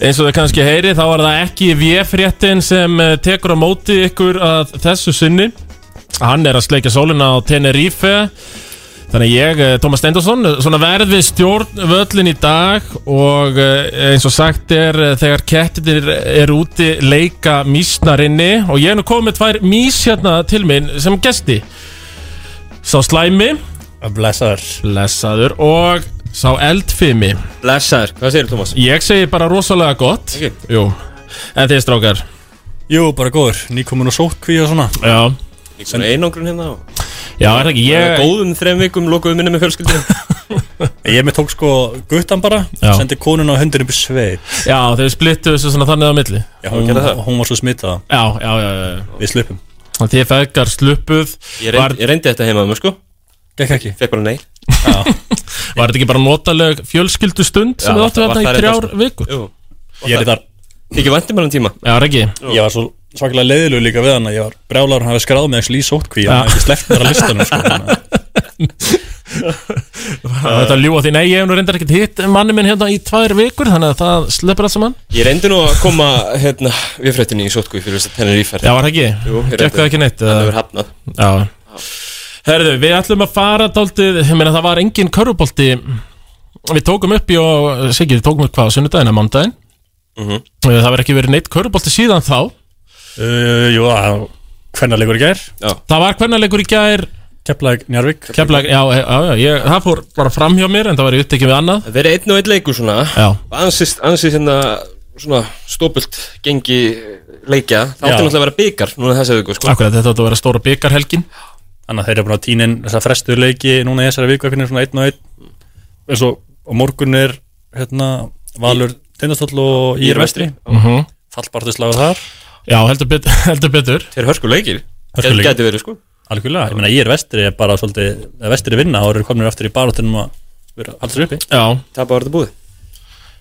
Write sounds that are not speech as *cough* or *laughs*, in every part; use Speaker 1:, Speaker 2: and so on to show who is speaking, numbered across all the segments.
Speaker 1: Eins og þið kannski heyri þá er það ekki VF-réttin sem eh, tekur á móti ykkur að þessu sinni Hann er að sleika sólina á Tenerife Þannig að ég, eh, Tómas Steindorsson, svona verð við stjórn völlin í dag og eh, eins og sagt er eh, þegar kettir er úti leika mísnarinni og ég er nú komið með tvær mís hérna til minn sem gesti Sá slæmi,
Speaker 2: Blessaður
Speaker 1: blessaður og sá eldfimi
Speaker 2: Blessaður, hvað segir Thomas?
Speaker 1: Ég segi bara rosalega gott
Speaker 2: Ekki?
Speaker 1: Jú, en þið strákar
Speaker 3: Jú, bara góður, nýkomin og sótkví og svona
Speaker 1: Já,
Speaker 2: Líkur einangrun hérna og
Speaker 1: já er það ekki
Speaker 2: yeah.
Speaker 1: ég
Speaker 2: Góðum þrem vikum lokuðum minni með fjölskyldinu
Speaker 1: *laughs*
Speaker 3: Ég með tók sko guttan bara,
Speaker 1: Já.
Speaker 3: sendi konuna og hundin upp í sveit
Speaker 1: Já, þau splittu þessu svona þannig á milli Já,
Speaker 3: Já, hún,
Speaker 2: gerði það?
Speaker 3: hún var svo smittaða,
Speaker 1: já, já, já, já.
Speaker 3: við slupum
Speaker 1: Þið feðgar sluppuð
Speaker 2: Ég
Speaker 1: Var,
Speaker 2: reyndi, ég reyndi þetta heimaðum, sko
Speaker 3: Gekk ekki
Speaker 2: Fekk bara nei
Speaker 1: var þetta ekki bara notaleg fjölskyldustund sem
Speaker 2: Já,
Speaker 1: þið áttu
Speaker 2: var
Speaker 1: hérna í
Speaker 2: það reyndar,
Speaker 1: þrjár
Speaker 2: sko.
Speaker 1: vikur Já,
Speaker 2: Jú
Speaker 3: Ég, er þar,
Speaker 2: Ekki vandi með hann um tíma
Speaker 1: er ekki
Speaker 3: ég var svo svakalega leiðilug líka við hann að ég var brjálar hann hafi skráð mig ekki í sótkví
Speaker 1: Já.
Speaker 3: og ekki sleppt mér að listanum
Speaker 1: *laughs*
Speaker 3: sko þannig að-
Speaker 1: Þetta ljúa því, nei, ég hef nú reyndar ekkert hitt manni minn hérna í tvær vikur Þannig að það sleppur allt saman
Speaker 2: Ég reyndi nú að koma, hérna, viðfréttinni í sótkvíð fyrir þess að henni er íferð
Speaker 1: Já, var það ekki?
Speaker 2: Jú, ég reyndi
Speaker 1: Gekk það ekki neitt?
Speaker 2: Það
Speaker 1: eða?
Speaker 2: hefur hafnað
Speaker 1: Já Herðu, við ætlum að fara dáltið Ég meina það var engin körfubolti Við tókum upp í og Siggi, við tókum upp hvað á sunnudaginn að mándaginn
Speaker 2: Mhm.
Speaker 1: Eh, Það verður ekki verið neitt körfubolti síðan þá
Speaker 3: Uh, Jú, hvernig leikur í gær?
Speaker 1: Það var hvernarleikur í gær
Speaker 3: Keflag Njarvík
Speaker 1: Keflag, já, já, já, ég, það fór bara fram hjá mér En það var í upptekið við annað
Speaker 2: Það verið einn og einn leikur svona
Speaker 1: Já,
Speaker 2: Ansist, ansist hérna, svona stópult gengi leikja Það
Speaker 3: Já.
Speaker 2: átti náttúrulega að vera byggar núna þessa viku, sko
Speaker 1: akkurat, þetta átti að vera stóra byggarhelgin
Speaker 3: Þannig að þeir eru búin að tína inn þess að frestu leiki núna í þessari viku einhvern veginn svona einn og einn eins og á morgun er hérna Valur Tindastóll og Ír Vestri
Speaker 1: mm
Speaker 2: Mhm.
Speaker 3: fallbartuslagur þar
Speaker 1: Já, heldur, bet, *laughs* heldur betur
Speaker 2: Þeir hörku leikir
Speaker 3: Hörku leikir.
Speaker 2: Gæti verið, sko
Speaker 3: algjörlega, ég meina Ír Vestri er bara svolítið, ef Vestri vinna þá eru þeir komin aftur í barátunum að vera aldrei uppi
Speaker 1: Já,
Speaker 2: Tapa var þetta búið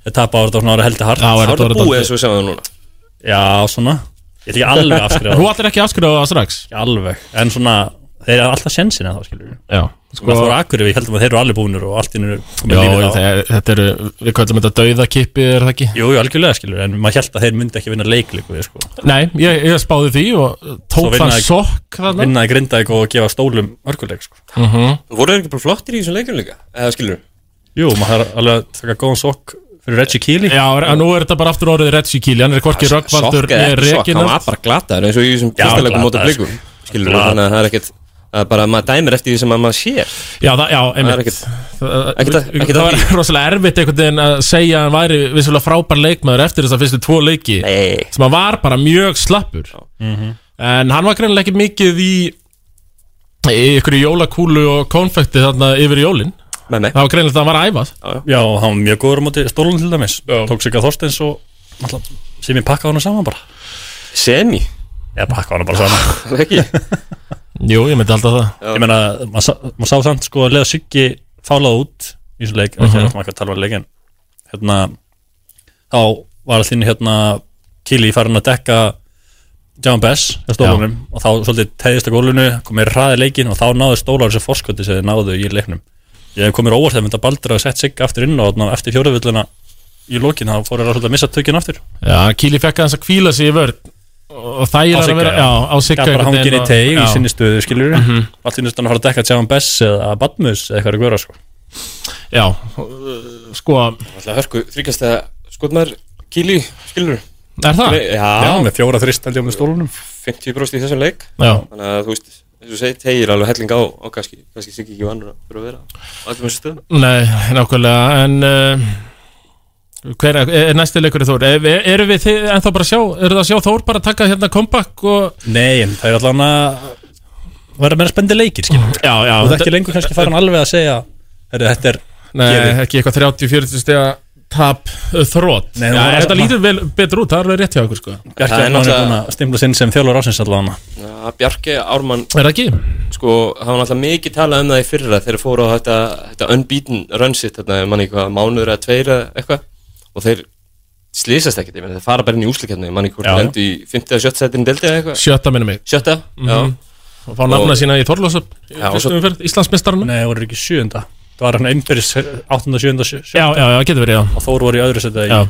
Speaker 3: þeir tapa á þetta svona ára heldur hart
Speaker 1: það
Speaker 2: Það var
Speaker 1: var þetta
Speaker 2: þetta
Speaker 1: orðið
Speaker 2: búið
Speaker 1: dálítið.
Speaker 2: eins og við sjáum það núna
Speaker 3: já svona, ég ætla ekki alveg afskrifað
Speaker 1: Þú ætlir ekki að afskrifa það strax
Speaker 3: ekki alveg, en svona þeir eru alltaf sjensin að þá skilur við
Speaker 1: Já,
Speaker 3: Sko, það voru akkur við heldum að þeir eru alveg búinur og allt innur komið lífið
Speaker 1: Já,
Speaker 3: á.
Speaker 1: þeir- þetta eru, við kallum þetta dauðakippi, er það ekki?
Speaker 3: Jú, jú, algjörlega skilur, en maður held að þeir myndi ekki vinna leikleiku við sko.
Speaker 1: Nei, ég, ég spáði því og eh, tók
Speaker 3: Svo
Speaker 1: þann
Speaker 3: vinnaði-
Speaker 1: sokk þarna
Speaker 3: vinna í grindaðik og gefa stólum örguleik sko.
Speaker 1: uh
Speaker 2: Voru þeir ekki bara flottir í þessum leikjum líka? Eða skilur
Speaker 3: Jú, maður þarf alveg að taka góðan sokk fyrir Reggie Keely
Speaker 1: Já, en nú er þetta bara aftur orðið Reggie Keely Hann er hvorki röggvaldur
Speaker 2: Sokk eða ekki
Speaker 1: með
Speaker 2: sokk, hann
Speaker 1: reginald
Speaker 2: var bara glataður eins og í þessum fyrsta leikum mótið
Speaker 3: glataður, sko.
Speaker 2: blikum Skilur
Speaker 3: Glataður.
Speaker 2: þannig að það er ekkert Það er bara að maður dæmir eftir því sem að maður sér
Speaker 1: Já, það, já,
Speaker 2: Það er
Speaker 1: einmitt
Speaker 2: ekkert
Speaker 1: Það- eh,
Speaker 2: ekkert að- ekkert
Speaker 1: Það
Speaker 2: að
Speaker 1: var
Speaker 2: því.
Speaker 1: rosalega erfitt einhvern veginn að segja að hann væri vissulega frábær leikmaður eftir þess að fyrstu tvo leiki
Speaker 2: Nei
Speaker 1: sem hann var bara mjög slappur
Speaker 3: Mhm.
Speaker 1: En hann var greinilega ekki mikið í í ykkur í jólakúlu og konfekti þarna yfir jólin
Speaker 2: Með mig
Speaker 1: Það var greinlega að hann var æfað
Speaker 3: Já, og hann var mjög góður á móti stólum til dæmis Tók sig að Þorsteins og alltaf, sem ég pakkaði hann saman bara
Speaker 2: Semi
Speaker 3: Ég pakkaði hann bara
Speaker 2: *laughs*
Speaker 3: saman
Speaker 2: Ekki
Speaker 1: Jú, ég myndi alltaf það
Speaker 3: Ég meina, maður sá, maður sá samt sko að leða Siggi fálað út í þessu leik
Speaker 1: Mhm.
Speaker 3: Ekki að maður ekki að tala um leikin Hérna, þá var allir hérna Keely farin að dekka John Bess hjá stólunum og þá svolítið tegðist að gólfinu komið hraði leikin og þá náðu stólar þessu forskoti sem þið náðu í leiknum ég hef komið óvart að mynda baldur að setja sig aftur inn og þarna eftir fjóruðvilluna í lokin þá fór þér að svolítið að missa tökinn aftur
Speaker 1: Já, Kíli fekk aðeins að kvíla sig í vörð og það
Speaker 3: Á
Speaker 1: er að
Speaker 3: Sigga,
Speaker 1: vera
Speaker 3: já.
Speaker 1: já, á
Speaker 3: Gat
Speaker 1: sigga
Speaker 3: bara
Speaker 1: einhvern
Speaker 3: hangin í
Speaker 1: veginn og-
Speaker 3: teig í
Speaker 1: já. Mhm.
Speaker 3: sinni stöðu skilur mm -hmm. allt í nýstan að fara að dekka Tjáman Bess eða Badmus eða eitthvað er að gera sko.
Speaker 1: Já, uh, sko,
Speaker 2: Alltaf hörku þrýkast að skotmaður Kíli Skilur
Speaker 1: er það?
Speaker 3: Já,
Speaker 2: Já
Speaker 3: með fjóra þristandi á með stólunum
Speaker 2: 50% í þessum leik
Speaker 1: Já,
Speaker 2: Þannig að þú veist Þess að segja tegir alveg helling á Og kannski Kannski sig ekki vannur að fyrir að vera á Allum þessu stöðum
Speaker 1: nei, nákvæmlega en uh, hver er, er næsti leikur í Þór? Er, eru við þið ennþá bara að sjá, eru það að sjá Þór bara að taka hérna kompakk og
Speaker 3: Nei, en það er allan að vera meira spendi leikir skilur
Speaker 1: Mm. Já, já,
Speaker 3: og það er ekki lengur kannski farin alveg að segja herri, þetta er
Speaker 1: Nei,
Speaker 3: gefið.
Speaker 1: ekki eitthvað 30-40 stega tap uh, þrótt
Speaker 3: Nei,
Speaker 1: Já,
Speaker 3: það var- hérna-
Speaker 1: þetta lítur vel betur út, það er alveg rétt hjá ykkur sko
Speaker 3: Bjarki
Speaker 2: Það er
Speaker 3: Arnór er
Speaker 2: náttúrulega-
Speaker 3: búin að stimla sinn sem þjálfur ásins allan
Speaker 2: Já, Bjarki Ármann
Speaker 1: Er það ekki?
Speaker 2: sko, það var náttúrulega mikið talað um það í fyrra þegar fóru á þetta, þetta unbeaten run sitt, þarna, manni eitthvað, mánuður eða tveir eða eitthvað, og þeir slýsast ekkert, ég meina, þeir fara bara inn í úslikjarni manni hvort
Speaker 3: Já.
Speaker 2: þeir endur í 50 eða 70 setinu deltið eða eitthvað,
Speaker 1: Sjötta minni mig Mhm.
Speaker 2: sjötta,
Speaker 1: og fá nafna sína í Þorlósöp
Speaker 2: Já, og svo-
Speaker 1: Íslandsmestarinn
Speaker 3: Nei, það voru ekki sjönda það var hann einbyrðis 8. og 7.
Speaker 1: Já, já, já, getur verið, já
Speaker 3: og Þór voru í öðru setja
Speaker 1: Já.
Speaker 3: í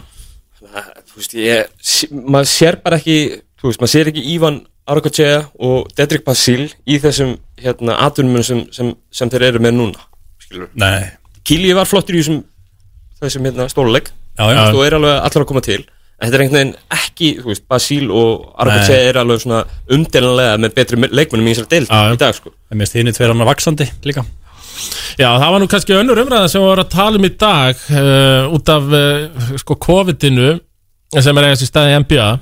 Speaker 2: já, þú veist, ég, sé- maður sér bara ekki, þú veist, maður sér ekki Ivan Arkochea og Dedrick Basil í þessum, hérna, atvinnum sem, sem, sem þeir eru með núna, skilur.
Speaker 3: Nei,
Speaker 2: Kíli var flottur í þessum, þessum, hérna, stóluleik,
Speaker 3: já, já,
Speaker 2: þú er alveg allar að koma til, en þetta er einhvern veginn ekki, þú veist, Basil og Arkochea er alveg svona umdelanlega með betri me- leikmönnum í þessari deild
Speaker 1: Já, já.
Speaker 2: í dag, sko.
Speaker 3: það minnst hinn í tveir annar vaksandi líka
Speaker 1: Já, það var nú kannski önnur umræða sem við varum að tala um í dag uh, út af uh, sko COVID-inu sem er eigast í staði NBA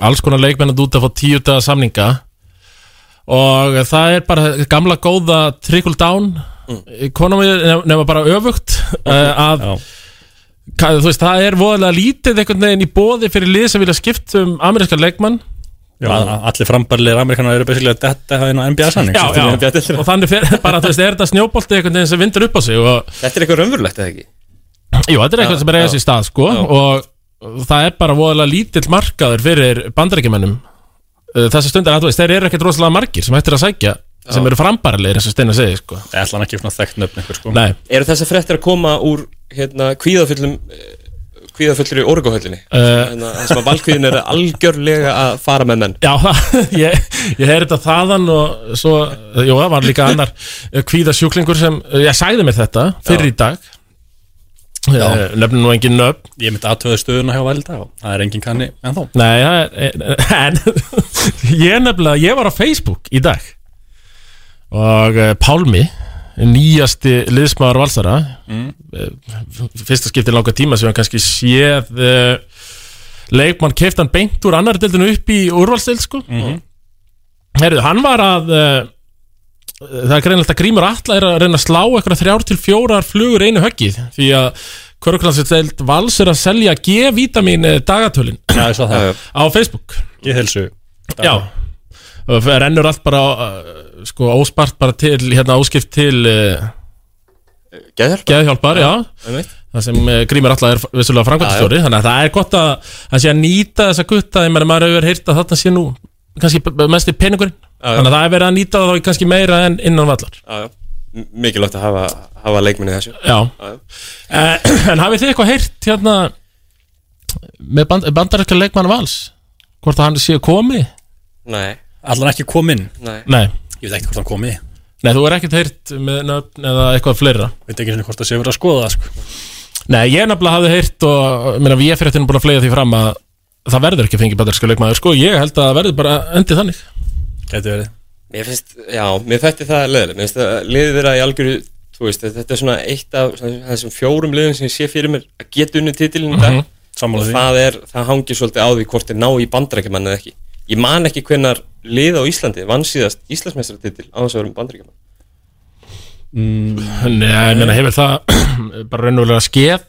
Speaker 1: alls konar leikmennat út að fá tíu daga samninga og það er bara gamla góða trickle down mm. konum nema bara öfugt uh, að
Speaker 3: Já,
Speaker 1: ka- þú veist, það er voðalega lítið einhvern veginn í bóði fyrir lið sem vilja skipta um ameríska leikmann
Speaker 3: já. allir frambarlegir amerikanar eru besilega þetta hafa hérna NBA-sanning
Speaker 1: já, já.
Speaker 2: NBA deildina.
Speaker 1: og þannig fer, bara, þú veist, er þetta snjóbolti einhvern veginn sem vindur upp á sig og
Speaker 2: Þetta er eitthvað raunverulegt, eða ekki?
Speaker 1: Jú, þetta er eitthvað
Speaker 2: Já,
Speaker 1: sem er
Speaker 2: já.
Speaker 1: eigast í stað sko og það er bara voðalega lítill markaður fyrir bandarækjumennum þessar stundar að þú veist, þeir eru ekkert rosalega margir sem hættir að sækja sem eru frambarilegir eins og Steina segi sko
Speaker 3: Það ætla hann ekki svona þekkt nöfn ykkur sko
Speaker 1: Nei,
Speaker 2: Eru þessar fréttir að koma úr hérna, kvíðafullum eh, kvíðafullur í orguhöllinni
Speaker 1: Eh.
Speaker 2: hérna, það sem að valkvíðin er
Speaker 1: *laughs*
Speaker 2: algjörlega að fara með menn
Speaker 1: já, *laughs* það- ég, ég heyri þetta þaðan og svo, eh, jú, það var líka annar eh, kvíðasjúklingur sem, eh, ég sagði mér þetta fyrir í dag Eh, nefnir nú engin nöfn
Speaker 3: Ég myndi aðtöða stöðuna hjá Valda og það er engin kanni en þó
Speaker 1: Nei, það er, eh, en ég nefnilega, ég var á Facebook í dag og uh, Pálmi, nýjasti liðsmaður valsara mm. fyrsta skipti í langa tíma sem hann kannski séð uh, leikmann keiftan beint úr annar deildinu upp í úrvalsdeild sko Herðu, hann var að uh, það er greinilegt að Grímur Atla er að reyna að slá eitthvað þrjár til fjórar flugur í einu höggið því að Körklandsdeild vals er að selja G-vitamin dagatölin
Speaker 3: Já, ég sá það,
Speaker 1: á Facebook
Speaker 3: ég helsu
Speaker 1: Já Og það rennur allt bara uh, sko óspart bara til hérna áskipt til uh,
Speaker 2: Geðhjálp,
Speaker 1: geðhjálpar, já,
Speaker 2: einmitt.
Speaker 1: það sem uh, Grímur alltaf er vissulega framkvæmtastjóri, þannig að það er gott að hann sé að nýta þessa gutta, ég meðan maður hefur heyrt að þarna sé nú kannski b- b- mesti peningurinn,
Speaker 2: já.
Speaker 1: þannig að það er verið að nýta þá í kannski meira en innan vallar
Speaker 2: Já, já. M- mikilvægt að hafa, hafa leikminni þessu
Speaker 1: Já,
Speaker 2: já.
Speaker 1: Eh, *clears throat* en hafið þið eitthvað heyrt hérna með band, bandarækja leikmann vals hvort að hann sé að komi?
Speaker 2: Nei,
Speaker 3: Allan ekki kominn,
Speaker 2: nei
Speaker 1: Nei,
Speaker 3: ég veit ekki hvort hann komi
Speaker 1: nei þú er ekkert heyrt með nöfn eða eitthvað fleira
Speaker 3: Veit ekki einu hvort það sé verið að skoða það sko
Speaker 1: Nei, ég nefnilega hafði heyrt og minna, ég fyrir þetta búin að flega því fram að það verður ekki að fengi bandaríska leikmaður sko, ég held að það verður bara endið þannig
Speaker 3: Gæti verið
Speaker 2: Mér finnst, já, mér þætti það leðileg Mér finnst það liðið þeirra í algjöru þú veist, þetta er svona eitt af svona þessum fjórum liðum sem ég sé fyrir mér að geta unni titilin í dag
Speaker 3: Mhm, Sammála
Speaker 2: og
Speaker 3: því
Speaker 2: það er, það hangi svolítið á því hvort þeir ná í bandarækjumann eða ekki ég man ekki hvenar lið á Íslandi vann síðast Íslandsmeistaratitil á þess að vera um bandarækjumann
Speaker 3: Mm.
Speaker 1: Nei, ég meina, hefur það *clears throat* bara raunverulega skeð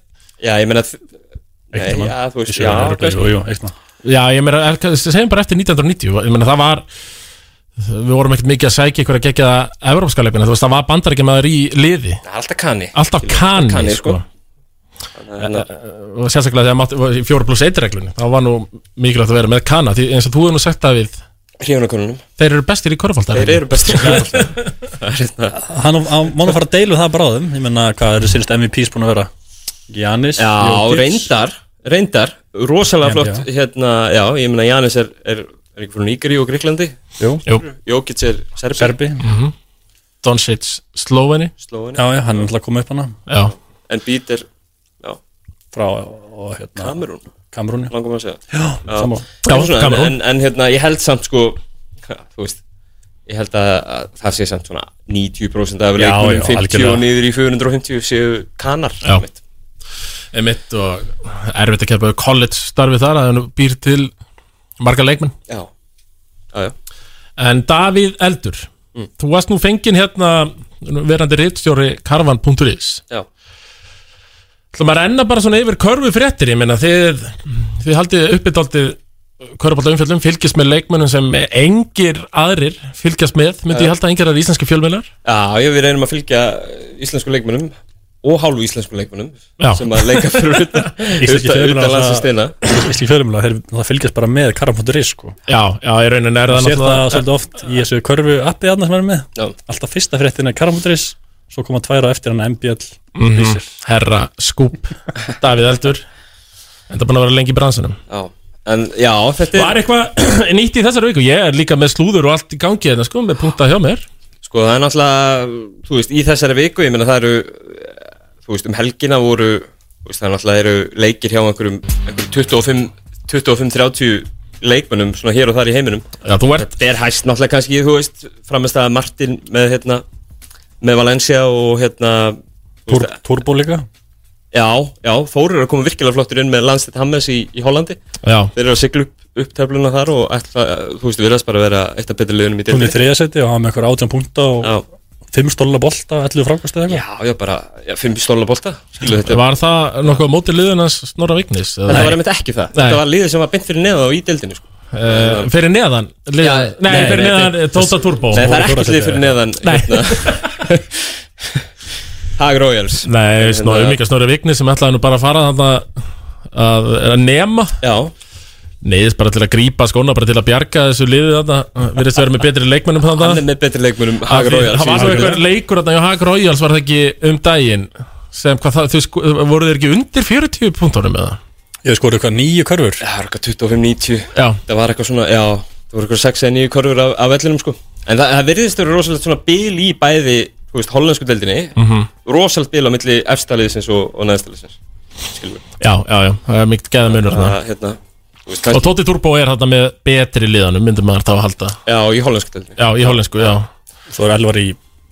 Speaker 2: já, ég meina þ- nei,
Speaker 3: Eitt um
Speaker 2: já, þú veist,
Speaker 3: Jú,
Speaker 2: já, kannski.
Speaker 3: jú, jú, eitt um það.
Speaker 1: Já, ég meina, er- segjum bara eftir 1990 ég meina, það var við vorum ekkert mikið að sækja ykkur að gegja evropska leikmaður, þú veist, það var bandaríkja í liði,
Speaker 2: Það er alltaf kanni
Speaker 1: alltaf
Speaker 2: Skilur,
Speaker 1: kanni,
Speaker 2: kanni,
Speaker 1: sko.
Speaker 2: sko. Þannig að-
Speaker 1: og sérstaklega þegar mátti 4 pluss 1 reglunni, þá var nú mikilvægt að vera með kana, því eins og þú hefur nú sagt að við
Speaker 2: hrífunakonunum,
Speaker 1: þeir eru bestir í korfaldar
Speaker 2: þeir eru bestir það er hérna
Speaker 1: *laughs*
Speaker 3: Hann á- á- má nú fara að deilu það bráðum Ég menna, hvað eru sínst MVPs búin að vera? Giannis
Speaker 2: já,
Speaker 3: Jokic.
Speaker 2: reyndar, reyndar rosalega
Speaker 3: NBA.
Speaker 2: flott, hérna, já, ég meina Janis er, er, er ekki frá Nígri og Gríklandi
Speaker 3: Jú,
Speaker 2: Jókits er Serbi,
Speaker 3: Serbi
Speaker 1: Mhm. Doncic Sloveni
Speaker 2: Slóveni,
Speaker 3: Já, já, hann er alltaf að koma upp hana
Speaker 1: Já,
Speaker 2: en Bít er já,
Speaker 3: Frá, og hérna,
Speaker 2: Kamerún,
Speaker 3: Kamerún já.
Speaker 2: langum að segja
Speaker 3: Já, sammála
Speaker 1: Já,
Speaker 2: En svona,
Speaker 1: Kamerún.
Speaker 2: en, en hérna, ég held samt sko þú veist ég held að, að það sé samt svona 90% af
Speaker 3: Já,
Speaker 2: leikunum
Speaker 3: já,
Speaker 2: 50
Speaker 3: algjörlega.
Speaker 2: og niður í 450 séu kanar
Speaker 1: Já.
Speaker 2: einmitt.
Speaker 1: emitt og erfitt að keppa við college starfi þar að hann býr til marga leikmenn
Speaker 2: já, já, Mm. já.
Speaker 1: en Davíð Eldur þú varst nú fenginn hérna verandi rittstjóri karvan.is
Speaker 2: já.
Speaker 1: ætlum að renna bara svona yfir körfu fréttir ég meina þið, þið haldið uppbytaldið körfubálta umfjöldum, fylgjast með leikmönnum sem engir aðrir fylgjast með, myndi ég halda engir aðrir íslenski fjölmjölar
Speaker 2: já, ég við reynum að fylgja íslensku leikmunum og hálfu íslensku leikmunum
Speaker 1: Já.
Speaker 2: sem að leika
Speaker 3: *laughs*
Speaker 2: fyrir utan
Speaker 3: Íslenski
Speaker 2: utan-
Speaker 3: fjölmiðlar
Speaker 2: utan landsins
Speaker 3: svona-
Speaker 2: steina
Speaker 3: Íslenski fjölumlega, þeir það fylgjast bara með karam.ris sko.
Speaker 1: já, já, í rauninni er það
Speaker 3: Sér það
Speaker 1: náttúrulega
Speaker 3: svolítið oft í þessu körfu appi aðna sem er með
Speaker 2: já,
Speaker 3: Alltaf fyrsta fréttin er karam.ris Svo
Speaker 2: Mm-hmm.
Speaker 3: koma tværa eftir hann MBL
Speaker 1: herra skúp Davíð Mhm. Eldur Þetta er búin að vera lengi í bransunum
Speaker 2: Já, en já, þetta er
Speaker 1: Var eitthvað *clears throat* nýtt í þessari viku? Ég er líka með slúður og allt í gangi hérna sko Með punktað hjá mér
Speaker 2: Sko það er náttúrulega, þú veist, í þessari viku, ég meina það eru, eh, þú veist, um helgina voru, þú veist, það náttúrulega eru leikir hjá einhverjum, einhverjum 25 25-30 leikmönnum svona hér og þar í heiminum.
Speaker 1: Já, þú ert
Speaker 2: Ber hæst náttúrulega kannski, þú veist, framist að Martin með, hérna, með Valencia og, hérna, þú
Speaker 3: Tur,
Speaker 2: veist,
Speaker 3: Turbo líka
Speaker 2: já, já, Þórir er að koma virkilega flottur inn með Landstedt Hammes í, í Hollandi.
Speaker 1: Já,
Speaker 2: Þeir eru að sigla upp, upp töfluna þar og ætla, þú veist, við erum bara að vera eitt af betur liðunum í
Speaker 3: Hún er
Speaker 2: deildinni.
Speaker 3: í þriðasetti og hafa með eitthvað 18 púnta og
Speaker 2: Já.
Speaker 3: 5 stóla bolta, 11 frákvæmstu eða eitthvað
Speaker 2: Já, já, bara, já, fimm stóla bolta, skilu þetta
Speaker 1: var það nokkuð á móti liðunans Snorra Vignis?
Speaker 2: En það var einmitt ekki það.
Speaker 1: Nei.
Speaker 2: Þetta var liðið sem var beint fyrir neða á í deildinu, sko.
Speaker 1: Uh, fyrir neðan lið,
Speaker 2: Já,
Speaker 1: Nei,
Speaker 2: nei,
Speaker 1: fyrir
Speaker 2: nei,
Speaker 1: neðan nei, Tóta Turbo
Speaker 2: Nei, það er
Speaker 3: Þóra
Speaker 2: ekkert
Speaker 3: Þóra
Speaker 2: lið fyrir neðan.
Speaker 1: Nei. *laughs*
Speaker 2: hérna. Haag Royals.
Speaker 1: Nei, snorri,
Speaker 2: Hérna-
Speaker 1: líka Snorri Vigni sem ætlaði nú bara að fara þarna að, að nema
Speaker 2: Já,
Speaker 1: Neiðist bara til að grípa skóna, bara til að bjarga þessu liði þarna Virðist vera með betri leikmennum
Speaker 2: hann
Speaker 1: þarna
Speaker 2: er með betri leikmunum Haag
Speaker 1: Af því-
Speaker 2: Royals.
Speaker 1: Það var svo einhver leikur þarna, já, Hag Royals var það ekki um daginn sem hvað það, þau sko, voru þeir ekki undir 40 punktunum eða?
Speaker 3: Ég skoði eitthvað nýju körfur
Speaker 2: Það var eitthvað 25-90.
Speaker 1: Já,
Speaker 2: Það var eitthvað svona, já, það voru eitthvað 6 eða 9 korfur af, af vellinum, sko. En það, það virðist verið rosalegt svona bil í bæði, þú veist, hollensku deildinni.
Speaker 1: Mhm.
Speaker 2: Rosalegt bil á milli efstaliðsins og, og neðstaliðsins. Skilur við.
Speaker 1: já, já, já, það er mikið geða munur þarna
Speaker 2: Það, hérna, þú veist, kannski,
Speaker 1: Og Tóti Turbo er þarna með betri liðanum, myndum maður þá að halda
Speaker 2: já, í hollensku deildinni.
Speaker 1: Já, í hollensku, já
Speaker 3: Svo er elvar í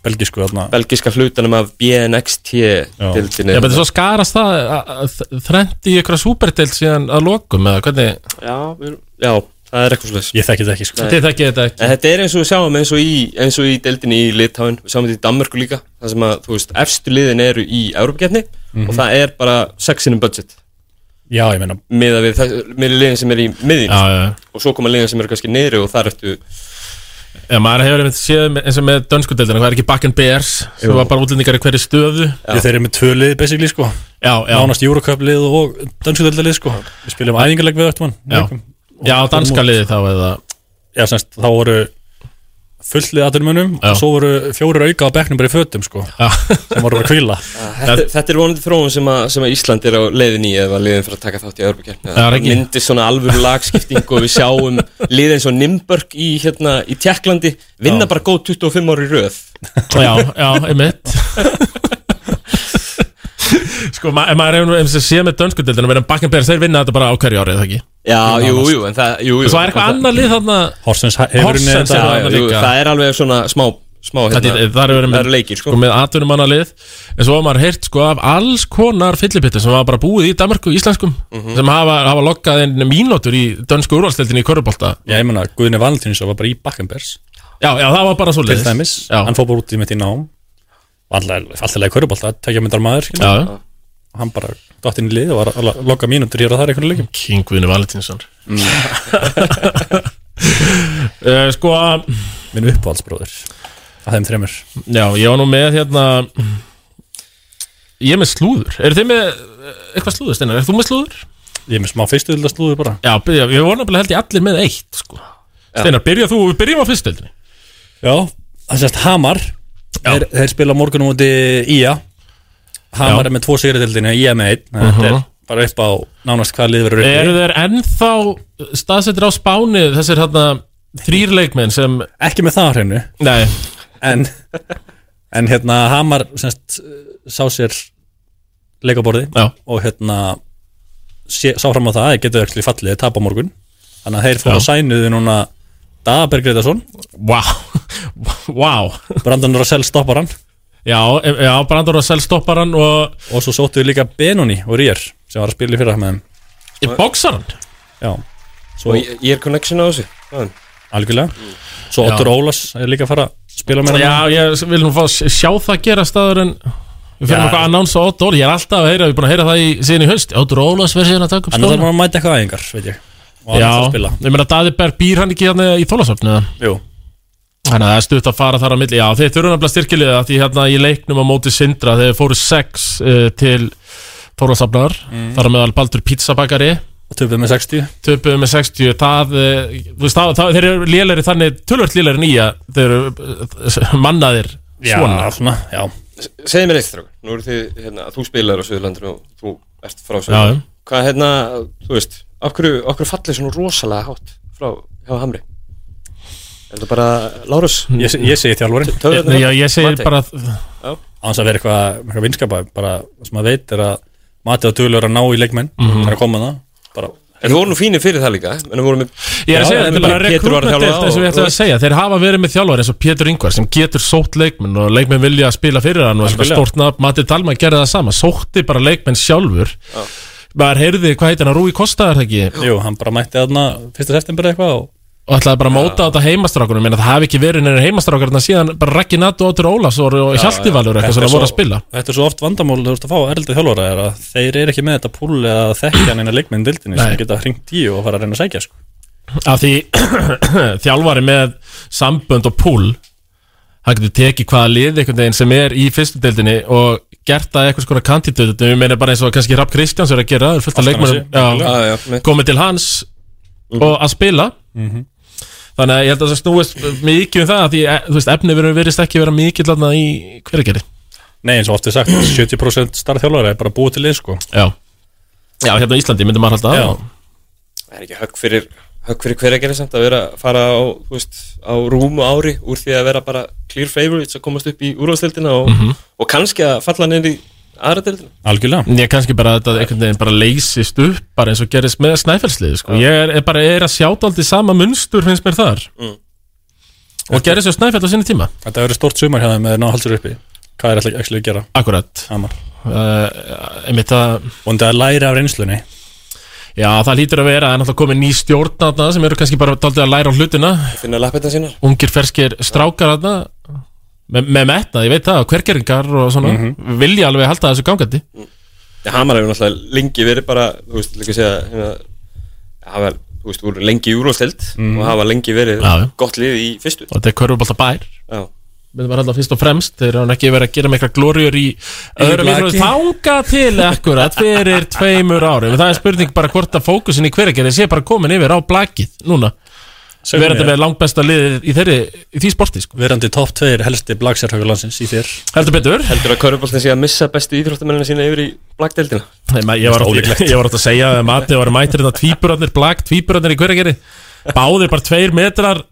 Speaker 3: belgisku þarna
Speaker 2: Belgiska hlutanum af BNXT deildinni.
Speaker 1: Já, betur svo skarast það að- að- þrennt í ykkur súperdeild síðan að lokum eða hvernig,
Speaker 2: Já, við, já, það er eitthvað svolítið
Speaker 3: Ég þekki þetta ekki sko
Speaker 1: þið þekkið þetta ekki
Speaker 2: En þetta er eins og við sjáum eins og í, eins og í deildinni í Litáin, við sjáum þetta í Danmörku líka þar sem að, þú veist, efstu liðin eru í Európa-getni
Speaker 3: Mhm.
Speaker 2: og það er bara sexinum budget
Speaker 3: Já, ég meina
Speaker 2: miða við, þess- miðað við liðin sem er í miðin
Speaker 1: Já, já, já
Speaker 2: og svo koma liðin sem eru kannski niðri og þar ertu
Speaker 1: Já, maður hefur einmitt séð með- eins og með dönskudeldina, hvað er ekki Bakken Bears sem var bara útlendingar í hverju stöðu
Speaker 3: Ég þeir eru með tvö lið basically sko
Speaker 1: Já, já,
Speaker 3: Nánast Eurocup lið og danskudeldalið sko Við spilum æfingarleg við öttum
Speaker 1: já
Speaker 3: hann
Speaker 1: Já, danska liði þá eða
Speaker 3: Já, semst, þá voru fullið aðurmönum
Speaker 1: Já.
Speaker 3: og svo voru fjórir auka á bekknum bara í fötum sko
Speaker 1: Já,
Speaker 3: sem voru að
Speaker 2: *laughs*
Speaker 3: kvíla
Speaker 2: Ah, þetta, þetta er vonandi þróun sem að, sem að Ísland er á leiðin í eða liðin fyrir að taka þátt í Európa-getni
Speaker 1: Já,
Speaker 2: það
Speaker 1: Raggi.
Speaker 2: myndir svona alvöru lagskipting og við sjáum liðin svo Nimburg í, hérna, í Tjekklandi vinna bara góð 25 ári röð
Speaker 1: já, já, einmitt Sko, ma ef maður hefur eins og séð með dönskudeldina meðan Bakken Bears, þeir vinna þetta bara á hverju árið, það ekki
Speaker 2: Já, Ah, jú, jú, en það, jú, jú
Speaker 1: Svo er eitthvað annað lið þarna
Speaker 3: Horsens hefur
Speaker 1: Horsens
Speaker 3: unnið
Speaker 1: er
Speaker 3: þetta
Speaker 1: það.
Speaker 2: Já,
Speaker 1: þarna
Speaker 2: jú,
Speaker 1: líka.
Speaker 2: það er alveg svona smá, smá hérna,
Speaker 1: Það er- það eru verið með-
Speaker 2: það eru leikir sko.
Speaker 1: sko með atvinnumanna lið en svo hafa maður heyrt sko af alls konar fyllipittu sem hafa bara búið í Danmarku, íslenskum
Speaker 2: Mhm.
Speaker 1: sem hafa, hafa lokkað inn mínútur í dönsku úrvalstildinni í Körubolta
Speaker 3: Já, ég meina, Guðni Valentínus var bara í Bakkenbergs
Speaker 1: Já, já, það var bara svo
Speaker 3: til
Speaker 1: leiðis
Speaker 3: dæmis,
Speaker 1: Já,
Speaker 3: hann fór bara út í mitt í nám alltaf leið körubólta, tekja myndar maður skilur.
Speaker 1: já,
Speaker 3: hann bara dótt inn í lið og var að loka mínútur hér og það er einhvern leikum
Speaker 1: Kingvinni Valentinsson
Speaker 3: Mm.
Speaker 1: *laughs* uh, Sko,
Speaker 3: minn uppáhaldsbróður, að þeim þremur
Speaker 1: já, ég var nú með hérna Ég er með slúður Eru þið með eh, eitthvað slúður, Steinar? Er þú með slúður?
Speaker 3: ég er með smá fyrstuðildaslúður bara
Speaker 1: Já, byrja, ég voru nefnilega held ég allir með eitt sko. Steinar, byrja þú, við byrjum á fyrstöldinni
Speaker 3: já, það sést Hamar þeir, þeir spila morgun úti Ía Hamar
Speaker 1: Já. Mhm.
Speaker 3: er með tvo sigriðildinu, Ía með einn þannig að þetta er bara upp á nánast hvað lið verður
Speaker 1: Eru
Speaker 3: upp
Speaker 1: þeir ennþá staðsettir á spáni þessir hérna þrýr leikmenn sem
Speaker 3: ekki með það á hreinu
Speaker 1: Nei,
Speaker 3: en, en hérna Hamar semst, sá sér leikaborði
Speaker 1: já,
Speaker 3: og hérna sé, sá fram á það að þeir getur ekki fallið tap á morgun þannig að þeir fóru að sænuðu núna Daberg Gretarsson,
Speaker 1: *laughs* wow Wow
Speaker 3: Brandon Russell stoppar hann
Speaker 1: Já, e- já Brandur og Sel stoppar hann og
Speaker 3: og svo sóttu við líka Benoni og Rýr sem var að spila í fyrra með þeim
Speaker 1: e, boxar hann
Speaker 3: já,
Speaker 2: Og
Speaker 3: svo
Speaker 2: ég, ég er connection á þessu Það er-
Speaker 3: algjörlega svo Ottur Ólas er líka að fara að spila með hann
Speaker 1: Já, ég vil nú fá að sjá það gera staður en Við fyrir
Speaker 3: Já.
Speaker 1: eitthvað annons á Otto Óla Ég er alltaf að heyra, við erum búin að heyra það í, síðan í haust Otto Ólas verður síðan að taka upp
Speaker 3: hann er það
Speaker 1: stóna
Speaker 3: að mæta eitthvað aðingar veit ég, og hann
Speaker 1: Já,
Speaker 3: er að spila
Speaker 1: ég meina Daði Berg býr hann ekki hérna í Þólasöfnu
Speaker 3: Jú.
Speaker 1: Þannig að það er stutt að fara þar á milli Já, þeir þurfa nefnilega styrkilega Því hérna í leiknum á móti Sindra Þeir fóru sex uh, til Þórasafnar Þar á meðal Baldur Pizzabakari
Speaker 3: og töfum Mm. með 60
Speaker 1: Töpuðu með 60 það, uh, veist, það, það, Þeir eru lélæri þannig Tölvöld lélæri nýja Þeir eru uh, mannaðir
Speaker 3: já,
Speaker 1: svona
Speaker 3: svona, já,
Speaker 2: Segðu mér eitt þrjók Nú eru þið, hérna, þú spilar á Suðurlandinu og þú ert frá
Speaker 1: Já,
Speaker 2: Suðurlandinu hvað hérna, þú veist af hverju, af hverju fallið svona rosalega hátt frá hjá Hamri er þetta bara Lárus
Speaker 3: ég, ég segi þjálfurinn
Speaker 1: Ég,
Speaker 2: töfrarnar-
Speaker 1: já, ég segir
Speaker 2: Mate?
Speaker 1: bara
Speaker 3: á hans að vera eitthvað eitthva vinskapa bara það sem maður veit er að Mati og Dúlu er að ná í leikmenn mm
Speaker 1: Mhm.
Speaker 3: -hmm. það er að koma það bara,
Speaker 2: en við vorum nú fínir fyrir það líka en við vorum með
Speaker 1: Ég er
Speaker 2: Já,
Speaker 1: að segja,
Speaker 2: já,
Speaker 1: þetta er
Speaker 2: bara
Speaker 1: bara
Speaker 2: Pétur var að
Speaker 1: rekrútmentilt
Speaker 2: þjálfa
Speaker 1: eins og
Speaker 2: og-
Speaker 1: við ætlum að segja Þeir hafa verið með þjálfari eins og Pétur Ingvar sem getur sótt leikmenn og leikmenn vilja að spila fyrir hann og svona
Speaker 3: Algjörlega.
Speaker 1: stórt nafn, Matti Dalman gerði það sama sótti bara leikmenn sjálfur maður heyrði, hvað heitir hann, Rúi Kosta er það ekki
Speaker 3: jú, hann bara mætti þarna fyrsta september eitthvað og
Speaker 1: og ætlaði bara að móta þetta heimastrákunum en það hafi ekki verið neina heimastrákarna síðan bara Raggi Nato, Otur Ólafs og og Hjalti Valur
Speaker 3: Þetta
Speaker 1: eitthvað
Speaker 3: er
Speaker 1: svona voru að
Speaker 3: svo-
Speaker 1: spila
Speaker 3: Þetta er svo oft vandamál þú ert að fá erldi þjálfara er að þeir eru ekki með þetta púl eða þekkja neina leikmenn dildinni
Speaker 1: Nei.
Speaker 3: sem geta hringt í og fara að reyna að sækja sko.
Speaker 1: af því *clears throat* þjálfari með sambönd og púl hann getur tekið hvaða lið einhvern veginn sem er í fyrstu deildinni og gert það eitthvað skona kandidöðutum við meina bara eins og kannski Rapp Kristjáns er að gera það er fullt af
Speaker 3: Altanesi,
Speaker 1: leikmennum já,
Speaker 2: já, já, með
Speaker 1: komið til hans og að spila Mhm. þannig að ég held að það snúist mikið um það af því e, þú veist, efni verið verist ekki vera mikið lana í hverjargeri
Speaker 3: Nei, eins og oft er sagt 70% starfþjálfara er bara búið til lið sko.
Speaker 1: já. já, hérna á Íslandi myndum maður halda
Speaker 3: Já.
Speaker 1: það.
Speaker 2: það er ekki högg fyrir högg fyrir hver að gera samt að vera að fara á, þú veist, á rúmu ári úr því að vera bara clear favorites að komast upp í úrvalstildina og,
Speaker 1: Mhm.
Speaker 2: og kannski að falla niður í aðra dildina
Speaker 3: Algjörlega
Speaker 1: Ég kannski bara að þetta einhvern veginn bara leysist upp bara eins og gerist með snæfellslið sko. Ég er, er bara er að sjáta aldrei sama munstur finnst mér þar
Speaker 2: Mm.
Speaker 1: Og gerist svo snæfell á sinni tíma
Speaker 3: Þetta hefur verið stórt sumar hérna með ná halsur uppi Hvað er alltaf ekki að gera?
Speaker 1: Akkurat
Speaker 3: Hamar.
Speaker 1: uh, Einmitt að
Speaker 3: Og þetta er að læra af reynslunni
Speaker 1: Já, það lítur að vera, það er náttúrulega komið ný stjórn þarna sem eru kannski bara daldið að læra á hlutina
Speaker 2: finna lappetna sínar
Speaker 1: Ungir ferskir strákar þarna Me, með metnað, ég veit það, hvergeringar og svona
Speaker 3: Mhm.
Speaker 1: vilja alveg halda þessu gangandi
Speaker 2: Já, Hamar hefur náttúrulega lengi verið bara þú veist, líka að segja hérna, hafa, þú veist, voru lengi í úrvalstild og hafa lengi verið
Speaker 1: Mhm. Já, já.
Speaker 2: gott lið í fyrstu
Speaker 1: og þetta er körfubolta bær
Speaker 2: Já,
Speaker 1: við varum alltaf fyrst og fremst þeir eru ekki verið að gera með eitthvað glóriur í öðrum
Speaker 3: blaki.
Speaker 1: íþróttum. þanga til akkurat fyrir tveimur árum það er spurning bara hvort að fókusin í hverjargerði sé bara komin yfir á blakið núna
Speaker 3: Segðu
Speaker 1: við erum þetta
Speaker 3: mér,
Speaker 1: með langbesta liðið í, þeirri, í því sporti sko.
Speaker 3: Verandi topp tveir helsti blagsjárhauðurlandsins í þér
Speaker 1: heldur betur
Speaker 2: heldur að Köruboltin sé að missa bestu íþróttamennina sína yfir í blagdeldina
Speaker 1: Nei, ma- ég var, átt,
Speaker 3: Ólíklegt.
Speaker 1: *laughs* ég var átt að segja að Mati var mætir þetta tvíburarnir blak tvíburarnir í hverjargerði báðir bara tveir metrar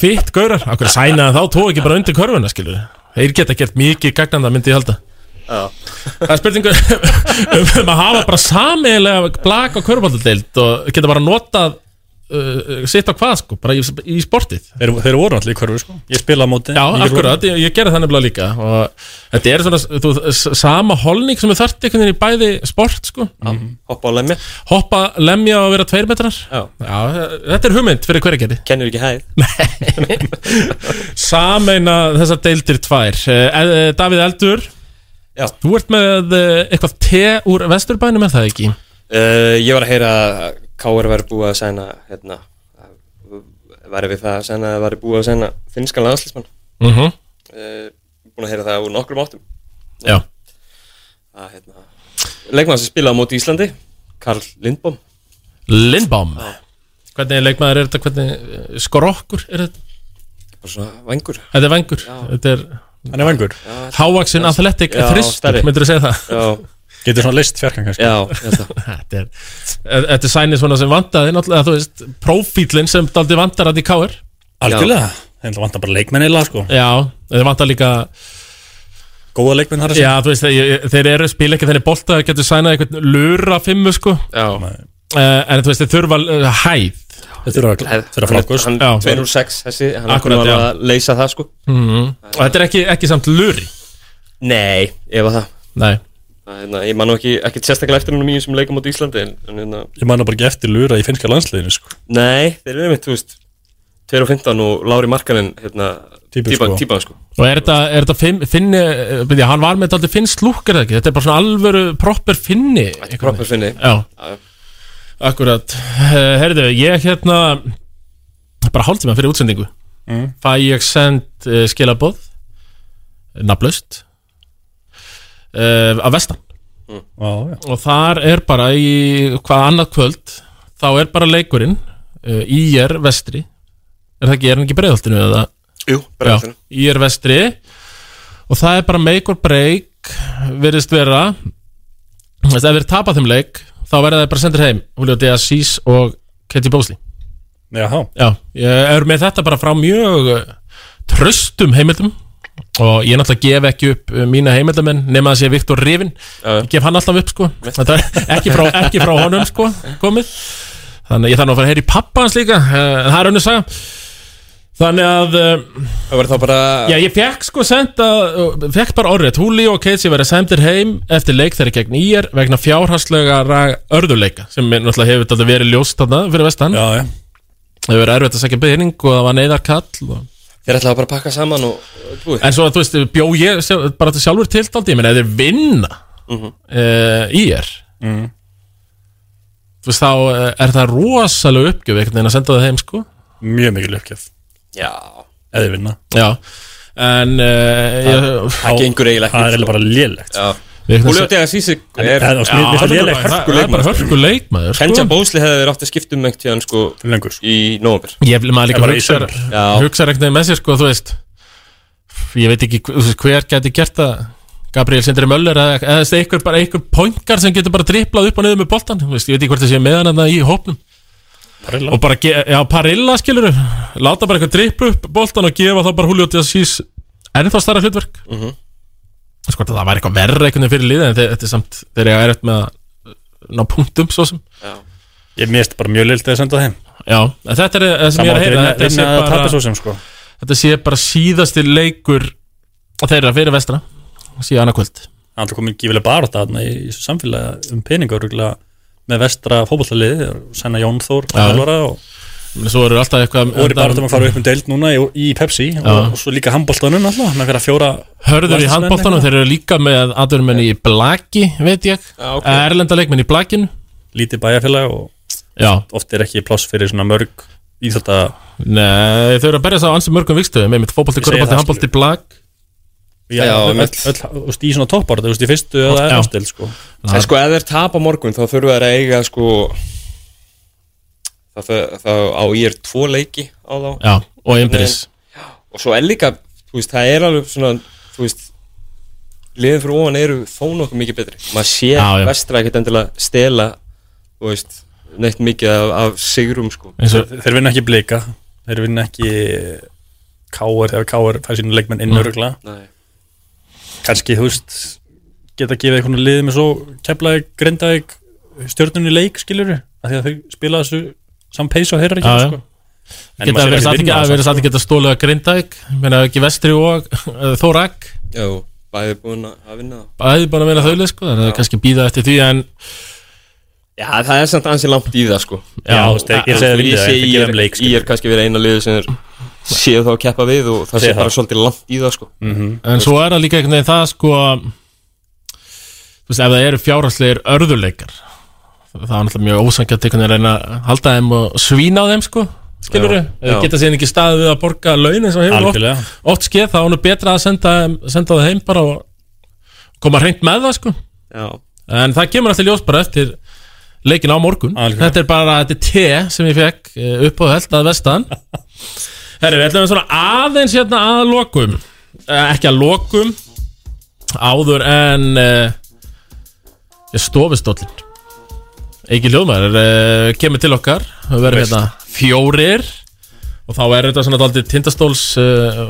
Speaker 1: fitt gaurar akkur sæna þá tók ekki bara undir körfuna skilur þeir geta gert mikið gagnanda myndi ég halda
Speaker 2: Já,
Speaker 1: Það er spurningu *laughs* um um að hafa bara sameigilega blak og körbáldadeild og geta bara notað uh, sitt á hvað sko, bara í, í sportið
Speaker 3: Þeir, þeir voru alltaf í hverju sko Ég spila á móti
Speaker 1: Já,
Speaker 3: ég
Speaker 1: akkurat, ég, ég gerði það nefnilega líka og þetta er svona þú, s- sama holning sem við þarft einhvern veginn í bæði sport sko,
Speaker 3: Mhm.
Speaker 2: hoppa á lemja
Speaker 1: hoppa, lemja og vera tveir metrar
Speaker 2: Já,
Speaker 1: Já, þetta er hugmynd fyrir hverja gerði
Speaker 2: kennir ekki hæð
Speaker 1: *laughs*
Speaker 2: *laughs*
Speaker 1: Sameina þessar deildir tvær Eh, eh, Davíð Eldur
Speaker 2: Já.
Speaker 1: Þú ert með eh, eitthvað te úr vesturbænum er það ekki?
Speaker 2: uh, Ég var að heyra að K.R. væri búið að sæna hérna, að- væri við það að sæna að væri búið að sæna finnskan landslismann
Speaker 1: Mhm
Speaker 2: uh, búin að heyra það úr nokkrum áttum
Speaker 1: Já
Speaker 2: að hérna, leikmann sem spilaði á móti Íslandi Karl Lindbom
Speaker 1: Lindbom Hvernig leikmaður er þetta, hvernig eh, skrokkur er þetta?
Speaker 2: bara svona vangur
Speaker 1: Þetta er vengur, þetta er
Speaker 3: Hann er vangur
Speaker 1: hávaxin athletic
Speaker 2: Já,
Speaker 1: þristur,
Speaker 2: stærri.
Speaker 1: myndur þú segja það?
Speaker 2: Já,
Speaker 3: Getur svona list fjarkan kannski
Speaker 2: já, ég held það.
Speaker 1: *laughs* Þetta er, eh, þetta er sænið svona sem vantaði náttúrulega, þú veist, profílinn sem daldi vantar að í káir
Speaker 3: Algjörlega Þeir vantar bara leikmenn eila sko
Speaker 1: Já, þeir vantar líka,
Speaker 3: Góða leikmenn þar að
Speaker 1: já þú veist, þeir, þeir eru spil ekki þenni bolta, þeir getur sænað einhvern lura fimmu sko,
Speaker 2: Já,
Speaker 1: uh, en þú veist, þeir þurfa uh, hæð
Speaker 3: Þeir þurfa að- þurfa frákust
Speaker 2: Hann
Speaker 1: Já.
Speaker 2: 2 úr 6 þessi, hann Akkurat,
Speaker 1: Akkurat,
Speaker 2: var
Speaker 1: já.
Speaker 2: að leysa það sko
Speaker 3: Mhm.
Speaker 1: og þetta er ekki, ekki samt luri
Speaker 2: Nei, ég var það
Speaker 1: Nei,
Speaker 2: Það, Hérna, ég man nú ekki, ekki sérstaklega eftir mjög sem leikum á Íslandi en, en hérna,
Speaker 3: Ég man það bara ekki eftir lura í finnska landsliðinu sko.
Speaker 2: nei, þeir eru einmitt, þú veist 2 og 15 og Lári Markanen hérna,
Speaker 3: Típan,
Speaker 2: típan,
Speaker 3: sko.
Speaker 2: típan sko
Speaker 1: Og er þetta, er þetta finn, finni, eh, byrja, hann var með þetta finnst lúk, er það ekki? Þetta er bara svona alvöru proper finni.
Speaker 2: Proper finni
Speaker 1: Já,
Speaker 2: Já,
Speaker 1: akkurat. Eh, Herðu, ég hérna, bara hálftíma fyrir útsendingu.
Speaker 3: Mm.
Speaker 1: Fæ ég send uh, skilaboð, nafnlaust, uh, af vestan.
Speaker 3: Já, já
Speaker 1: Og þar er bara í hvað annað kvöld, þá er bara leikurinn uh, í er vestri. Er það ekki, er hann ekki í breiðholtinu eða?
Speaker 2: Jú, bara
Speaker 1: Já,
Speaker 2: eftir
Speaker 1: ég er vestri og það er bara make or break virðist vera þess að við tapað þeim leik þá verða þið bara sendir heim Julio D. Assis og Katie Bosley
Speaker 3: Jaha,
Speaker 1: Já, ég er með þetta bara frá mjög eh, traustum heimildum og ég náttúrulega gef ekki upp eh, mína heimildamenn nema að sé Viktor Rifin
Speaker 2: Já.
Speaker 1: ég gef hann alltaf upp sko þetta er ekki frá, ekki frá honum sko komið þannig að ég þarf nú að fara að heyra í pappa hans líka eh, en það er önnur saga þannig að eh,
Speaker 2: Það verður þá bara
Speaker 1: Já, ég fekk sko senda, fekk bara orðið Húli og Casey verið sendir heim eftir leik þeirra gegn ír vegna fjárhagslega örðuleika sem er náttúrulega hefur þetta verið ljóst þarna fyrir vestan
Speaker 3: já, já
Speaker 1: Það hefur verið erfitt að segja byrning og það var neyðarkall og...
Speaker 2: Þeir ætlaðu bara að pakka saman og og búið
Speaker 1: En svo að þú veist, bjó ég sjálf, bara til sjálfur tiltaldi, ég meina, ef þeir vinna
Speaker 2: Mhm.
Speaker 1: uh, í er
Speaker 3: Mhm.
Speaker 1: Þú veist, þá eh, er það rosalega uppgjöf einhvern veginn að senda það heim, sko
Speaker 3: Mjög mikil uppgjöf,
Speaker 2: Já
Speaker 3: eða vinna
Speaker 1: Já, en uh, ég,
Speaker 2: Það gengur eiginlega
Speaker 3: Það er eiginlega bara lélegt sko.
Speaker 2: Já
Speaker 1: ég,
Speaker 2: Húli átti að sísi er
Speaker 3: Það er
Speaker 1: Já,
Speaker 3: mér
Speaker 1: það
Speaker 3: finnst
Speaker 1: er
Speaker 3: lélegt
Speaker 1: bara- það er bara hörku leikmaður sko.
Speaker 2: Kenja Bósli hefði verið átti að skipta um einhvern tíðan sko
Speaker 3: fyrir lengur sko.
Speaker 2: í nóvember
Speaker 1: Ég vil
Speaker 3: Það
Speaker 1: maður líka
Speaker 3: var í
Speaker 1: hugsar
Speaker 3: sumar.
Speaker 2: Já.
Speaker 1: Hugsar ekkert með sér sko Þú veist Ég veit ekki hv- þú veist, hver geti gert það Gabriel Sindri Möller eða eða þú veist, einhver, bara einhver poingar sem getur bara driplað upp og niður með boltan Þú veist, Ég veit ekki hvort það sé með hann þarna í hópnum
Speaker 3: Parilla.
Speaker 1: og bara, ge- já, parilla skilur láta bara eitthvað drippu upp boltan og gefa þá bara Julio Díaz ennþá starra hlutverk mm
Speaker 3: Mhm.
Speaker 1: -hmm. sko, það var eitthvað verra einhvern veginn fyrir liðið en þe- þetta er samt þegar ég er eftir með að eh, ná punktum svo sem
Speaker 3: Ég mérst bara mjög lilt að senda þeim
Speaker 1: já, en þetta er eh, það sem
Speaker 3: Það
Speaker 1: ég
Speaker 3: má
Speaker 1: er að
Speaker 3: ekki
Speaker 1: heyra
Speaker 3: vinna,
Speaker 1: þetta er
Speaker 3: vinna
Speaker 1: sem
Speaker 3: að
Speaker 1: bara-
Speaker 3: tapa svo sem sko
Speaker 1: þetta sé bara síðasti leikur þeirra fyrir vestra síðan annað kvöld
Speaker 3: Það er alltaf komin gífilega bara þarna í, í samfélagi um peningar rúglega, með vestra fótballaliði Senna Jón Þór, Þjálfara og
Speaker 1: Men svo eru alltaf eitthvað
Speaker 3: og er bara að fara upp um deild núna í, í Pepsi og, og svo líka handbóltanum alltaf með vera fjóra
Speaker 1: hörður í
Speaker 3: landsliðsmenn
Speaker 1: handbóltanum þeir eru líka með aðurmenn í blaki veit ég,
Speaker 2: Já, ok.
Speaker 1: Eh, erlenda leikmenn í blakinu
Speaker 3: lítið bæjarfélag og
Speaker 1: já,
Speaker 3: oft er ekki pláss fyrir svona mörg í þetta
Speaker 1: nei, þau eru að berja það á ansi mörgum vikstöðum, einmitt fótbolti,
Speaker 3: Ég segi
Speaker 1: korfbalti,
Speaker 3: það,
Speaker 1: handbolti, blak
Speaker 3: Já,
Speaker 2: Já,
Speaker 3: öll,
Speaker 2: mitt.
Speaker 3: öll, öll, í svona toppar, þú veist, í fyrstu eða
Speaker 1: Já.
Speaker 3: efstil, sko.
Speaker 2: En sko ef þeir tapa morgun þá þurfa þeir að eiga sko þá- þá- Þá á ég er tvo leiki á þá
Speaker 1: já, og einbyrðis
Speaker 2: Og svo er líka, þú veist, það er alveg svona, þú veist Liðin fyrir ofan eru þó nokkuð mikið betri Maður sé
Speaker 1: Já, já.
Speaker 2: vestra ekkert endilega stela, þú veist, neitt mikið af, af sigrum sko
Speaker 1: eins og,
Speaker 3: Þeir vinna ekki blika, þeir vinna ekki káar, þegar káar fær sínu leikmenn
Speaker 1: Mm.
Speaker 3: inn örugla.
Speaker 2: Nei
Speaker 3: Kanski, þú veist, geta að gefa einhvern liðið með svo keflaði, grindaði stjórnunni leik, skilur við, af því að þau spila þessu saman peis og þeirra ekki,
Speaker 1: Já, já.
Speaker 3: sko. En
Speaker 1: geta
Speaker 3: maður
Speaker 1: verið
Speaker 3: sé
Speaker 1: satt
Speaker 3: ekki
Speaker 1: ekki
Speaker 3: vinna sko.
Speaker 1: að
Speaker 3: þess
Speaker 1: vera satt ekki að stólega grindæk menna ekki vestri og þórak
Speaker 2: Já, bæði búin að að vinna það
Speaker 1: bæði bara að vera þaulega sko, þannig að það er kannski býða eftir því en
Speaker 2: Já, það er samt ansi langt í það sko
Speaker 3: Já, þú veist,
Speaker 1: já,
Speaker 3: þeir geta að vinna það, þeir gefa þeim leik,
Speaker 2: Ég er
Speaker 3: skilur.
Speaker 2: kannski verið eina liðu sem er séu þá að keppa við og það sé
Speaker 3: Segðu
Speaker 2: bara
Speaker 3: það.
Speaker 2: svolítið langt í það sko
Speaker 1: En svo er það líka einhvern veginn það sko Þú veist, ef það eru fjárhagslegir örðuleikar Það er náttúrulega mjög ósangjart einhvern veginn að reyna að halda þeim og svína á þeim sko Skilur
Speaker 2: Já,
Speaker 1: þau? Ef þau
Speaker 2: já.
Speaker 1: geta síðan ekki staðið við að borga laun eins og hefur oft,
Speaker 3: Algjörlega.
Speaker 1: oft skeð þá er nú betra að senda, senda það heim bara og koma hreint með það sko
Speaker 2: Já,
Speaker 1: En það kemur alltaf ljós bara eftir leikin á morgun
Speaker 3: Algjörlega.
Speaker 1: Þetta er bara, þetta er te sem ég fekk eh, upp á held að
Speaker 3: *laughs*
Speaker 1: vestan Herri, við ætlum að svona aðeins hérna að lokum eh, Ekki að lokum Áður en uh, Stofistóllin Eiki Ljóðmar uh, kemur til okkar Við verðum
Speaker 3: Veist.
Speaker 1: hérna fjórir Og þá er þetta svona daldið tindastóls uh,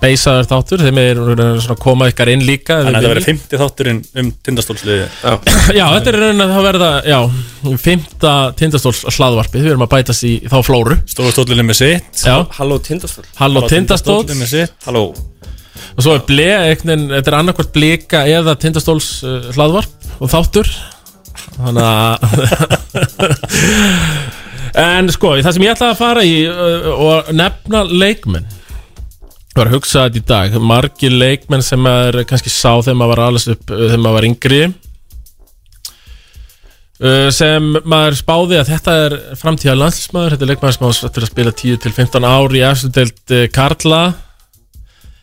Speaker 1: Beisaður þáttur Þeim er svona að koma ykkar inn líka
Speaker 3: Þannig að þetta verið 50 þátturinn um tindastólsliðið.
Speaker 1: *laughs* *coughs* Já, þetta er raunin að það verða, já, fymta tindastóls hlaðvarpið, við erum að bætast í þá flóru.
Speaker 3: Stóra stóllinu með sitt.
Speaker 1: Já,
Speaker 2: halló Tindastóll
Speaker 1: Halló tindastóll,
Speaker 3: Tindastóllinn með sitt.
Speaker 2: Halló
Speaker 1: og svo er ble, eignin, þetta er annarkvort blika eða tindastóls uh, hlaðvarp og þáttur. Þannig að... *laughs* en sko, það sem ég ætlaði að fara í uh, og nefna leikmenn, var að hugsa þetta í dag, margir leikmenn sem maður kannski sá þegar maður var alveg upp, uh, þegar maður var yngri, Uh, sem maður spáði að þetta er framtíða landslísmaður, þetta er leikmaður sem ás eftir að spila 10-15 ár í efstu deild uh, Karla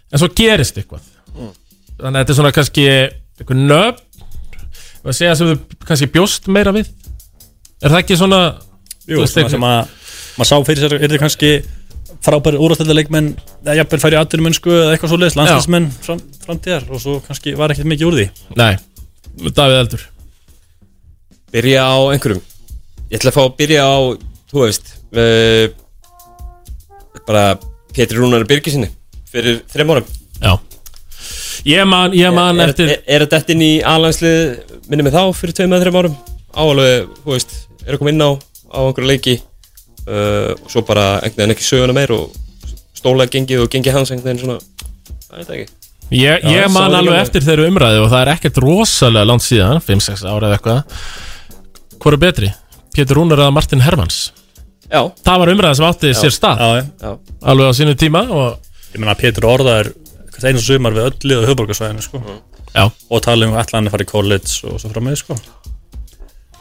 Speaker 1: en svo gerist eitthvað þannig að þetta er svona kannski eitthvað nöfn að segja sem þú kannski bjóst meira við er það ekki svona
Speaker 3: Jú,
Speaker 1: veist,
Speaker 3: svona
Speaker 1: einhver-
Speaker 3: sem að maður sá fyrir sér er þið kannski frábæri úrastöldarleikmenn eða jafnvel færi atvinnumönnsku eða eitthvað svo leiðis landslísmenn fram, framtíðar og svo kannski var ekkert mikið úr því
Speaker 1: nei, Davíð Eldur
Speaker 2: Byrja á einhverjum Ég ætla að fá að byrja á, þú veist uh, Bara Pétur Rúnar Birgisinni Fyrir þreim árum
Speaker 1: Já Ég man, ég man
Speaker 2: er,
Speaker 1: eftir
Speaker 2: er, er þetta inn í alanslið Minni mig þá fyrir tveim eða þreim árum Áalveg, þú veist, er að koma inn á Á einhverju leiki uh, Og svo bara einhvern veginn ekki söguna meir Og stóla gengið og gengið hans einhvern veginn svona Það er þetta ekki
Speaker 1: Ég,
Speaker 2: Já,
Speaker 1: ég
Speaker 2: sá
Speaker 1: man
Speaker 2: þetta
Speaker 1: alveg
Speaker 2: ekki.
Speaker 1: eftir þeirra umræðu og það er ekkert rosalega langt síðan 5-6 ára eða eitthvað Hvor er betri? Pétur Rúnar eða Martin Hermans?
Speaker 2: Já,
Speaker 1: Það var umræða sem átti sér stað
Speaker 3: já, já.
Speaker 2: já,
Speaker 1: alveg á sínu tíma og
Speaker 3: ég meina Pétur orðaður hvert einu sumar við öllu og höfborgarsvæðinu sko.
Speaker 1: já,
Speaker 3: og tala um ætla hann að fara í college og svo fram með sko.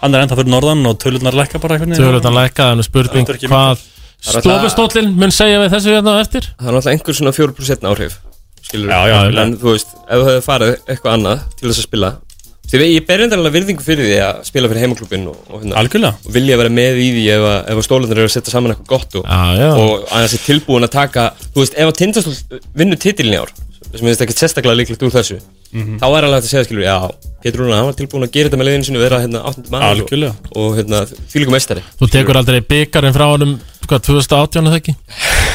Speaker 3: hann er enda fyrir norðan og tölunar lækka bara einhvern
Speaker 1: þau höfðu þetta lækkaðan og spurning
Speaker 3: Það er ekki
Speaker 1: hvað
Speaker 2: er alltaf-
Speaker 1: stofustólinn mun segja við þessu hérna á eftir
Speaker 2: það er náttúrulega einhver svona 4% áhrif skilur
Speaker 3: Já, já,
Speaker 2: en
Speaker 3: alveg.
Speaker 2: þú veist, ef þú hefði farið eitthvað annað til þess að spila Því við, ég ber endalega virðingu fyrir því að spila fyrir heimaklubin og, og, hérna,
Speaker 3: algjörlega
Speaker 2: og vilja vera með í því ef, að- ef að stólarnir eru að setja saman eitthvað gott og,
Speaker 1: Já, já.
Speaker 2: og að það sé tilbúin að taka þú veist, ef að tindastól vinnur titilin í ár sem finnst ekki sérstaklega líklegt úr þessu
Speaker 3: Mhm.
Speaker 2: þá er alveg hægt að segja skilur, já, Pétur Rúna hann var tilbúin að gera þetta með leiðinu sinu vera hérna 8. maður og,
Speaker 3: Algjörlega.
Speaker 2: og hérna, fylgum mestari
Speaker 1: þú tekur aldrei byggarinn frá honum hvað, 2018 eða ekki?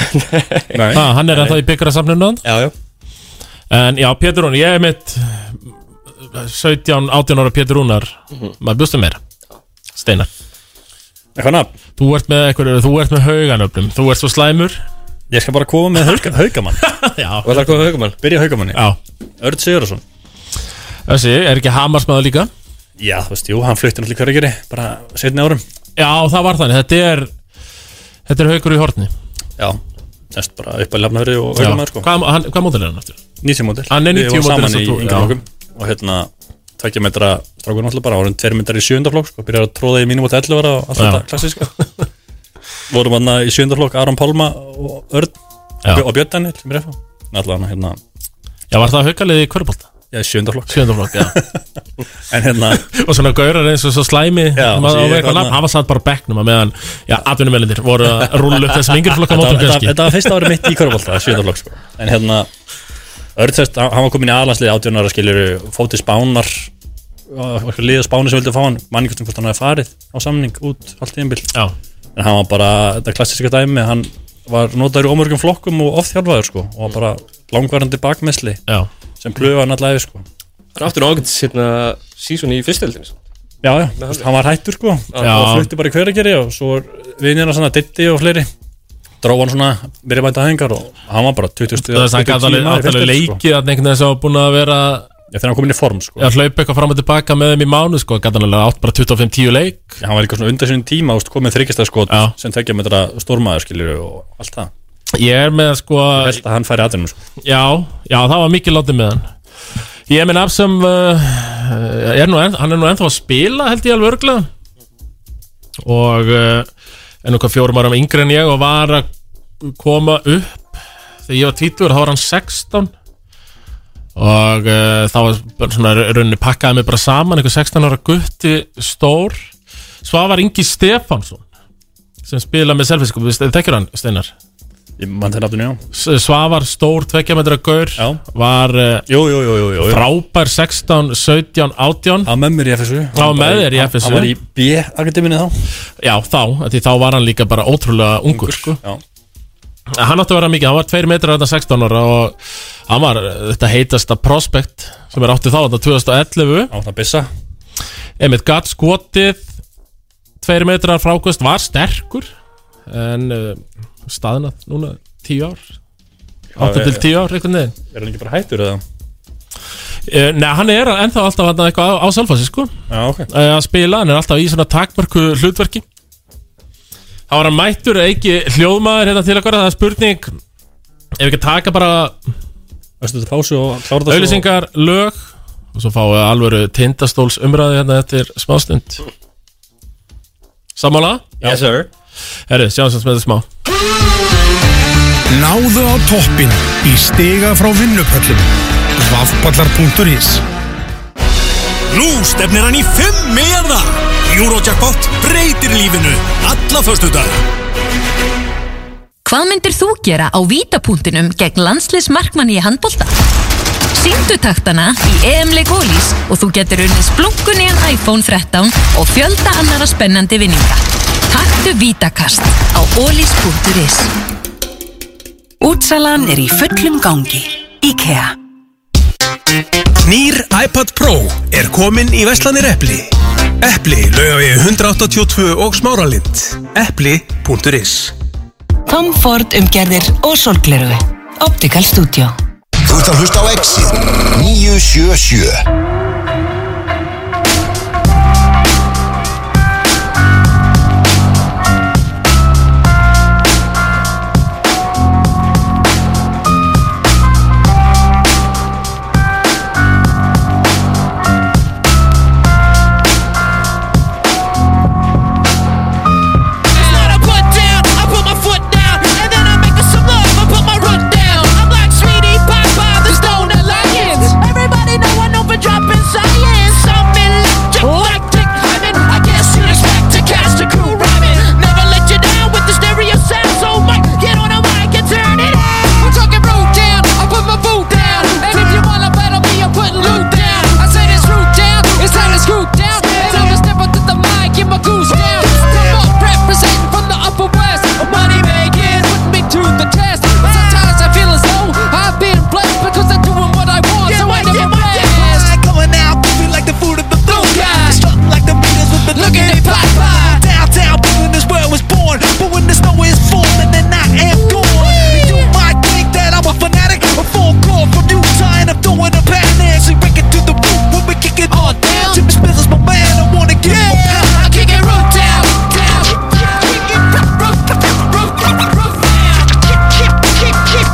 Speaker 3: *laughs* Nei.
Speaker 1: Ha, hann er ennþá í byggarasafninu hann
Speaker 2: já, já,
Speaker 1: en já, Pétur Rúnar, ég er mitt 17-18 ára Pétur Rúnar maður bjóstu meira Steinar,
Speaker 3: Mhm. eitthvað nafn
Speaker 1: þú ert með eitthvað, þú ert með hauganöfnum, þú ert svo slæmur
Speaker 3: ég skal bara koma með hauka, haukamann
Speaker 1: *laughs* já,
Speaker 2: og það er komið haugumann
Speaker 3: byrja á haukamanni
Speaker 1: já,
Speaker 3: Örd Sigurðarsson
Speaker 1: þessi, er ekki hamarsmaður líka?
Speaker 3: já þú veist jú hann flutti náttúrulega hverjegeri bara setni árum
Speaker 1: Já, það var þannig, þetta er þetta er haugur í hortni
Speaker 3: já semst bara upp að lefna og
Speaker 1: Já.
Speaker 3: haukamann sko
Speaker 1: Hvað, hann, hvað mótil er hann aftur? Ah,
Speaker 3: 90 mótil
Speaker 1: Hann er 90
Speaker 3: Við vorum
Speaker 1: módel
Speaker 3: saman
Speaker 1: eins og
Speaker 3: í
Speaker 1: þú,
Speaker 3: yngri
Speaker 1: já.
Speaker 3: flokkum og hérna tveggja metra strákur náttúrulega bara vorum tveir metrar í sjönda flokk sko, byrjar að tróða í mínum og 11 ára og allt
Speaker 1: Já.
Speaker 3: þetta klassíska
Speaker 1: *laughs*
Speaker 3: vorum hann í sjönda flokk Aron Pálma og Örn
Speaker 1: Já.
Speaker 3: og Björn Daniel sem er eftir náttúrulega hann hérna
Speaker 1: Já, var það haukalið í kvörbólta?
Speaker 3: já, sjönda flokk
Speaker 1: Sjöndaflokk, já
Speaker 3: *laughs* en hérna
Speaker 1: *laughs* Og svona gaurar eins og svo slæmi
Speaker 3: Já,
Speaker 1: maður á
Speaker 3: ég- hérna-
Speaker 1: eitthvað nafn, hann var satt bara á bekknum að meðan, já, atvinnumelindir voru að rúlla upp þessum yngri flokka
Speaker 3: þetta,
Speaker 1: mótum
Speaker 3: þetta,
Speaker 1: kannski
Speaker 3: þetta var fyrsta árið mitt í Körbólta, sjöndaflokk sko. en hérna Örn sérst, hann hann var komin í aðlandslið 18 ára skilur fótið spánar liða spáni sem vildi fá hann manningastum hvort hann hafi farið á samning út allt í einbill
Speaker 1: Já,
Speaker 3: en hann var bara, þetta klassiska dæmi hann var notaður í ómörgum flokkum og oft þjálfaður sko, og var bara langvarandi bakmessli
Speaker 1: já,
Speaker 3: sem plöfa hann allavega sko.
Speaker 2: Það er áttur ágætis hérna sísun í fyrstöldinu
Speaker 3: já, já, þú veist, hann var hættur sko,
Speaker 1: Já.
Speaker 3: og flutti bara í hverjargeri og svo vinir hann svona ditti og fleiri dró hann svona verið mæta hengar og hann var bara 20
Speaker 1: það er þannig að hann gæti alveg
Speaker 3: leik
Speaker 1: leikið að einhvern veginn sem var búin að vera
Speaker 3: sko. þegar hann kom inn í form sko.
Speaker 1: að hlaupa eitthvað fram og tilbaka með þeim í mánu sko, gæti hann alveg átt bara 25-10 leik
Speaker 3: hann var líka svona undan sinni tíma úst, komið þryggjastarskot
Speaker 1: Já.
Speaker 3: sem tekja með þetta stórmaður skilur og allt það,
Speaker 1: Ég er með sko,
Speaker 3: held að hann færi aðrinum sko.
Speaker 1: já, já, það var mikið látið með hann Ég minn af sem uh, er nú, enn- hann er nú ennþá að spila held ég alveg örglega og uh, er nú hvað fjórum ára yngri en ég og var að koma upp þegar ég var tvítur þá var hann 16 og uh, þá var bara svona runni pakkaði mig bara saman einhver 16 ára gutti stór svo var Ingi Stefánsson sem spilaði með selfieskup þekkir hann Steinar
Speaker 3: ég mann þegar aftur njá
Speaker 1: S- Svavar stór tveggjametra gaur
Speaker 3: Já.
Speaker 1: var uh,
Speaker 3: jú, jú, jú, jú, jú.
Speaker 1: frábær 16, 17, 18
Speaker 3: Það var með mér í FSU
Speaker 1: var með þér í FSU.
Speaker 3: Það var í B-akademinni þá
Speaker 1: já þá, af því þá var hann líka bara ótrúlega ungur sko.
Speaker 3: Já,
Speaker 1: hann átti að vera mikið, hann var 2 metrar þetta 16 ára og hann var uh, þetta heitasta prospect sem er átti þá þetta 2011,
Speaker 3: á það byssa
Speaker 1: einmitt gatt skotið 2 metrar frákvöst var sterkur en uh, staðnað núna 10 ár 8 til 10 ár, einhvern veginn
Speaker 3: Er hann ekki bara hættur eða?
Speaker 1: uh, Nei, hann er ennþá alltaf þarna eitthvað á, á selfassi sko
Speaker 3: Já, ok
Speaker 1: eh, að spila, hann er alltaf í svona takmörku hlutverki þá var hann mættur ekki hljóðmaður hérna til okkar, það er spurning ef við ekki að taka bara
Speaker 3: Östu þetta pásu og klára það
Speaker 1: auðlýsingar, lög og svo fáum við alvöru tindastóls umræði hérna eftir smástund Sammála?
Speaker 2: Yes sir
Speaker 1: Herri, sjáum sem þetta smá
Speaker 4: Náðu á toppin í stiga frá vinnupöllum. Vafballar.is
Speaker 5: Nú stefnir hann í 5 miljardar Eurojackpot breytir lífinu Alla förstu dag
Speaker 6: Hvað myndir þú gera á vítapunktinum gegn landsliðsmarkmanni í handbolta? Syngdu taktana í EM-leik Ólís og þú getur unnið splunkunýjan iPhone 13 og fjölda annara spennandi vinninga. Taktu Vítakast á ólís.is
Speaker 7: Útsalan er í fullum gangi. IKEA.
Speaker 5: Nýr iPad Pro er komin í Vestlandir Eppli. Eppli laugavegi 182 og smáralind. Eppli.is
Speaker 7: Tom Ford umgerðir og sorgleru. Optical Studio.
Speaker 8: Þú ert að hlusta á Exit 977
Speaker 9: I put down, I put my foot down, and then I make some love, I put my root down. I'm like sweetie pie pie, the stone alliance. Everybody know I know for dropping science. I'm electric, lactic, lemon. I guess it is back to cast a crew rabbit. Never let you down with the stereo sound. So Mike, get on a mic and turn it out. I'm talking root down, I put my foot down. And if you wanna battle me, I'm putting loot down. I said it's root down, it's time to screw down. Time to step up to the mic, get my goose down. Come up, representing from the upper west. Money making, put me to the test. Sometimes I feel as though I've been blessed because I'm doing what I want, so I never rest.
Speaker 10: Going out, moving like the food of the
Speaker 9: Blue guys,
Speaker 10: Strutting like the Beatles with the
Speaker 9: look at they pop by.
Speaker 10: Downtown, when this world was born But when the snow is falling and I am gone You might think that I'm a fanatic A phone call from Utah and I'm doing a panic We break it through the roof when we kick it
Speaker 9: All down.
Speaker 10: Jimmy Smith is my man, I wanna give him a pound
Speaker 9: I kick it roof down, down. Kick it roof, roof, roof, roof down. Kick, kick, kick, kick.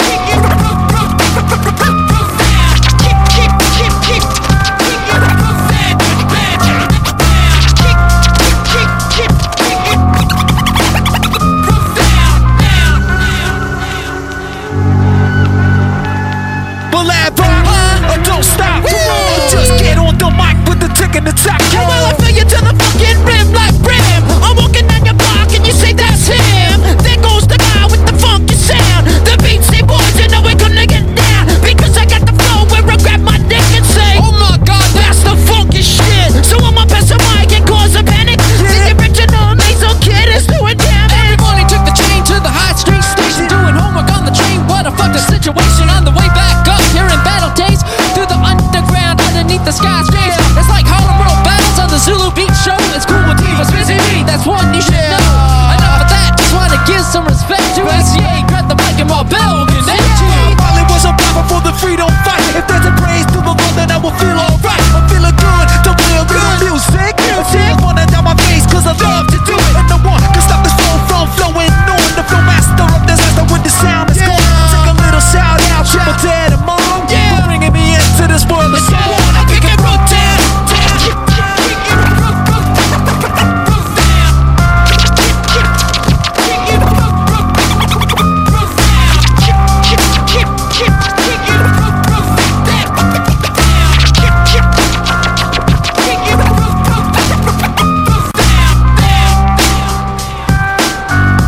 Speaker 9: Kick it roof, roof, roof, roof, roof, roof down. Kick, kick, kick, kick. Kick it roof, roof down, down, down. Kick, kick, kick, kick. Kick it roof down, down, down.
Speaker 10: Well, I rhyme, don't stop Come on, just get on the mic with the tick and the tack
Speaker 9: Come on, I feel you to the fucking rim like brim. I'm walking down your block and you say that's him. There goes the guy with the funky sound. The beats they boys, you know we're gonna get down. Because I got the flow where I grab my dick and say, Oh my god, that's the funky shit. So I'ma pass a mic and cause a panic. See your bitch, you know me, so kid, it's doing damn it. Every morning took the train to the high street station. Doing homework on the train, what a fucked up situation. On the way back up here in battle days. Through the underground, underneath the skyscraper. It's like Harlem World battles on the Zulu Beach show. It's cool with divas, busy me, that's one you should know. Enough of that, just wanna give some respect to SCA. Grab the mic and my bell, get at you.
Speaker 10: While it was a battle for the freedom fight If there's a praise to the Lord then I will feel alright I'm feeling good, the real, real music Tears running down my face cause I love to do it And no one can stop this flow from flowing on The flow master of disaster when the sound is gone Take a little shout out to my dad and mom For bringing me into this world of
Speaker 9: Come
Speaker 10: sound
Speaker 9: on, I pick and roll down, down. Kick, kick, kick it, roll, roll, roll, roll, roll down. Kick, kick, kick, kick it, roll, roll, roll, roll, roll down. Kick, kick, kick, kick, kick it, roll, roll, roll down. Kick, kick, kick it, roll, roll, roll, roll, roll down, down, down.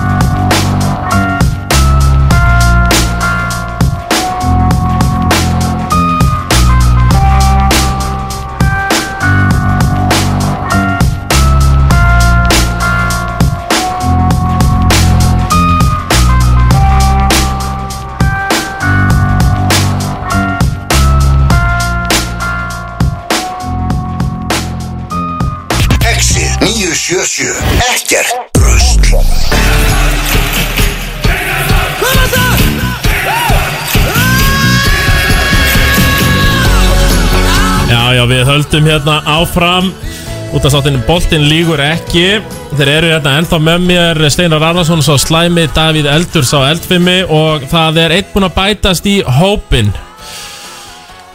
Speaker 8: Exit 977 Ekkert Röst
Speaker 1: Já, já, við höldum hérna áfram út af sáttinu Boltinn lígur ekki Þeir eru hérna ennþá með mér Steinar Arnarsson sá slæmi, Davíð Eldur sá eldfimi og það er einn búinn að bætast í hópin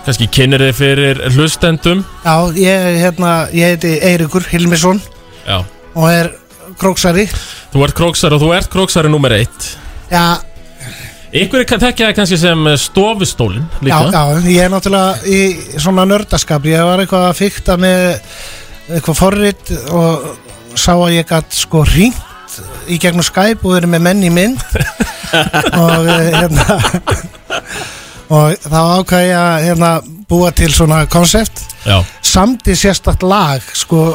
Speaker 1: Kanski kynir þið fyrir hlustendum
Speaker 11: Já, ég, er hérna, ég heiti Eiríkur Hilmisson
Speaker 1: Já
Speaker 11: og er króksari
Speaker 1: Þú ert króksar og þú ert króksari nummer eitt
Speaker 11: Já,
Speaker 1: Ykkur þekkja það kannski sem stofustólin
Speaker 11: já,
Speaker 1: líka
Speaker 11: já, ég er náttúrulega í svona nördaskap Ég var eitthvað að fykta með eitthvað forrit og sá að ég gat sko hringt í
Speaker 1: *laughs*
Speaker 11: gegnum Skype og verið með menn í mynd og eh, hérna og þá ákvað ég að hérna, búa til svona konsept
Speaker 1: Já.
Speaker 11: samt í sérstakt lag sko,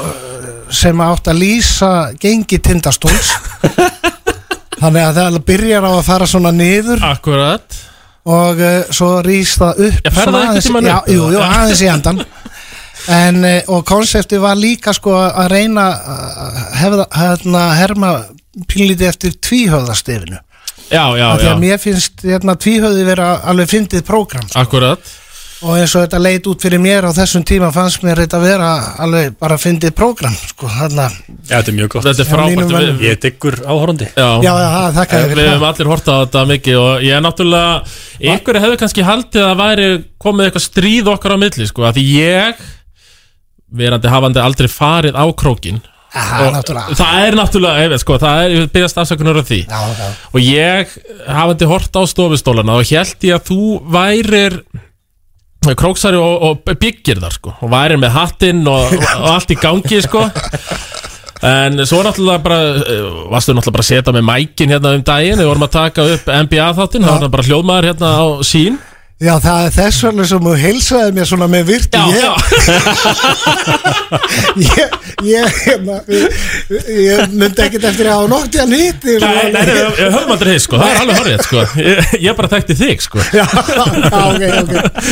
Speaker 11: sem átt að lýsa gengi tindastóls þannig að það byrjar á að fara svona niður
Speaker 1: Akkurat
Speaker 11: og uh, svo rýs það upp
Speaker 1: Já, fer það
Speaker 11: svona
Speaker 1: einhvern
Speaker 11: aðeins-
Speaker 1: tímann
Speaker 11: já,
Speaker 1: upp,
Speaker 11: jú, jú,
Speaker 1: eða?
Speaker 11: aðeins í endan en, uh, og konsepti var líka sko að reyna að hefða- hérna, herma pínlítið eftir tvíhöðastefinu
Speaker 1: Já, já,
Speaker 11: af því
Speaker 1: já
Speaker 11: að mér finnst hérna, tvíhöði vera alveg fyndið prógram
Speaker 1: Akkurat
Speaker 11: og eins og þetta leit út fyrir mér á þessum tíma fannst mér þetta vera alveg bara fyndið prógram sko, þarna
Speaker 3: Já, þetta er mjög gott
Speaker 1: Þetta
Speaker 11: mínum
Speaker 1: er frábært
Speaker 11: mönnum.
Speaker 1: við-
Speaker 3: Ég diggur áhorandi
Speaker 1: Já, Eh,
Speaker 11: Já, já, það- þakka þér fyrir
Speaker 1: Við
Speaker 11: það.
Speaker 1: hefum allir hortað á þetta mikið og ég er náttúrulega ykkur hefur kannski haldið að væri komið eitthvað stríð okkar á milli sko, að því ég verandi hafandi aldrei farið á krókin
Speaker 11: Aha,
Speaker 1: Og
Speaker 11: náttúrulega.
Speaker 1: það er náttúrulega, ég veit sko, það er, ég byrjast afsökunar á því
Speaker 11: Já, já.
Speaker 1: og ég hafandi hort á stofustólana og held ég að þú værir króksari og, og byggir þar sko og værir með hattinn og, og allt í gangi sko en svo náttúrulega bara eh, varstu náttúrulega bara að setja með mækin hérna um daginn, við vorum að taka upp NBA þáttinn, þá var það bara hljóðmaður hérna á sín
Speaker 11: Já, það er þess vegna sem þú heilsaði mér svona með virti
Speaker 1: Já,
Speaker 11: ég,
Speaker 1: já.
Speaker 11: *laughs* ég, ég, hérna, ég, ég myndi ekkert eftir að á nótti að nýtti
Speaker 1: Nei, nei, nei, við við höfum aldrei hitt sko, það er alveg horrið sko Ég, ég bara þekkti þig sko
Speaker 11: Já,
Speaker 1: *laughs*
Speaker 11: já, ok, ok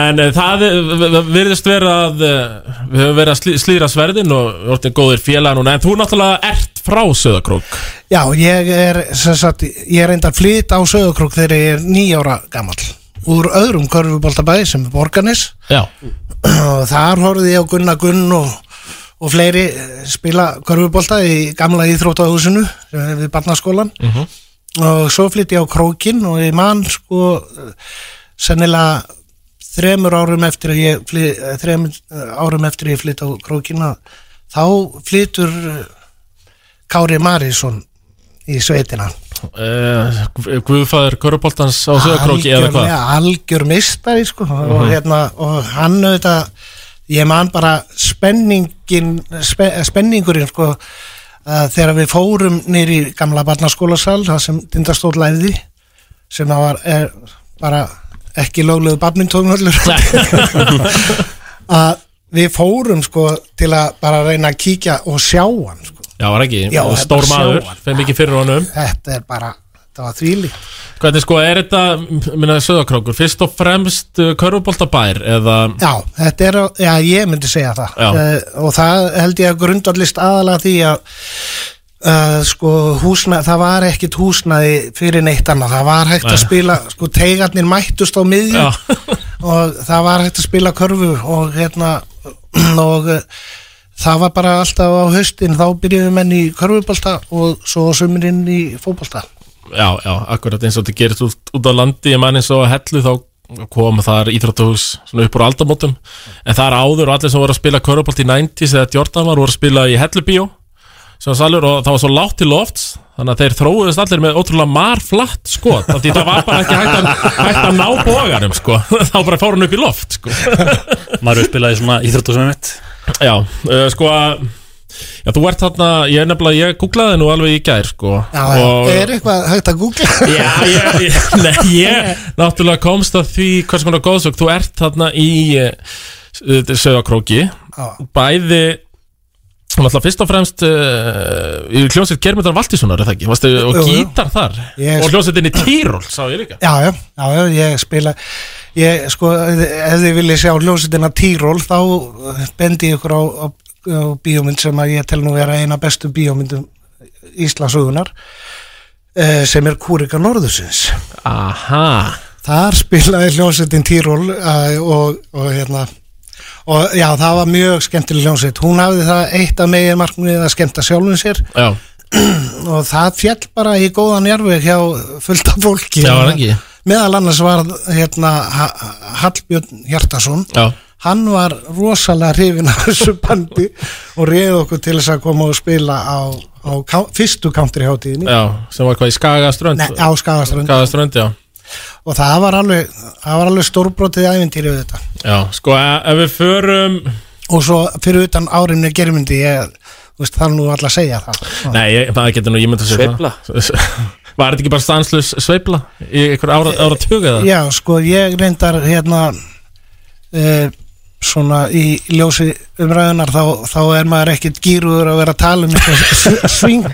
Speaker 1: En eh, það eh, v- v- virðist vera að eh, við höfum verið að slí- slíra sverðin og við orðin góðir félaga núna En þú náttúrulega ert frá Söðakrók
Speaker 11: Já, ég er, sem sagt, ég er enda flytt á sögurkrúk þegar ég er nýjára gamall úr öðrum körfuboltabæði sem er Borganis
Speaker 1: Já
Speaker 11: og þar horfði ég á Gunna Gunn og, og fleiri eh, spila körfubolta í gamla íþróttahúsinu sem er við barnaskólan
Speaker 1: Mhm.
Speaker 11: og svo flytti ég á Krókin og ég man sko eh, sennilega þremur árum eftir að ég flytt, þremur eh, árum eftir að ég flytt á Krókina þá flyttur eh, Kári Marísson í sveitina
Speaker 1: uh, Guðfæður Köruboltans á Söðakróki eða hvað Mhm.
Speaker 11: Algjörlega, algjör mistari sko, og, hérna, og hann auðvitað ég man bara spenningin spe, spenningurinn sko, að þegar við fórum nýri í gamla barnaskólasal það sem Dindastóð læði sem það var er, bara ekki löglegu badmintónvöllur *laughs* að við fórum sko til að bara reyna að kíkja og sjá hann sko.
Speaker 1: Já, var ekki,
Speaker 11: Já, það er
Speaker 1: stór
Speaker 11: bara
Speaker 1: maður,
Speaker 11: sjáan.
Speaker 1: feim mikið fyrir honum
Speaker 11: þetta er bara, þetta var þvílíkt
Speaker 1: Hvernig sko, er þetta, minna Söðakrókur, fyrst og fremst Köruboltabær eða
Speaker 11: Já, þetta er, já, ég myndi segja það
Speaker 1: Já.
Speaker 11: uh, og það held ég að grundarlist aðalega því að uh, sko húsna, það var ekkit húsnaði fyrir neitt annað, það var hægt
Speaker 1: Nei.
Speaker 11: að spila sko teigarnir mættust á miðju
Speaker 1: Já.
Speaker 11: *laughs* og það var hægt að spila körfu og hérna *clears throat* og uh, það var bara alltaf á haustin þá byrjuðum menn í körfubolta og svo sumurinn í fótbolta
Speaker 1: Já, já, akkurat eins og þetta gerist út, út á landi ég man eins og að hellu þá kom þar íþróttahús svona upp úr aldamótum en þar áður og allir sem voru að spila körubolt í 90s eða 14 var voru að spila í hellubíó sem salur og það var svo látt til lofts þannig að þeir þróuðist allir með ótrúlega marflatt skot af því það var bara ekki hægt að, hægt að ná bóganum sko *laughs* þá bara fór hann upp í loft
Speaker 3: *laughs*
Speaker 1: sko
Speaker 3: Maður er spilaði svona íþróttu sem mitt
Speaker 1: Já, uh, sko að Já, þú ert þarna, ég er nefnilega, ég googlaði nú alveg í gær, sko
Speaker 11: Já, já, Eh, er eitthvað hægt að googla?
Speaker 1: Já, ég, ég, *laughs* nei, ég náttúrulega komst að því hvers konar góðsök þú ert þarna í uh, sögakróki bæði náttúrulega fyrst og fremst uh, í hljómsveit Germundar Valtíssonar er það ekki, Vastu, og
Speaker 11: *laughs* Jú, jú.
Speaker 1: gítar þar
Speaker 11: Ég-
Speaker 1: og hljómsveitinni Týról sá ég líka
Speaker 11: Já, já, já, já, ég spila ég, sko, ef þið viljið sjá hljósetina Týról, þá eh, bendi ég ykkur á, á, á bíómynd sem að ég tel nú vera eina bestu bíómyndum Íslandsugunar eh, sem er Kúrika Norðursins
Speaker 1: Aha,
Speaker 11: þar spilaði hljósetin Týról eh, og, og hérna og já, það var mjög skemmtileg hljóset hún hafði það eitt af megin markmið að skemmta sjálfum sér
Speaker 1: já,
Speaker 11: og það fjall bara í góðan jarfið hjá fullta fólki
Speaker 1: Já, var það ekki?
Speaker 11: meðal annars var hérna, Ha- Ha- Hallbjörn Hjartason
Speaker 1: já
Speaker 11: hann var rosalega hrifin af þessu bandi og reið okkur til þess að koma og spila á, á ká- fyrstu countryháttíðinni
Speaker 1: Já, sem var hvað í Skagaströnd
Speaker 11: Nei, á Skagaströnd
Speaker 1: Skagaströnd, já
Speaker 11: og það var alveg, það var alveg stórbrotið æfintýri við þetta
Speaker 1: Já, sko, e- ef við förum
Speaker 11: og svo fyrir utan árinni germyndi ég þú veist, það er nú alltaf að segja það
Speaker 1: Nei, ég, það getur nú, ég myndi að segja
Speaker 3: Sveifla.
Speaker 1: það. *laughs* Var þetta ekki bara stanslös sveifla í einhver ára, ára eða?
Speaker 11: Já, sko, ég reyndar hérna e, svona í ljósi umræðunar þá, þá er maður ekkert gýruður að vera að tala um eitthvað sving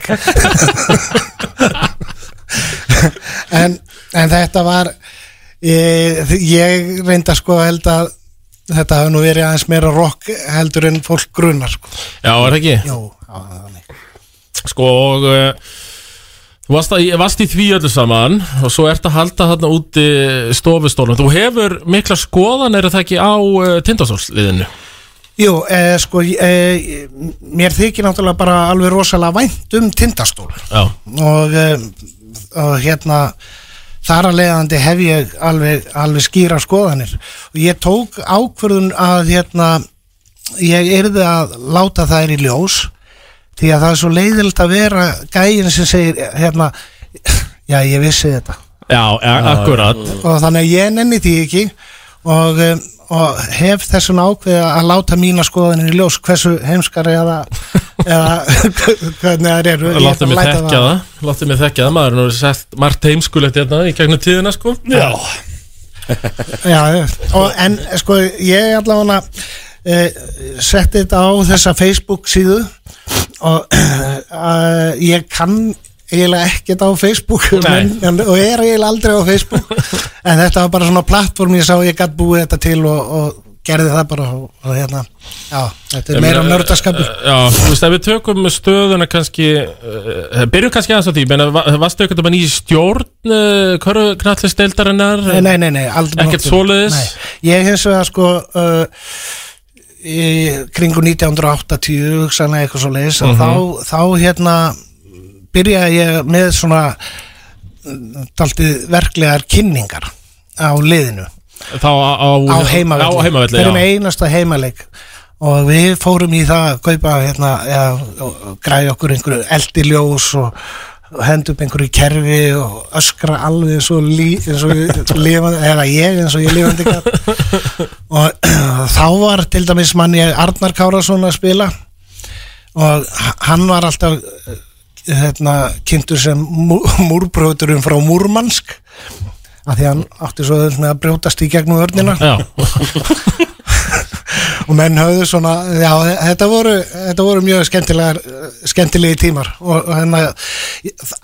Speaker 11: *laughs* en, en þetta var e, ég reyndar sko held að þetta hafi nú verið aðeins meira rock heldur en fólk grunar sko.
Speaker 1: Já, er það ekki?
Speaker 11: Jó,
Speaker 1: Sko, og uh, þú varst, að, varst í því öllu saman og svo ert að halda þarna úti stofustólum. Þú hefur mikla skoðan, er það ekki, á uh, tindastólsliðinu?
Speaker 11: Jú, e, sko, e, mér þykir náttúrulega bara alveg rosalega vænt um tindastól
Speaker 1: Já.
Speaker 11: og, e, og hérna þar að leiðandi hef ég alveg, alveg skýra skoðanir og ég tók ákvörðun að hérna ég yrði að láta þær í ljós því að það er svo leiðilt að vera gæin sem segir hérna já ég vissi þetta
Speaker 1: Já, ja, akkurat.
Speaker 11: og þannig að ég nenni því ekki og, um, og hef þessum ákveð að láta mína skoðanir í ljós hversu heimskar eða, eða *laughs* hvernig það eru Ég ætla
Speaker 1: Láttu
Speaker 11: að
Speaker 1: mig
Speaker 11: læta
Speaker 1: þekka það, láttu mig þekka það, maður er nú sett margt heimskulegt hérna í gegnum tíðina, sko.
Speaker 3: Já.
Speaker 11: Já, já. og, en sko ég allavega uh, setti þetta á þessa Facebook síðu og uh, ég kann eiginlega ekkert á Facebook
Speaker 1: Nei.
Speaker 11: en, en, og er eiginlega aldrei á Facebook en þetta var bara svona plattform ég sá ég gætt búið þetta til og, og gerði það bara og, og hérna já, þetta er meira nördaskapur
Speaker 1: eh, Já, þú veist, ef við tökum stöðuna kannski, uh, byrjum kannski aðeins á því, menn, varstu ekkert bara í stjórn uh, hverju knallisteildarinnar?
Speaker 11: Nei, nei, nei, nei aldrei
Speaker 1: Ekkert
Speaker 11: nokkuð.
Speaker 1: svoleiðis?
Speaker 11: Nei. Ég hins vegar sko uh, í kringu 1980 hugsanlega eitthvað svoleiðis mm
Speaker 1: Mhm.
Speaker 11: þá, þá hérna byrjaði ég með svona taltið verklegar kynningar á liðinu
Speaker 1: Þá á, á,
Speaker 11: á heimavelli,
Speaker 1: Á heimavelli,
Speaker 11: hverjum
Speaker 1: já.
Speaker 11: einasta heimaleik og við fórum í það að kaupa hérna, ja, og- og græja okkur einhverju eldiljós og og henda upp einhverju kerfi og öskra alveg eins og, lí, eins og ég lifandi, eða ég eins og ég lifandi gat. og *clears throat* þá var til dæmis manni Arnar Kárasson að spila og h- hann var alltaf eh, hérna, kynntur sem mú- *laughs* múrbrjóturum frá Múrmansk af því að hann átti svo auðvitað með að brjótast í gegnum örnina *laughs* og menn höfðu svona já, þetta voru, þetta voru mjög skemmtilegar eh, skemmtilegi tímar og, og hérna,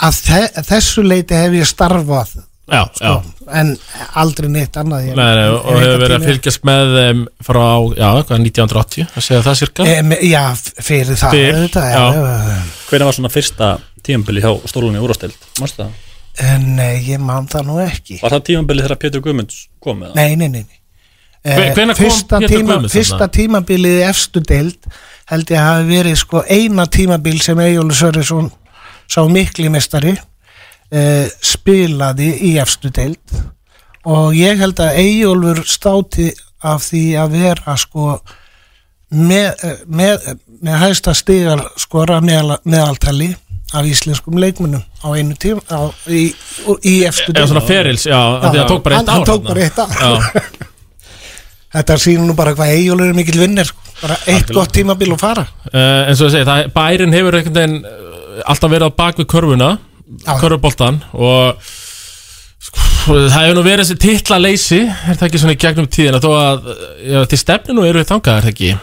Speaker 11: að þe þessu leiti hef ég starfað sko,
Speaker 1: Já, já.
Speaker 11: en aldrei neitt annað ég,
Speaker 1: Nei, nei, og
Speaker 11: ég- ég-
Speaker 1: hefur verið að fylgjast með um, frá, já, hvað, 1980 að segja það cirka
Speaker 11: Em, Eh, já, f- fyrir það
Speaker 1: Fyrr,
Speaker 11: auðvitað, já, já,
Speaker 1: já.
Speaker 11: já.
Speaker 3: Hvernig var svona fyrsta tímabili hjá stólunni úrasteild? Marstu það?
Speaker 11: En, Nei, ég man það nú ekki
Speaker 3: Var það tímabili þegar Pétur Guðmunds kom með það?
Speaker 11: Nei, nei, nei, nei.
Speaker 3: Hve-
Speaker 11: Eh,
Speaker 3: hvenær kom
Speaker 11: fyrsta,
Speaker 3: Pétur
Speaker 11: tíma,
Speaker 3: Guðmunds
Speaker 11: fyrsta
Speaker 3: þarna?
Speaker 11: tímabilið í efstu deild held ég að hafi verið sko eina tímabil sem Egil Sörjesson sá mikli mestari eh, spilaði í efstu deild og ég held að Egilur státi af því að vera sko með, eh, með, með hægsta stigar skora meðal, meðaltali af íslenskum leikmunum á einu tíma á, í, í efstu
Speaker 1: Eða svona ferils, já, af því að tók bara eitt
Speaker 11: hann,
Speaker 1: ár
Speaker 11: hann tók
Speaker 1: þarna.
Speaker 11: bara eitt ár
Speaker 1: Já.
Speaker 11: *laughs* Þetta sýnir nú bara hvað Eyjólfur er mikill vinnir sko. bara eitt
Speaker 1: Algjörlega.
Speaker 11: gott tímabil og fara
Speaker 1: uh, En svo ég segi, það, bærin hefur einhvern veginn uh, alltaf verið á bak við körfuna körfuboltan og sko, það hefur nú verið þessi titla leysi er það ekki svona í gegnum tíðina þó að, eh, já, til stefni nú eru við þangað er það ekki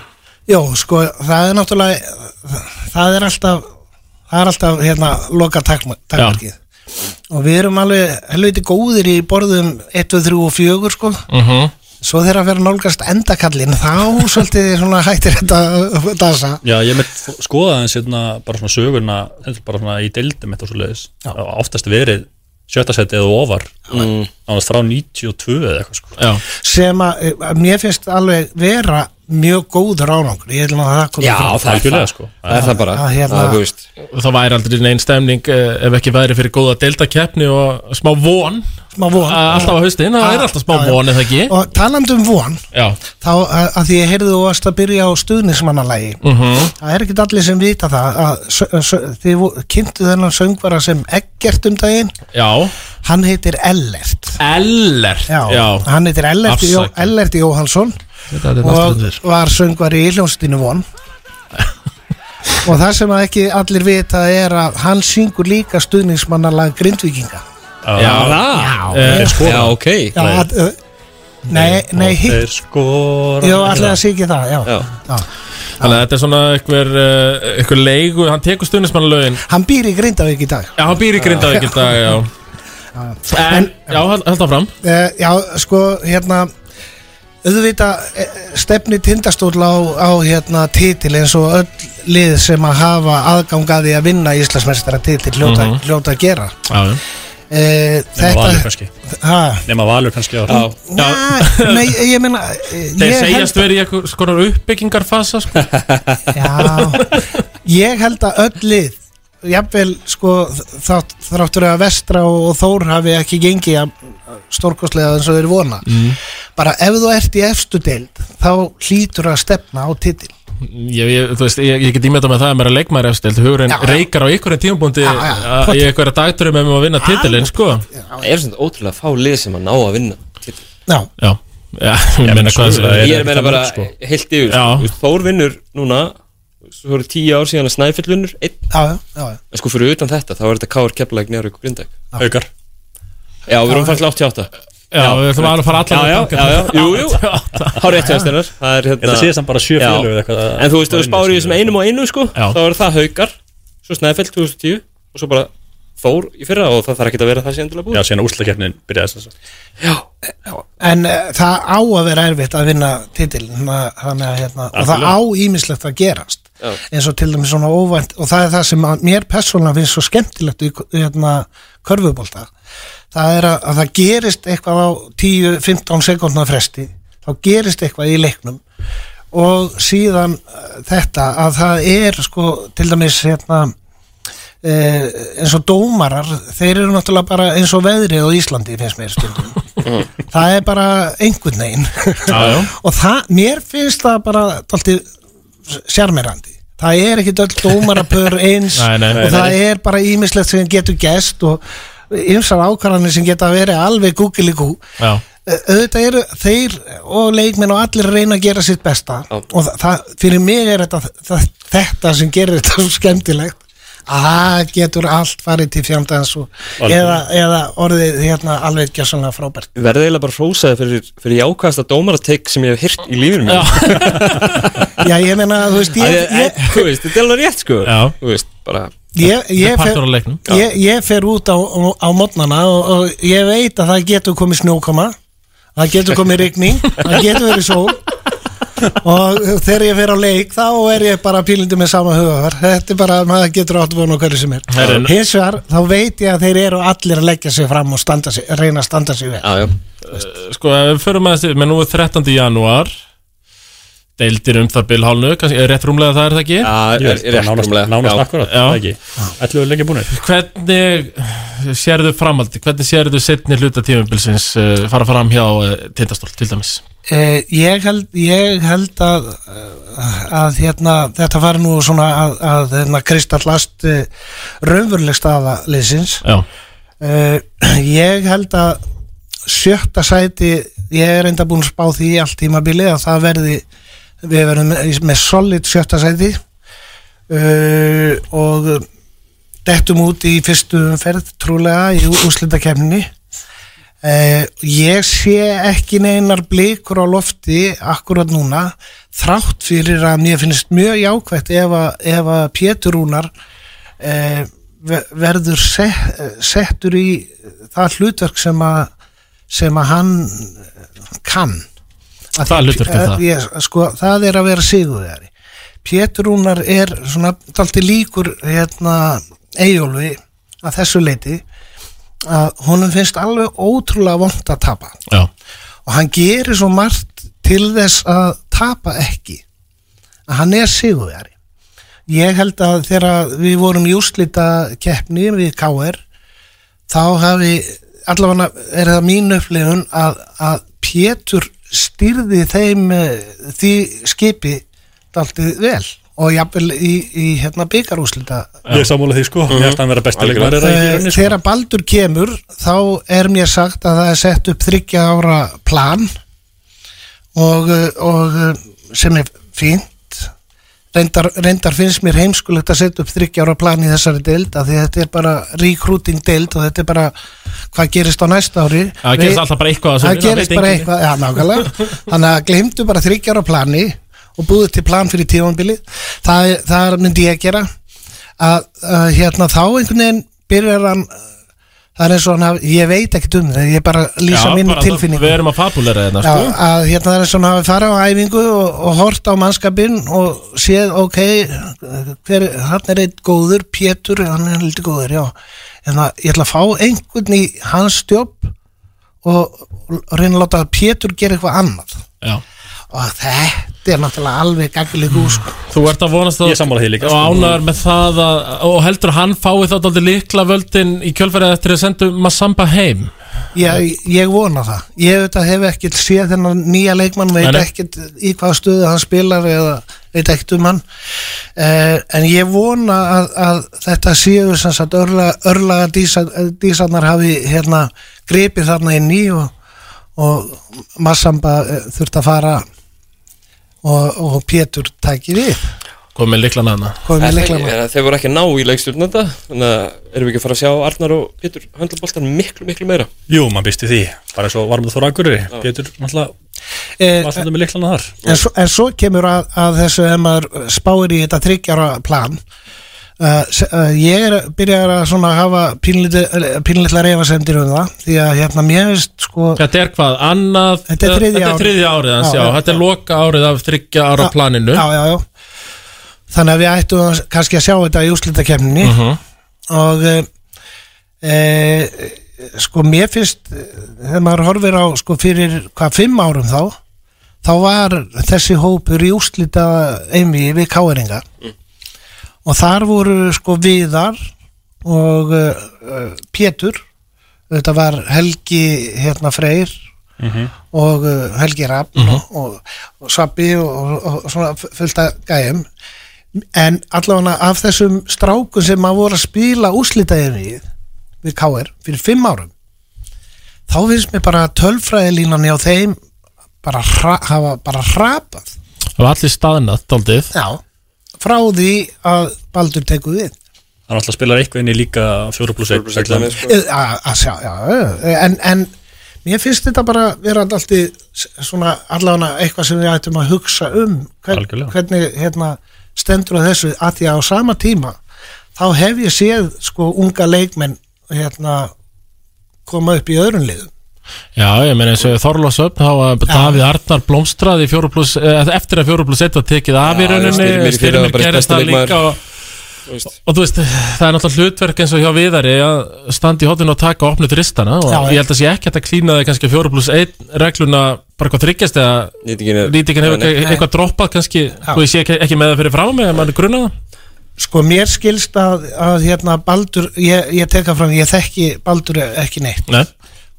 Speaker 11: Jó, sko, það er náttúrulega það er alltaf það er alltaf, hérna, loka takmarkið og við erum alveg helviti góðir í borðum 1, 2, 3 og 4 sko
Speaker 1: Mhm.
Speaker 11: svo þegar að vera nálgast endakallin þá svolítið svona hættir þetta að dansa
Speaker 3: Já, ég með skoða aðeins hérna, bara svona sögurna bara svona í deildum eitthvað svo leiðis oftast verið sjötta seti eða ofar mm. ánast frá 92 eða eitthvað sko.
Speaker 1: Já,
Speaker 11: sem að, að mér finnst alveg vera mjög góður árangur ég ætlum að það komi fram.
Speaker 1: algjörlega, sko.
Speaker 2: Það er það bara
Speaker 11: Að hérna-
Speaker 2: Það er þú veist
Speaker 1: Það væri aldrei neinn stemning eh, ef ekki væri fyrir góða deltakeppni og smá von
Speaker 11: Smá von Ah,
Speaker 1: Alltaf á haustin, það er alltaf smá von eða ekki
Speaker 11: og talandi um von
Speaker 1: Já,
Speaker 11: þá að, að því ég heyrði þú varst að byrja á stuðnismannalægi
Speaker 1: Mhm.
Speaker 11: það er ekkert allir sem vita það að sö- sö- þið vo- kynntu þennan söngvara sem ekkert um daginn
Speaker 1: já
Speaker 11: hann heitir Ellert
Speaker 1: Ellert,
Speaker 11: já,
Speaker 1: já.
Speaker 11: hann heitir Ellert, Jó,
Speaker 1: Afsakið.
Speaker 11: Ellert Jóhansson
Speaker 1: Þetta er náttúrulega
Speaker 2: *laughs*
Speaker 11: og var söngvari í hljómsdýnu von og það sem að ekki allir vita er að hann syngur líka stuðningsmannalag grindvíkinga
Speaker 2: Eh,
Speaker 1: sko.
Speaker 3: Þeir skora.
Speaker 2: Já, ok
Speaker 11: Já, að, uh, Nei, nei,
Speaker 3: Og
Speaker 11: hitt
Speaker 3: Þeir skora
Speaker 11: Jó, allir að sé ekki það, já, já.
Speaker 1: Þannig að þetta er svona einhver, uh, einhver leigu, hann tekur stundismannalögin
Speaker 11: Hann býr í Grindavík í dag
Speaker 1: Já, hann býr í Grindavík í dag, já En, já, held held það fram
Speaker 11: Eh, Já, sko, hérna auðvita stefni tindastól á, á hérna titil eins og öll lið sem að hafa aðgangaði að vinna Íslandsmestara titil hljóta,
Speaker 3: Mhm.
Speaker 11: hljóta að gera
Speaker 1: Já, já
Speaker 11: e,
Speaker 3: Nema valur
Speaker 11: Þetta
Speaker 3: kannski
Speaker 11: Ha?
Speaker 3: Nema valur kannski á-
Speaker 11: Já. Nei, ég meina eh,
Speaker 1: Þeir
Speaker 11: ég
Speaker 1: segjast verið í eitthvað skonar uppbyggingarfasa sko.
Speaker 11: Já, ég held að öll lið jafnvel sko þátt, þráttur að vestra og, og þór hafi ekki gengið að stórkostlega eins og þeir vona
Speaker 1: Mm.
Speaker 11: bara ef þú ert í efstu deild þá hlýtur að stefna á titil
Speaker 1: ég, ég, þú veist, ég, ég get ímynda með það að mér er leikmaður efstild Hugurinn
Speaker 11: Já, já.
Speaker 1: reikar á einhverjum tímabúndi
Speaker 11: Já, já,
Speaker 1: í einhverja dagturum um að vinna titilinn sko.
Speaker 2: Það er svona ótrúlega fá lið sem að ná að vinna titil.
Speaker 11: Já,
Speaker 1: já, já ég meina hvað sem-
Speaker 2: Ég er að meina bara
Speaker 3: sko.
Speaker 2: heilt yfir
Speaker 1: Já.
Speaker 2: sko. Þú veist, Þór vinnur núna Svo eru tíu ár síðan að Snæfell vinnur Einn
Speaker 11: já, já, já.
Speaker 2: En sko fyrir utan þetta Þá er þetta Káar Keflæk Njárvík og Grindæk
Speaker 3: Haukar
Speaker 2: Já, við erum fannst 88
Speaker 1: Já, við ætlum alveg að fara alla
Speaker 2: Já, já,
Speaker 1: leið
Speaker 2: já, já,
Speaker 1: þangað.
Speaker 2: jú, jú
Speaker 1: *laughs*
Speaker 2: Há rétt hjá stennar Það er
Speaker 3: Ég
Speaker 2: hérna
Speaker 3: held að sé samt bara sjö
Speaker 2: Já.
Speaker 3: félög eða eitthvað að-
Speaker 2: En þú veist, ef þú spáir í þessum einum og einum sko
Speaker 1: Já.
Speaker 2: Þá er það haukar Svo Snæfell 2010 Og svo bara Þór í fyrra Og það þarf ekki að vera það síðan til að búið
Speaker 3: Já, síðan úrslakefnin byrjaði þess að
Speaker 11: en uh, það á að vera erfitt að vinna titil þannig að hérna og það á ímislegt að gerast
Speaker 2: Já.
Speaker 11: eins og til dæmis svona óvænt og það er það sem að mér persónulega finnst svo skemmtilegt í hérna körfubólta það er að, að það gerist eitthvað á 10-15 sekundna fresti þá gerist eitthvað í leiknum og síðan eh, þetta að það er sko til dæmis hérna eh, eins og dómarar þeir eru náttúrulega bara eins og veðrið á Íslandi finnst mér um- stundum Mm. það er bara einhvern veginn
Speaker 1: já.
Speaker 11: *laughs* og það, mér finnst það bara tólti sjarmerandi það er ekki öll
Speaker 1: *laughs*
Speaker 11: dómarapör eins
Speaker 1: Nei, nei, nei,
Speaker 11: og það
Speaker 1: nei.
Speaker 11: er bara ímislegt sem getur gest og ymsar ákvarðanir sem geta að vera alveg gúkiligú
Speaker 1: Já.
Speaker 11: auðvitað eru þeir og leikmenn og allir að reyna að gera sitt besta og það, það, fyrir mig er þetta það, þetta sem gerir þetta *laughs* svo skemmtilegt að það getur allt farið til fjandans og,
Speaker 2: Algjörlega.
Speaker 11: eða, eða orðið hérna alveg gjössanlega frábært
Speaker 2: Ég verði eiginlega bara hrósaði fyrir, fyrir jákvæðasta dómarateik sem ég hef hyrt í lífinu mínu
Speaker 11: Já, ég meina, þú veist, ég,
Speaker 2: Að ég- en,
Speaker 11: ég,
Speaker 2: Þú veist, þetta er alveg rétt sko Já Þú veist, bara
Speaker 11: ég, ég,
Speaker 1: Þetta er
Speaker 11: fer,
Speaker 1: partur af leiknum.
Speaker 11: ég, ég fer út á, á, á mótnana og, og ég veit að það getur komið snjókoma það getur komið rigning það getur verið sól og þegar ég fer á leik þá er ég bara pílindi með sama hugafar þetta er bara, maður getur átt vonu hverju sem er
Speaker 1: Herrin.
Speaker 11: hins vegar, þá veit ég að þeir eru allir að leggja sig fram og standa sig, reyna að standa sig vel
Speaker 2: Já, já
Speaker 1: Sko, ef við förum aðeins yfir, menn nú er 13. janúar Deildir um það bil hálnu, kannski er rétt rúmlega það er það ekki?
Speaker 2: Já, er- er rétt
Speaker 3: nánast-
Speaker 2: rúmlega.
Speaker 3: Nánast
Speaker 2: Já.
Speaker 3: akkurat,
Speaker 1: Já.
Speaker 3: það ekki Ætlum við lengi búinir
Speaker 1: Hvernig sérðu framhaldi, hvernig sérðu setni hluta tímabilsins uh, fara fram hjá uh, tindastól til dæmis?
Speaker 11: Eh, ég held, ég held að, að hérna, þetta var nú svona að, að hérna, kristallast eh, raunveruleg staða liðsins
Speaker 1: Já,
Speaker 11: Eh, ég held að sjötta sæti ég er enda búin að spá því í allt tímabili að það verði við verðum með- með solid sjötta sæti uh, og dettum út í fyrstu umferð trúlega í úslitakefninni uh, ég sé ekki neinar blikur á lofti akkurat núna þrátt fyrir að mér finnst mjög jákvætt ef að, ef að Pétur Rúnar eh, ve- verður set, settur í það hlutverk sem að sem að hann eh, kann Að
Speaker 1: Hvaða
Speaker 11: því-
Speaker 1: hlutverk er það?
Speaker 11: eh, Ég, sko, það er að vera sigurvegari Pétur Rúnar er svona dalti líkur hérna Eyjólfi að þessu leiti að honum finnst alveg ótrúlega vond að tapa
Speaker 1: já,
Speaker 11: og hann gerir svo margt til þess að tapa ekki að hann er sigurvegari ég held að þegar við vorum í úrslita keppni við KR þá hafi allavega er það mín upplifun að, að Pétur stýrði þeim eh, því skipi daltið vel og jafnvel í, í hérna byggarúslita
Speaker 3: Ég sammála því
Speaker 2: Mhm.
Speaker 3: sko, mér finnst hann vera besti leikmar
Speaker 11: Eh,
Speaker 1: sko?
Speaker 3: sko.
Speaker 11: þegar Baldur kemur þá er mér sagt að það er sett upp 30 ára plan og, eh, og eh, sem er fínt reyndar, reyndar finnst mér heimskulegt að setja upp 30 ára plan í þessari deild af því þetta er bara recruiting deild og þetta er bara hvað gerist á næsta ári
Speaker 1: Það gerist alltaf bara eitthvað á sumrin,
Speaker 11: það
Speaker 1: það
Speaker 11: gerist
Speaker 1: veit
Speaker 11: bara
Speaker 1: enginn.
Speaker 11: eitthvað, já nákvæmlega þannig að glemdu bara 30 ára plani og búðu til plan fyrir tífambilið það, er- það er- myndi ég að gera að, að hérna þá einhvern veginn byrjar hann það er eins og hann hafi, ég veit ekkert um það ég bara lýsa
Speaker 1: Já,
Speaker 11: minni
Speaker 1: bara það-
Speaker 11: tilfinning
Speaker 1: Við erum að fabulera þetta,
Speaker 11: Já,
Speaker 1: sko
Speaker 11: að hérna það er svona að fara á æfingu og, og hort á mannskapin og séð, ok, hver, hann er eitt góður, Pétur, hann er lítið góður, já. En það, ég ætla að fá einhvern í hans stjóp og, og reyna að láta Pétur gera eitthvað annað.
Speaker 1: Já.
Speaker 11: Og þetta er náttúrulega alveg gangileg úr, sko.
Speaker 1: Þú ert að vonast að
Speaker 3: Ég sammála því líka,
Speaker 1: Og
Speaker 3: sko.
Speaker 1: ánæður með það að, Og heldur að hann fái þá aldrei líkla völdin Í kjölfærið eftir að sendu Massamba heim
Speaker 11: Ég, ég vona það. Ég auðvitað hef ekkert séð þennan nýja leikmann, veit
Speaker 1: Nei, nei.
Speaker 11: ekkert í hvaða stöðu hann spilar eða veit ekkert um hann. Eh, en ég vona að, að þetta séu sem sagt örla, örlaga dísa, dísanar hafi hérna gripið þarna inn í og, og Massamba eh, þurft að fara og, og Pétur tæki við.
Speaker 1: Komið með líklan hana
Speaker 11: Komið með
Speaker 2: Er-
Speaker 11: leikmann.
Speaker 2: er- Þeir voru ekki að ná í leikstjórn þetta Þannig að erum við ekki að fara að sjá Arnar og Pétur Höndlaboltan miklu, miklu meira
Speaker 3: Jú, maður býst í því Bara svo varum það þóra akkurir Pétur, náttúrulega
Speaker 11: Eh,
Speaker 3: Var þetta með liklana þar
Speaker 11: En svo, en svo kemur að, að þessu ef maður spáir í þetta tryggjara plan uh, se- uh, ég er byrjar að svona hafa pínlítla reyfasendir um það því að hérna mér veist sko
Speaker 1: Þetta er hvað, annað eh,
Speaker 11: Þetta er þriðja
Speaker 1: Þetta er
Speaker 11: árið.
Speaker 1: þriðja árið hans,
Speaker 11: Já,
Speaker 1: já,
Speaker 11: já.
Speaker 1: Þetta er loka árið af þryggja ára planinu
Speaker 11: já, já, já. þannig að við ættum að- kannski að sjá þetta í úslitakefninni
Speaker 1: Mhm.
Speaker 11: og e, e, sko mér finnst eh, þegar maður horfir á sko fyrir hvað fimm árum þá þá var þessi hópur í úslita einvi við káeringa og þar voru sko Viðar og uh, Pétur þetta var Helgi hérna Freyr
Speaker 12: Mhm.
Speaker 11: og uh, Helgi Rapp og, og Svabbi og, og, og svona fullt að gæjum en allavega af þessum strákum sem maður voru að spila úslitaðir við við KR fyrir fimm árum þá finnst mér bara tölfræðilínan hjá þeim bara hra, hafa bara hrapað
Speaker 1: Það var allir staðnað, daldið
Speaker 11: já, frá því að Baldur tekur við
Speaker 3: Hann alltaf spilar eitthvað inn í líka 4 plus 1
Speaker 2: sko.
Speaker 3: sko.
Speaker 11: Eh, að að sjá, já, já, en, en mér finnst þetta bara vera allt í s- svona allavega eitthvað sem við ættum að hugsa um hvern,
Speaker 3: Algjörlega.
Speaker 11: hvernig hérna, stendur á þessu að því að á sama tíma þá hef ég séð sko unga leikmenn hérna, koma upp í öðrun liðum
Speaker 1: Já, ég meina eins og Þorlásöfn þá var Davíð Arnar blómstraði í 4 plus, eh, eftir að 4 plus 1 var tekið af í
Speaker 2: Já,
Speaker 1: rauninni
Speaker 2: Styrmir í fyrra var
Speaker 1: Styrmir
Speaker 2: bara
Speaker 1: gerist
Speaker 2: besti
Speaker 1: það
Speaker 2: leikmaður.
Speaker 1: líka og, og þú veist, það er náttúrulega hlutverk eins og hjá Viðari að standa í hotinu og taka opnut ristana og
Speaker 2: Já, já.
Speaker 1: ég held að sé ekki hægt að klína þig kannski 4 plus 1 regluna bara hvað þryggjast eða
Speaker 2: Nýtingin er-
Speaker 1: nýtingin hefur
Speaker 2: Nei, nei.
Speaker 1: eitthvað- eitthvað droppað kannski, þú veist, ég sé ekki- ekki með það fyrir frá mig ef maður er grunað
Speaker 11: sko mér skilst að, að hérna Baldur, ég, ég teka fram ég þekki Baldur ekki neitt
Speaker 1: Nei.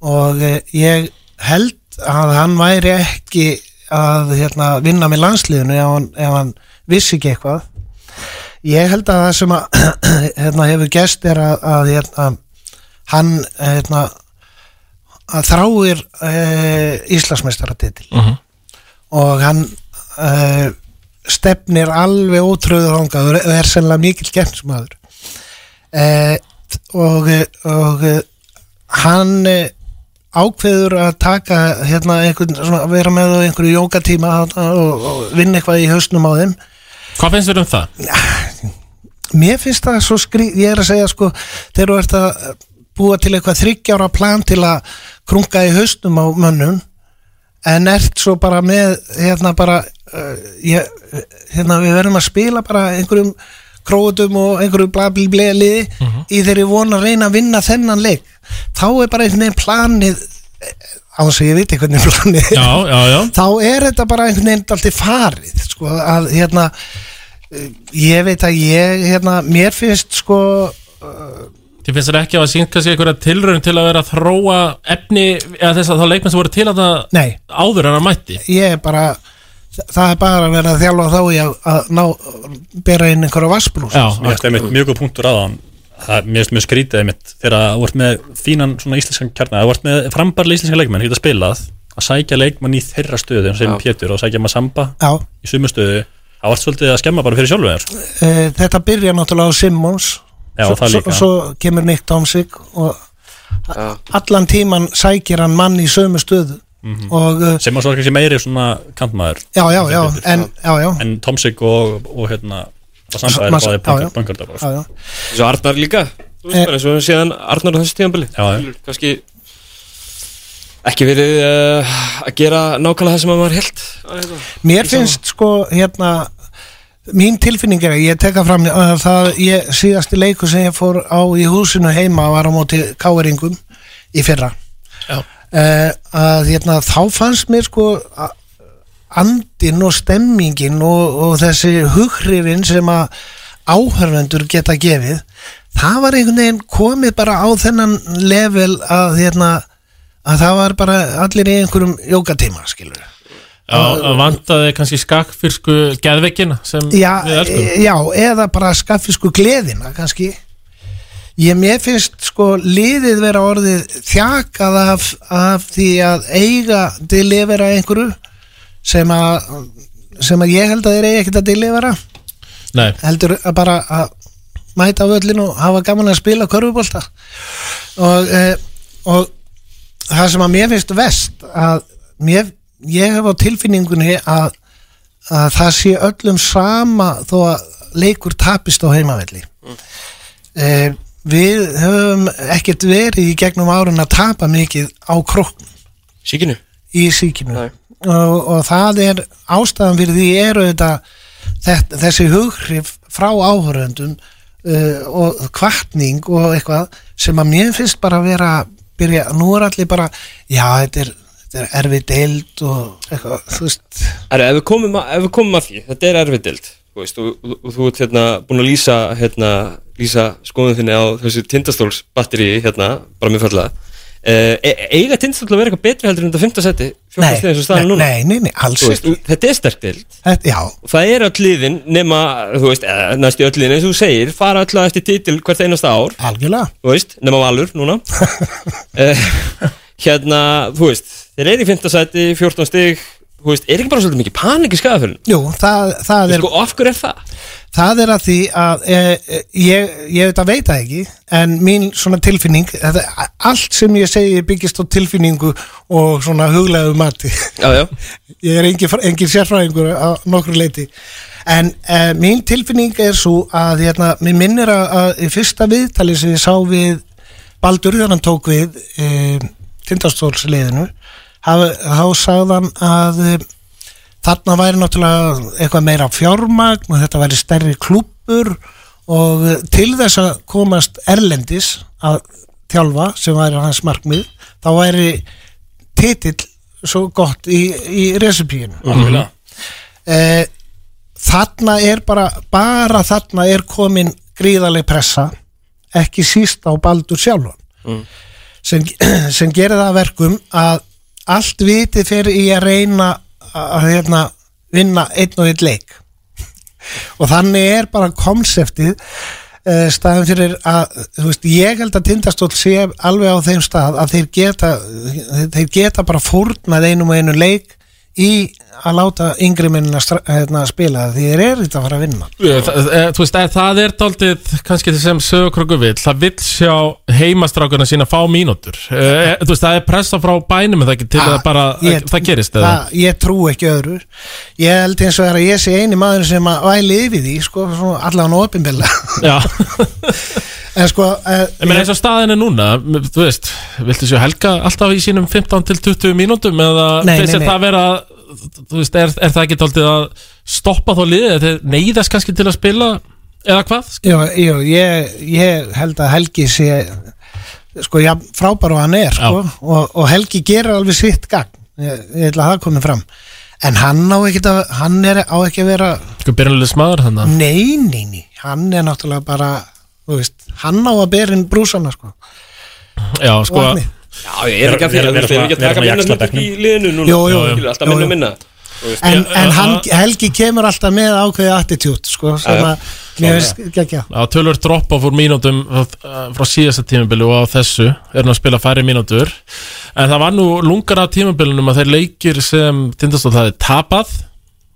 Speaker 11: og eh, ég held að hann væri ekki að hérna, vinna með landsliðinu ef hann, ef hann vissi ekki eitthvað ég held að það sem að *clears throat* hérna, hefur gest er að, að hérna, hann hérna, að þráir e, Íslandsmeistaratitil
Speaker 12: Mhm.
Speaker 11: og hann e, stefnir alveg ótröður hangaður og er sennilega mikill kemsmaður e, og, og eh, hann eh, ákveður að taka hérna einhvern, svona, að vera með á einhverju jókatíma þarna og, og vinna eitthvað í hausnum á þeim
Speaker 1: Hvað finnst þér um það?
Speaker 11: Mér finnst það svo skrýt, ég er að segja sko, þegar þú ert að búa til eitthvað þryggjára plan til að krunga í haustum á mönnum en ert svo bara með hérna bara uh, ég, hérna við verðum að spila bara einhverjum króutum og einhverju blabliblei liði
Speaker 1: Mhm.
Speaker 11: í þeirri von að reyna að vinna þennan leik þá er bara einhvern veginn planið eh, án þess að ég viti hvernig planið er.
Speaker 1: Já, já, já
Speaker 11: þá er þetta bara einhvern veginn alltaf farið sko, að hérna eh, ég veit að ég hérna, mér finnst sko
Speaker 1: Þið finnst þér ekki að sýnt kannski einhverja tilraun til að vera að þróa efni eða þess að þá leikmenn sem voru til að það
Speaker 11: Nei.
Speaker 1: áður en að mætti
Speaker 11: ég er bara þa- það er bara að vera að þjálfa þá í að, að ná, bera inn einhverja sko. vassbrús
Speaker 3: Mér finnst einmitt mjög góð punktur að hann Það mér finnst mjög skrítið einmitt þegar þú ert með fínan svona íslenskan kjarna þú ert með frambarlega íslenska leikmenn geta spilað að sækja leikmann í þeirra stöðu sem
Speaker 11: Já.
Speaker 3: Pétur og sækja maður samba
Speaker 11: Já.
Speaker 3: í sumu stöðu Það varst svolítið að skemma bara fyrir sjálfu þér sko.
Speaker 11: Eh, Þetta byrja náttúrulega á Simmons
Speaker 3: Já,
Speaker 11: Svo-
Speaker 3: það
Speaker 11: svo-
Speaker 3: líka.
Speaker 11: Svo kemur Nick Tomsik og allan tíman sækir hann mann í sömu stöðu og, uh,
Speaker 3: Mhm. sem að svo kannski meiri svona kantmaður
Speaker 11: Já, já, já, en, já, já.
Speaker 3: en Tomsik og, og hérna Basamba er
Speaker 11: Mas-
Speaker 3: báðið
Speaker 11: já, já.
Speaker 3: bankardar
Speaker 11: Já, já.
Speaker 2: Svo Arnar líka Þú veist bara eins og við séðan Arnar á þessu tíðanbili Kanski ekki verið uh, að gera nákvæmlega það sem að maður held
Speaker 11: Mér finnst sko hérna mín tilfinning er að ég teka fram að það ég, síðasti leiku sem ég fór á í húsinu heima var á móti káeringum í fyrra
Speaker 13: Já.
Speaker 11: Eh, að hérna þá fannst mér sko a- andinn og stemmingin og, og þessi hugrifin sem að áhörvendur geta gefið það var einhvern veginn komið bara á þennan level að hérna að það var bara allir í einhverjum jókatíma skilur
Speaker 1: Já, að vantaði kannski skakkfyrsku geðveikina sem
Speaker 11: já,
Speaker 1: við elskum
Speaker 11: e- já, eða bara skaffi sko gleðina kannski ég mér finnst sko liðið vera orðið þjakað af, af því að eiga delivera einhverju sem að sem að ég held að þeir eigi ekkert að delivera
Speaker 1: Nei,
Speaker 11: heldur að bara að mæta á öllin og hafa gaman að spila körfubólta og, e, og það sem að mér finnst vest að mér, ég hef á tilfinningunni að, að það sé öllum sama þó að leikur tapist á heimavelli e, við höfum ekkert verið í gegnum árun að tapa mikið á krokkum
Speaker 2: Síkinu?
Speaker 11: í síkinu og, og það er ástæðan fyrir því eru þetta þetta- þessi hughrif frá áhöröndum uh, og kvartning og eitthvað sem að mér finnst bara að vera byrja, nú er allir bara já, þetta er, þetta er erfið deild og eitthvað, þú veist
Speaker 2: Erra, ef, við komum að, ef við komum að því, þetta er erfiðdild Þú veist, og, og, og þú ert hérna búin að lýsa, hérna, lýsa skoðun þinni á þessu tindastólsbatteri hérna, bara mér fallega Uh, eiga tindastóll að vera eitthvað betri heldur en þetta 15 seti
Speaker 11: Nei, nei,
Speaker 2: nei,
Speaker 11: nei, nei, nei, alls
Speaker 2: ekki Þetta er sterk deild
Speaker 11: þetta, já,
Speaker 2: Og það er öll liðin nema, þú veist, eh, næstu öll liðin eins og þú segir, fara öll að eftir titil hvert einasta ár
Speaker 11: algjörlega
Speaker 2: Þú veist, nema Valur *laughs* núna Eh, Hérna, þú veist, þeir eru í 5. sæti, 14 stig Þú veist, er ekki bara svolítið mikið panik í skafafjörnum?
Speaker 11: Jú, það, það er
Speaker 2: Sko, af hverju er það?
Speaker 11: Það er að því að e, e, ég, ég veit að veit það ekki en mín svona tilfinning þetta, allt sem ég segi byggist á tilfinningu og svona huglegaðu mati
Speaker 2: Já, já
Speaker 11: *laughs* Ég er engin, engin sérfræðingur á nokkru leiti en e, mín tilfinning er svo að hérna, mér minnir að, að í fyrsta viðtali sem ég sá við Baldur þegar hann tók við e, tindastólsliðinu hafa- þá sagðan að e, þarna væri náttúrulega eitthvað meira fjármagn og þetta væri stærri klúppur og eh, til þess að komast erlendis að þjálfa sem væri hans markmið þá væri titill svo gott í, í resipíinu
Speaker 3: Algjörlega.
Speaker 11: eh, þarna er bara bara þarna er komin gríðaleg pressa ekki síst á Baldur sjálfan sem, *clears throat* sem gerir það að verkum að allt vitið fyrir í að reyna að, að hérna, vinna einn og einn leik *laughs* og þannig er bara konseptið uh, staðan fyrir að þú veist, ég held að tindastóll sé alveg á þeim stað að þeir geta þeir geta bara fórnað einum og einu leik í að láta yngri minnina hérna, spila því þeir eru þetta að fara að vinna
Speaker 1: Þa- eh, Þú veist, eh, það er daldið kannski það sem sögurkröku vill Það vill sjá heimastrákurna sína fá mínútur Eh, Þú veist, það er pressa frá bænum er það ekki, til að bara, það gerist eða?
Speaker 11: Ah, það, ég trú ekki öðru ég held eins og það að ég sé eini maður sem að væli yfir því sko, svona allan opinbilla
Speaker 1: Já,
Speaker 11: en sko eh,
Speaker 1: ég meina eins og staðin er núna m- Þú veist, viltu sjá helga alltaf í sínum 15 til 20 mínútum eða
Speaker 11: Nei, nei,
Speaker 1: finnst þér
Speaker 11: nei.
Speaker 1: það vera þú veist, er, er það ekki daldið að stoppa þá liðið, þetta neyðast kannski til að spila *laughs* eða hvað?
Speaker 11: Jú, jú, ég, ég held að Helgi sé sko, já, frábær og hann er sko, og, og Helgi gerir alveg sitt gang ég, ég ætla að það komið fram en hann á ekki að, hann er, á ekki að vera
Speaker 1: Sko byrjanlega smaður hann
Speaker 11: nei, nei, nei, hann er náttúrulega bara þú veist, hann á að bera inn brúsana sko.
Speaker 1: Já, sko
Speaker 11: Vatni.
Speaker 2: Já, ég er ekki að fyrir,
Speaker 1: Vera-
Speaker 2: þú veist, ég er
Speaker 1: vera
Speaker 2: ekki að taka
Speaker 1: svona- vera
Speaker 2: minna hlutum í
Speaker 1: svona jaxlabekknum.
Speaker 2: liðinu núna
Speaker 11: Jú, jú,
Speaker 2: Skilur, Alltaf
Speaker 11: jú,
Speaker 2: minna
Speaker 11: jú.
Speaker 2: minna Þú veist,
Speaker 11: en,
Speaker 2: ég-
Speaker 11: en hann, Helgi kemur alltaf með ákveði attitút sko, sem
Speaker 1: Já, já.
Speaker 11: að, mér finnst, geggja
Speaker 1: Já, tölur dropp á fór mínútum uh, frá síðasta tímabili og á þessu er hann að spila færri mínútur en það var nú lungar af tímabilinum að þeir leikir sem Tindastól hafði tapað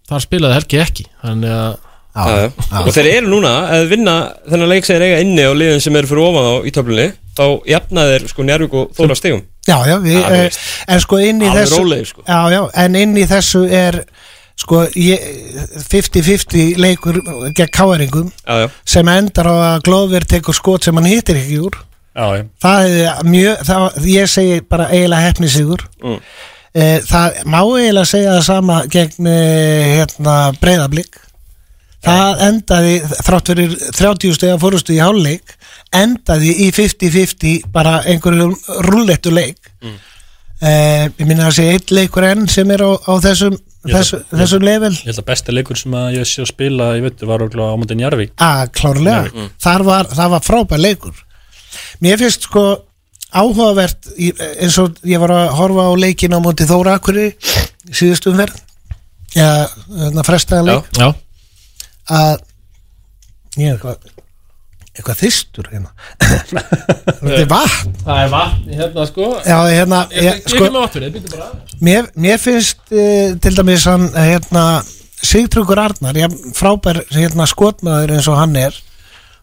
Speaker 1: þar spilaði Helgi ekki þannig að
Speaker 2: Já, já. Eh, Og þeir eru núna að vinna þennan leik sem þeir eiga inni á liðin sem eru fyrir ofan á í töflunni þá jafna þeir sko Njárvík og Þóra stegum
Speaker 11: Já, já, við,
Speaker 2: Já, þú
Speaker 11: eh,
Speaker 2: veist.
Speaker 11: en sko inn í
Speaker 2: Alveg
Speaker 11: þessu
Speaker 2: rólegir, sko.
Speaker 11: Já, já, en inn í þessu er sko ég- 50-50 leikur gegn káeringum
Speaker 2: Já, já.
Speaker 11: sem endar á að Glover tekur skot sem hann hittir ekki úr
Speaker 3: Já, já.
Speaker 11: það er mjög, það, ég segi bara eiginlega hefni sigur
Speaker 2: Mm.
Speaker 11: Eh, það má eiginlega segja það sama gegn eh, hérna, breyðablík það endaði þrátt fyrir 30 stegi að fórustu í hálfleik endaði í 50-50 bara einhverjum rúllettu leik mm. Eh, ég minna að segja eitt leikur enn sem er á, á þessum
Speaker 3: Ég held
Speaker 11: þessu,
Speaker 3: að-
Speaker 11: þessum level
Speaker 3: Ég held að besti leikur sem að ég sé að spila í vettu var okkur á mútin Jarvík
Speaker 11: að Ah, klárlega,
Speaker 3: Njárvík. Mm.
Speaker 11: Þar var, það var frábær leikur mér finnst sko áhugavert í- eins og ég var að horfa á leikin á móti Þóra Akuri síðustu umferð eða þarna frestaðan leik
Speaker 1: já.
Speaker 11: að ég er eitthvað eitthvað þystur hérna *laughs* þetta er vatn
Speaker 1: Það er vatn hérna sko
Speaker 11: Já, hérna,
Speaker 1: Ég, ég,
Speaker 11: ég- sko-
Speaker 1: ekki með vatn fyrir, býttu bara
Speaker 11: Mér, mér finnst uh, til dæmis hann eh, hérna, Sigtryggur Arnar ég, frábær hérna, skotmaður eins og hann er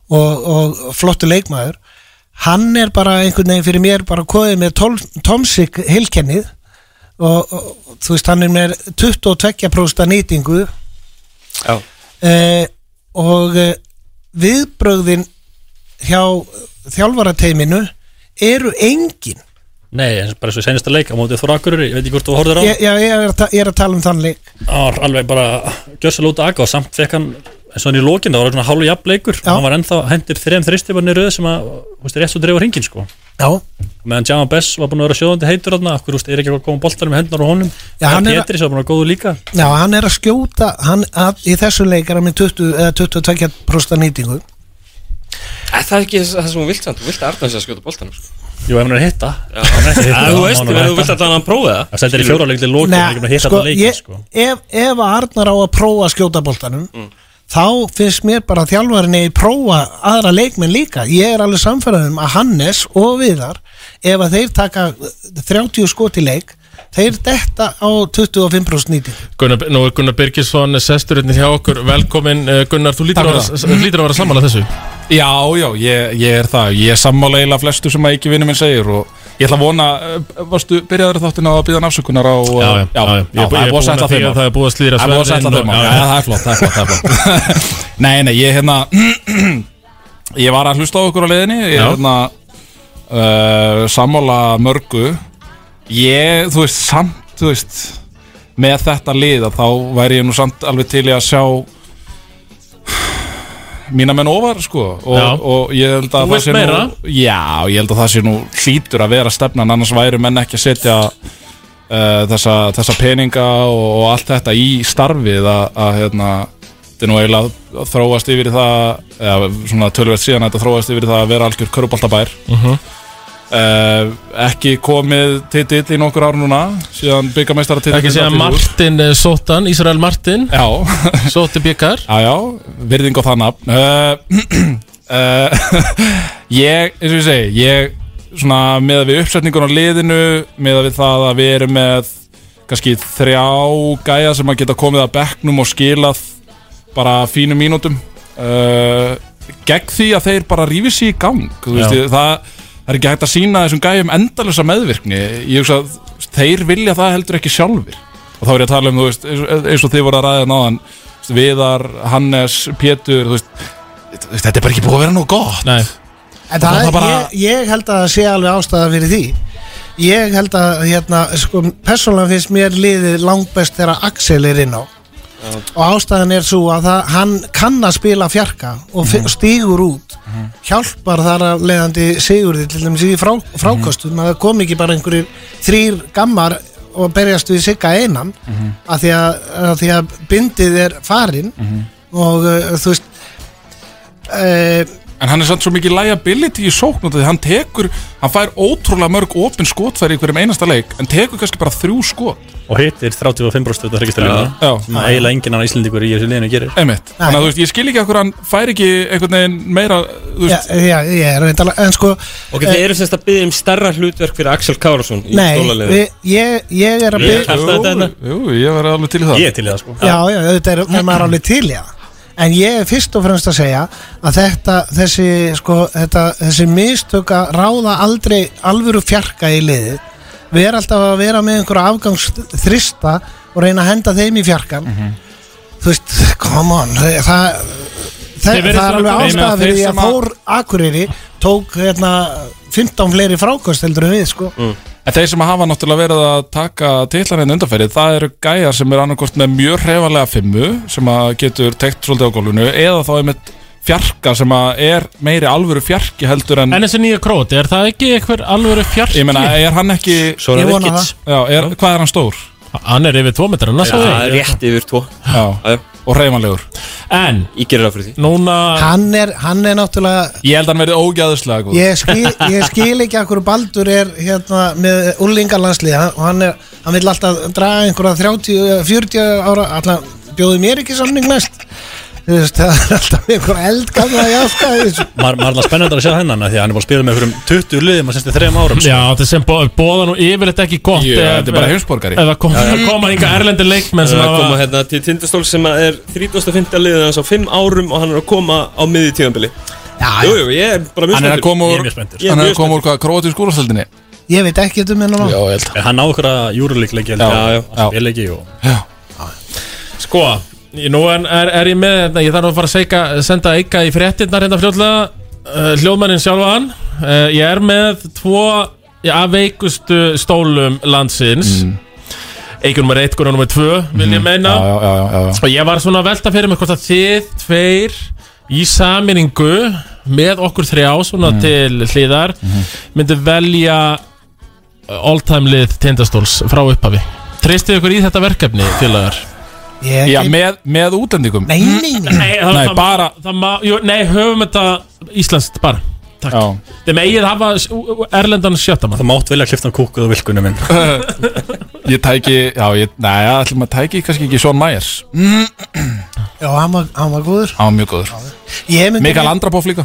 Speaker 11: og, og flottu leikmaður hann er bara einhvern veginn fyrir mér bara kóðið með tól, Tomsik hilkennið og, og þú veist hann er með 22% nýtingu
Speaker 2: Já.
Speaker 11: Eh, og uh, viðbrögðin hjá þjálfarateiminu eru engin
Speaker 3: Nei, eins- bara eins og í senasta leik á móti Þóra Akureyri, ég veit ekki hvort þú horfður á
Speaker 11: ég, já, ég, er að ta- ég er að tala um þann leik
Speaker 3: Það var alveg bara gjössal út að aga og samt fekk hann eins og hann í lokin, það var svona hálf jafn leikur hann var ennþá hendir þrejum þristifarnir röð sem að, þú veist, rétt svo dreifur hringin sko
Speaker 11: Já
Speaker 3: meðan Jaman Bess var búin að vera sjóðandi heitur þarna, okkur, þú veist, er ekki að koma boltar með hendunar á honum
Speaker 11: Já, hann er að-
Speaker 3: Petri sem var búin að vera góður líka
Speaker 11: Já, hann er að skjóta hann, að, í þessum leik er hann með 20, eða 22% nýtingu
Speaker 2: Er Eh, það ekki þess- það sem hún vilt samt? Þú vilt að Arnars að skjóta boltanum sko.
Speaker 3: Jú, ef hann er að hitta
Speaker 2: Já, Já, þú veist, ef þú vilt að hann prófi það
Speaker 3: Það stendur í fjóralegli lokin, hann er ekki búin að hitta
Speaker 11: sko,
Speaker 3: þetta leikin
Speaker 11: ég,
Speaker 3: sko Mm.
Speaker 11: ef, ef að Arnar á að prófa að skjóta boltanum þá finnst mér bara að þjálfarin eigi prófa aðra leikmenn líka ég er alveg samferðað um að Hannes og Viðar ef að þeir taka 30 skot í leik þeir detta á 25% nýtingu
Speaker 1: Gunnar, nú er Gunnar Birgisson sestur hérna hjá okkur, velkomin uh, Gunnar, þú lítur
Speaker 13: Takk
Speaker 1: að
Speaker 13: fyrir
Speaker 1: vera-
Speaker 13: það.
Speaker 1: þú lítur að vera sammála þessu
Speaker 13: Já, já, ég, ég er það Ég er sammála eiginlega flestu sem að ekki vinnu minn segir og ég ætla að vona, eh, varstu byrjaður þáttin á að býða náfsökunar á eh,
Speaker 1: Já, já, já, já. Ég er bú-
Speaker 13: það
Speaker 1: ég er
Speaker 13: er
Speaker 1: búinn
Speaker 13: búið
Speaker 1: að
Speaker 13: sætla
Speaker 1: því
Speaker 13: þeim
Speaker 1: að það er búið að slíðra
Speaker 13: Það er búið að
Speaker 1: sverðin
Speaker 13: sætla þeim
Speaker 1: og-
Speaker 13: mál.
Speaker 1: já,
Speaker 13: Já,
Speaker 1: já.
Speaker 13: það er flott, það er flott, það er flott Nei, nei, ég hérna *clears throat* Ég var að hlusta á okkur á leiðinni Ég
Speaker 1: Já.
Speaker 13: er hérna uh, sammála mörgu Ég, þú veist, samt, þú veist með þetta lið að þá væri ég nú samt alveg til í að sjá *sighs* mína menn ofar sko og,
Speaker 1: Já.
Speaker 13: og ég held
Speaker 1: Þú
Speaker 13: að það
Speaker 1: vilt
Speaker 13: sé
Speaker 1: meira?
Speaker 13: nú já, ég held að það sé nú hlýtur að vera stefnan annars væri menn ekki að setja uh, þessa, þessa peninga og, og allt þetta í starfið að, að hérna þetta er nú eiginlega að þróast yfir í það eða svona tölvert síðan að þetta þróast yfir í það að vera algjör köruboltabær
Speaker 1: Mhm.
Speaker 13: uh, ekki komið titill í nokkur ár núna síðan byggameistara titill
Speaker 1: Ekki segja Martin eh, Sotan, Ísrael Martin
Speaker 13: Já
Speaker 1: Sóti byggar
Speaker 13: Já, já, virðing og það nafn uh, *clears throat* uh, *clears throat* Ég, eins og ég segi Ég, svona, með við uppsetningun á liðinu Með við það að við erum með kannski þrjá gæja sem að geta komið að bekknum og skilað bara fínum mínútum uh, gegn því að þeir bara rífi sér í gang þú veist,
Speaker 3: Já.
Speaker 13: ég- það, það er ekki hægt að sína þessum gæjum endalösa meðvirkni ég hugsa að þeir vilja það heldur ekki sjálfur og þá er ég að tala um, þú veist, eins og- eins og þið voru að ræða náðan þú veist, Viðar, Hannes, Pétur þú veist, þú veist, þetta er bara ekki búið að vera nú gott
Speaker 1: Nei.
Speaker 11: En
Speaker 13: Það
Speaker 11: það,
Speaker 13: er það bara-
Speaker 11: ég, ég held að það sé alveg ástæða fyrir því Ég held að, hérna, sko, persónulega finnst mér liðið langbest þegar Axel er inn á og ástæðan er svo að það, hann kann að spila fjarka og mm. stígur út hjálpar þar að leiðandi sigurði til dæmis í frá, frákostum að það kom ekki bara einhverjir þrýr gammar og berjast við sigga einan
Speaker 12: Mhm.
Speaker 11: af því að, að því eh, að bindið er farin og uh, þú veist uh,
Speaker 13: en hann er samt svo mikið liability í sókn út af því hann tekur, hann fær ótrúlega mörg opin skotfæri í hverjum einasta leik en tekur kannski bara þrjú skot
Speaker 3: og hittir 35% þetta
Speaker 13: Já.
Speaker 3: registrarlega sem að eiginlega enginn annar Íslendingur í þessu liðinu gerir
Speaker 13: einmitt, þannig að þú veist, ég skil ekki að hverju hann fær ekki einhvern veginn meira þú
Speaker 11: Já,
Speaker 13: veist,
Speaker 11: já, ég er reyndalega, en sko
Speaker 2: Ok, þið eru semst að byggja um starra hlutverk fyrir Axel Kárasson í
Speaker 11: Nei,
Speaker 2: skólaliðinu.
Speaker 11: við, ég, ég er að
Speaker 2: Ég
Speaker 11: byrja
Speaker 2: kjaftaði þetta hérna.
Speaker 13: Jú, ég var alveg til í það
Speaker 3: Ég er til í það sko
Speaker 11: Já, já, auðvitað er, er maður alveg til, já En ég er fyrst og fremst að segja að þetta, þessi, sko, þetta, þessi mistök að ráða aldrei alvöru fjarka í liðið Við erum alltaf að vera með einhverja afgangsþrista og reyna að henda þeim í fjarkan Þú veist, come on, það, það,
Speaker 1: Þeir
Speaker 11: það
Speaker 1: verðast
Speaker 11: er
Speaker 1: að
Speaker 11: alveg
Speaker 1: vera góðir.
Speaker 11: ástæða
Speaker 1: Ég meina,
Speaker 11: fyrir
Speaker 1: þeir
Speaker 11: því að
Speaker 1: sem að-
Speaker 11: Þór Akureyri tók hérna 15 fleiri frákost heldur en við, sko
Speaker 13: En þeir sem hafa náttúrulega verið að taka titlarinn undanferðið, það eru gæjar sem eru annarkort með mjög hrefanlega fimmu sem að getur tekt svolítið á gólfinu eða þá einmitt fjarka sem að er meiri alvöru fjarki heldur en
Speaker 1: En þessi nýja króti, er það ekki einhver alvöru fjarki?
Speaker 13: ég meina, er hann ekki
Speaker 2: Sora
Speaker 11: Ég vona
Speaker 2: Vikic.
Speaker 13: Já, er, hvað er hann stór?
Speaker 1: Hann er yfir tvo metrar,
Speaker 2: Já,
Speaker 1: næstu
Speaker 2: það er rétt yfir tvo.
Speaker 13: Já,
Speaker 2: Já,
Speaker 13: og hrefanlegur
Speaker 1: En,
Speaker 2: Ég gerir það fyrir því.
Speaker 1: núna
Speaker 11: Hann er, hann er náttúrulega
Speaker 13: Ég held að hann verið ógæðislega
Speaker 1: Sko.
Speaker 13: góð
Speaker 11: ég skil, ég skil ekki að hverju Baldur er hérna með úlingalandslið og hann, er, hann vil alltaf draga einhverja 30, eh, 40 ára alltaf bjóði mér ekki samning mest Þú veist, það er alltaf einhverja eldgamla jafka í þessu.
Speaker 3: maður maður er alltaf spennandar að sjá hennan af því að hann er búin að spila með einhverjum 20 liðum á senstu þrejum árum
Speaker 1: Já, þetta sem bó, bóða nú yfirleitt ekki gott
Speaker 13: Jú,
Speaker 1: ef-
Speaker 13: þetta er bara heimsborgari.
Speaker 1: Ef það kom, koma hinga erlendi leikmenn sem
Speaker 2: Það er að koma
Speaker 1: hafa
Speaker 2: hérna til Tindastól sem að er 35. liðið hans á 5 árum og hann er að koma á miði tíðanbili.
Speaker 11: Já,
Speaker 2: Jú, jú, ég er bara mjög
Speaker 13: Hann er
Speaker 2: spenntur.
Speaker 13: að koma
Speaker 3: Ég er
Speaker 13: úr,
Speaker 3: mjög spenntur.
Speaker 2: Ég er
Speaker 13: hann er
Speaker 2: mjög
Speaker 13: að koma úr hvað, króti skúrastöldinni
Speaker 11: ég veit ekki um hennan
Speaker 13: Já, ég held
Speaker 3: En hann á okkur að júruleik leiki
Speaker 13: Já, já, já.
Speaker 3: spila ekki og
Speaker 1: Sko, ég- nú en er, er ég með þetta Ég þarf að fara að seika, senda Eika í fréttinnar hérna fljóðlega uh, Hljóðmannin sjálfan uh, Ég er með tvo já, af veikustu stólum landsins mm. Eikur nummer 1, gunnar nummer 2 Vil ég
Speaker 13: Mm.
Speaker 1: meina
Speaker 13: Já, já, já, já, já.
Speaker 1: Og ég var svona að velta fyrir mig hvort að þið tveir í saminningu með okkur þrjá svona til hliðar myndu velja all time lið tindastóls frá upphafi Treystið ykkur í þetta verkefni félagar?
Speaker 11: ég
Speaker 13: Já,
Speaker 11: ekki,
Speaker 13: með, með útlendingum
Speaker 11: nei, nei, nei
Speaker 1: Nei, það,
Speaker 13: Nei,
Speaker 1: það,
Speaker 13: bara-
Speaker 1: það, má, jú, Nei, höfum þetta íslenskt bara Takk
Speaker 13: Já.
Speaker 1: Þeim eigið hafa s- ú- ú- erlendan sjöttamann
Speaker 3: það mátt velja að klifta hann kúkuð og vilkunum minn
Speaker 13: *laughs* Ég tæki, já, ég, næja, ætlum að tæki kannski ekki Sean Myers
Speaker 11: já, hann var, hann var góður
Speaker 13: Hann var mjög góður
Speaker 11: ég myndi,
Speaker 13: Mikael Andrapoff líka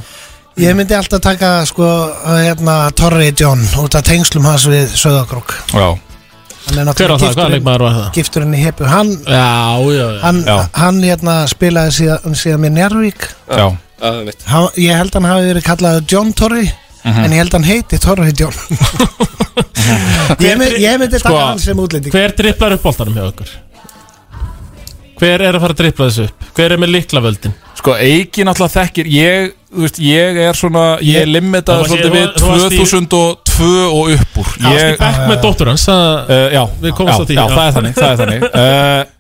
Speaker 11: ég myndi alltaf taka sko, hérna, Torri John út af tengslum hans við Söðagrók
Speaker 13: Já
Speaker 11: hann er
Speaker 1: Hver á það? Hvaða
Speaker 11: gifturinn-
Speaker 1: leikmaður var það?
Speaker 11: gifturinn í hepu hann,
Speaker 1: Já, já, já
Speaker 11: hann,
Speaker 13: Já.
Speaker 11: hann hérna, spilaði síðan, síðan með Njárvík
Speaker 13: Já,
Speaker 2: Já, það er mitt.
Speaker 11: Há, ég held hann hafi verið kallaði John Torrey
Speaker 13: Mhm.
Speaker 11: En ég held hann heiti Torrey
Speaker 13: *laughs*
Speaker 11: John ég, mynd, ég myndi
Speaker 1: Sko,
Speaker 11: taka hann sem útlending
Speaker 1: Hver dripplar upp boltanum hjá okkur? Hver er að fara að drippla þessu upp? Hver er með liklavöldin?
Speaker 13: sko Eiki náttúrulega þekkir ég, þú veist, ég er svona ég er
Speaker 1: Þú
Speaker 13: limitaður
Speaker 1: varst-
Speaker 13: svolítið við
Speaker 1: þú varst í-
Speaker 13: 2002 og upp úr
Speaker 1: Það varst í
Speaker 13: ég,
Speaker 1: bekk með dóttur hans að-
Speaker 13: uh, Já,
Speaker 1: Við
Speaker 13: já,
Speaker 1: komumst að því,
Speaker 13: já,
Speaker 1: já.
Speaker 13: það er þannig, það
Speaker 11: *laughs*
Speaker 13: er þannig uh,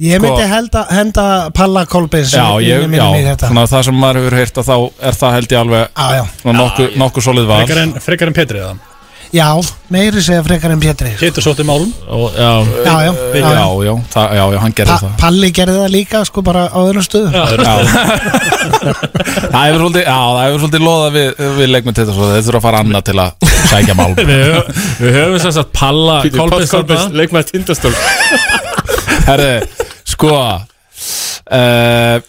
Speaker 11: Ég
Speaker 13: sko-
Speaker 11: myndi henda, henda Palla Kolbeins
Speaker 13: Já, ég,
Speaker 11: inn í minni í
Speaker 13: já,
Speaker 11: þetta.
Speaker 13: svona það sem maður hefur heyrt að þá er það held ég alveg
Speaker 11: Já, já,
Speaker 13: svona nokkuð nokku solid val
Speaker 3: frekar en, frekar en Petri það
Speaker 11: já, meiri segja frekar en Pétri
Speaker 3: Petri sótti málum
Speaker 1: og, já,
Speaker 11: Já, já,
Speaker 13: Já,
Speaker 11: já, já.
Speaker 13: já, það, já, já, hann gerði
Speaker 11: Pa,
Speaker 13: það
Speaker 11: Palli gerði það líka sko bara á öðrum stöðum
Speaker 13: Það hefur svolítið, já, það hefur svolítið loðað við, við leikmenn til þess að þeir þurfa að fara annað til að sækja mál
Speaker 1: við, höfum- við höfum sem sagt Palla Kolbins þarna.
Speaker 2: leikmaður Tindastól.
Speaker 13: Herðu, sko uh,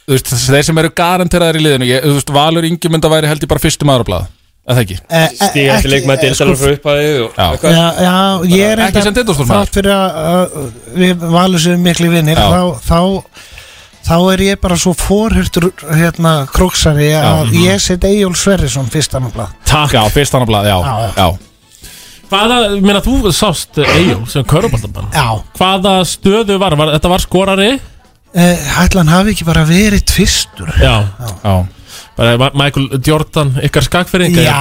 Speaker 13: Þú veist, þeir sem eru garanteraðir í liðinu ég, Þú veist, Valur Ingemynda væri held ég bara fyrstum aðrablað Er það ekki?
Speaker 11: e,
Speaker 2: Stígandi leikmaður Tindastól frá upphæði og
Speaker 13: Já.
Speaker 2: eitthvað.
Speaker 11: Já, já, ég er
Speaker 13: Ekki sem deildastórmaður.
Speaker 11: Þátt fyrir að uh, við valum sér miklu vinnir
Speaker 13: Já.
Speaker 11: þá, þá, þá er ég bara svo fórhyrtur hérna króksari að ég set Egil Sverrisson fyrst annan blað
Speaker 1: Takk
Speaker 13: Já, fyrst aðrablað, já,
Speaker 11: Já, já.
Speaker 13: já.
Speaker 1: Hvaða, ég meina þú sást Eyjó sem körubaldabann
Speaker 11: Já,
Speaker 1: Hvaða stöðu var, var, þetta var skorari
Speaker 11: uh, ætlan hafi ekki bara verið tvistur
Speaker 1: Já,
Speaker 13: Já.
Speaker 1: bara Ma- Michael Jordan ykkar skakferinga
Speaker 11: Já,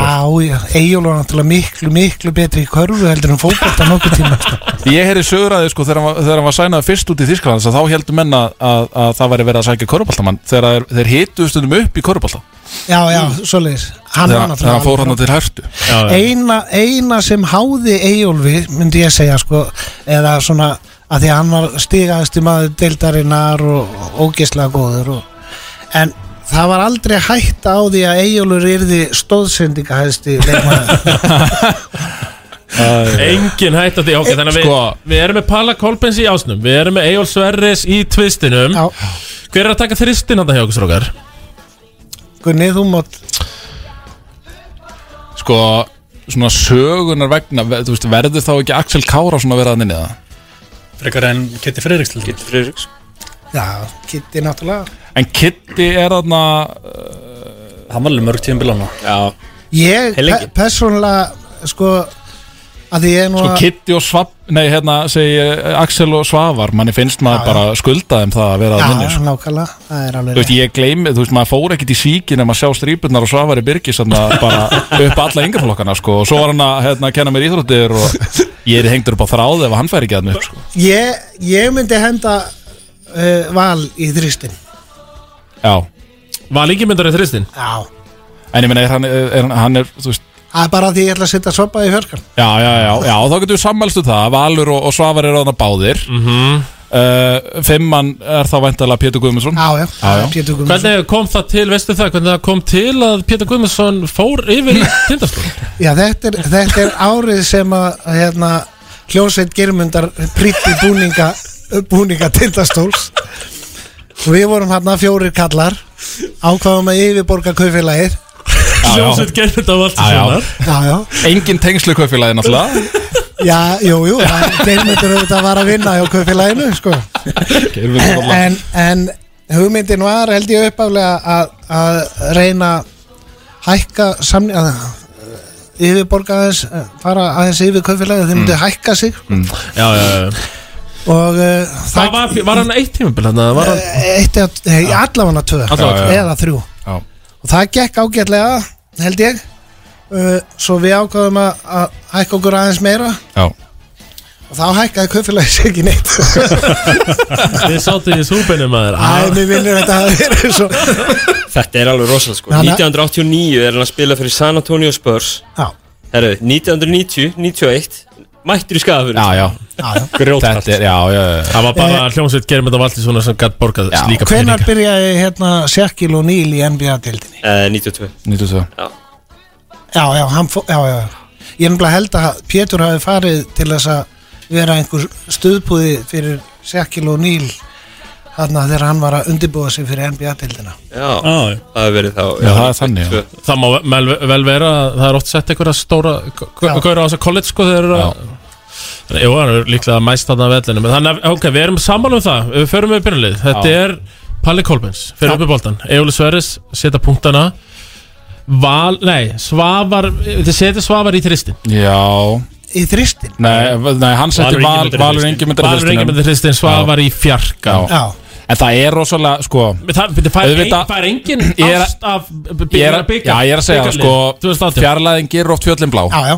Speaker 11: já, Egil var náttúrulega miklu, miklu betri í körfu heldur en fótbolta nokkuð tíma sko.
Speaker 13: Ég heyri söguræði sko þegar hann, var- þegar hann var sænað fyrst út í Þýskaland þá heldur menn að, að, að það væri verið að sækja körubaltamann þegar þeir, þeir hitu stundum upp í körubalta
Speaker 11: Já, já, svoleiðis Hann var
Speaker 13: þegar, þegar
Speaker 11: náttúrulega
Speaker 13: Mm. hann fór hann til hertu
Speaker 11: eina, eina sem háði Eyjólfi myndi ég segja sko eða svona að því að hann var stigaðasti maður deildarinnar og ógislega góður og, en það var aldrei hætta á því að Eyjólfur yrði stóðsendingahæsti
Speaker 13: *laughs*
Speaker 11: leikmaður
Speaker 1: Engin hætt á því, ok, þannig að við,
Speaker 13: Sko.
Speaker 1: við erum með Palla Kolbens í ásnum Við erum með Eyjól Sverris í tvistinum Já. Hver er að taka þristin að það hjá okkur strókar?
Speaker 11: Gunni, þú mátt
Speaker 13: Sko, svona sögunar vegna ve- Þú veist, verður þá ekki Axel Kára svona verið að nynni það?
Speaker 3: Frekar en Kitty Friðriks til Kitty
Speaker 2: Friðriks
Speaker 11: Já, Kitty náttúrulega
Speaker 13: En Kitty er þarna uh,
Speaker 3: Hann var alveg mörg tíum bilana
Speaker 2: Já
Speaker 11: Ég,
Speaker 13: Heil lengi.
Speaker 11: pe persónulega, sko að því ég er nú
Speaker 13: Sko
Speaker 11: að
Speaker 13: Kitty og Svav Nei, hérna, segi ég, Axel og Svavar Manni finnst maður bara skulda þeim það að vera sko. að nynni
Speaker 11: Já, nákvæmlega, það er
Speaker 13: Þú
Speaker 11: alveg
Speaker 13: veist, ég gleymi, þú veist, maður fór ekkit í síkin en maður sjá strípurnar og Svavari Birgis þarna bara upp alla yngreflokkana, sko og svo var hann að, hérna, kenna mér íþróttir og ég er hengdur upp á þráði ef hann fær ekki þarna upp, sko
Speaker 11: ég, ég myndi henda uh, val í þrýstin
Speaker 13: Já
Speaker 1: Var líki myndar í þristin?
Speaker 11: Já
Speaker 13: En ég meina, er hann, er, hann- hann er, þú veist
Speaker 11: Það er bara því ég ætla að setja sopa í fjörkan
Speaker 13: Já, já, já, já, þá getum við sammælstu það Valur og, og Svavar eru þarna báðir mm
Speaker 1: Mhm.
Speaker 13: -hmm. Fimmann er þá væntalega Pétur Guðmundsson
Speaker 11: Já, já,
Speaker 13: já, já.
Speaker 11: Pétur Guðmundsson
Speaker 1: Hvernig kom það til, veistu það, hvernig það kom til að Pétur Guðmundsson fór
Speaker 11: *laughs*
Speaker 1: yfir í tindaskóla?
Speaker 11: Já, þetta er, þetta er árið sem að að, hérna, hljósveit germundar prýtti búninga, búninga tindastóls og við vorum hérna fjórir kallar ákvaðum að yfirborga kaufélagið
Speaker 13: já.
Speaker 1: Hljómsveit germund af allt
Speaker 13: Já, já.
Speaker 11: Já, já,
Speaker 13: Engin tengslu kaufélagi náttúrulega
Speaker 11: já, jú, jú germundur auðvitað var að vinna hjá kaufélaginu sko. en, en hugmyndin var held ég uppaflega að, að reyna að hækka samning að eh, yfirborga aðeins eh, fara aðeins yfir kaufélagið
Speaker 1: Mm.
Speaker 11: þeir myndu hækka sig
Speaker 13: Mm.
Speaker 1: Já, já, já
Speaker 11: og uh,
Speaker 1: Það var, var hann eitt tímabil hann? Var hann
Speaker 11: eitt eða, hei, allavega Eh, tvö
Speaker 1: Allavega tvö.
Speaker 11: eða þrjú
Speaker 13: Já.
Speaker 11: og það gekk ágætlega held ég uh, svo við ákvaðum að, að hækka okkur aðeins meira
Speaker 13: Já.
Speaker 1: *laughs*
Speaker 11: og þá hækkaði kaufélagi sig ekki neitt
Speaker 1: Þið sáttu í súpenum maður
Speaker 11: Æ, mér vinnur þetta að vera svo
Speaker 2: Þetta er alveg rosalega sko
Speaker 11: Hanna-
Speaker 2: 1989 er hann að spila fyrir San Antonio Spurs
Speaker 11: Já.
Speaker 2: Herru, 1990, 91 Mættur í skafur
Speaker 13: Já, já
Speaker 2: Grjótkalt.
Speaker 13: Þetta er, já, já, já
Speaker 1: Það var bara
Speaker 11: Eh.
Speaker 1: hljómsveit germund af allt svona sem gætt borgað slíka
Speaker 11: hvenar byrjaði hérna Sjakil og Níl í NBA-dildinni
Speaker 2: Eh, 92
Speaker 13: 92
Speaker 2: Já
Speaker 11: já, já, hann fó, já, já ég er nefnilega held að Pétur hafi farið til þess að vera einhver stuðbúði fyrir Sjakil og Níl þarna þegar hann var að undibúa sig fyrir NBA-dildina
Speaker 2: Já, það hefur verið þá
Speaker 13: Já, það er þannig, já.
Speaker 1: Það má vel, vel vera að það er oft sett einhverja stóra Gauður á þess að college sko þegar eru að Þannig, Jú, það er líklega að mæst þarna að vellinu Men þannig, að, ok, við erum saman um það Við förum við byrjanlið Þetta
Speaker 13: Já.
Speaker 1: er Palli Kolbens Fyrir uppi boltan Ejóli Sverris Seta punktana Val, nei, Svavar Þið setja Svavar í þristin
Speaker 13: Já
Speaker 11: Í þristin?
Speaker 13: Nei, nei hann setti Val- Valur Ingimundar
Speaker 1: Valur Ingemyndir þristin Svavar í fjarka
Speaker 13: Já En það er rosalega, sko
Speaker 1: Það byrja, fær, ein,
Speaker 13: Auðvitað-
Speaker 1: fær engin
Speaker 13: Ég er-
Speaker 1: ást af
Speaker 13: Ég er,
Speaker 1: byggjara byggja
Speaker 13: já, ég er að segja, sko Fjarlæðin gerur oft fjöllin blá
Speaker 11: já, já.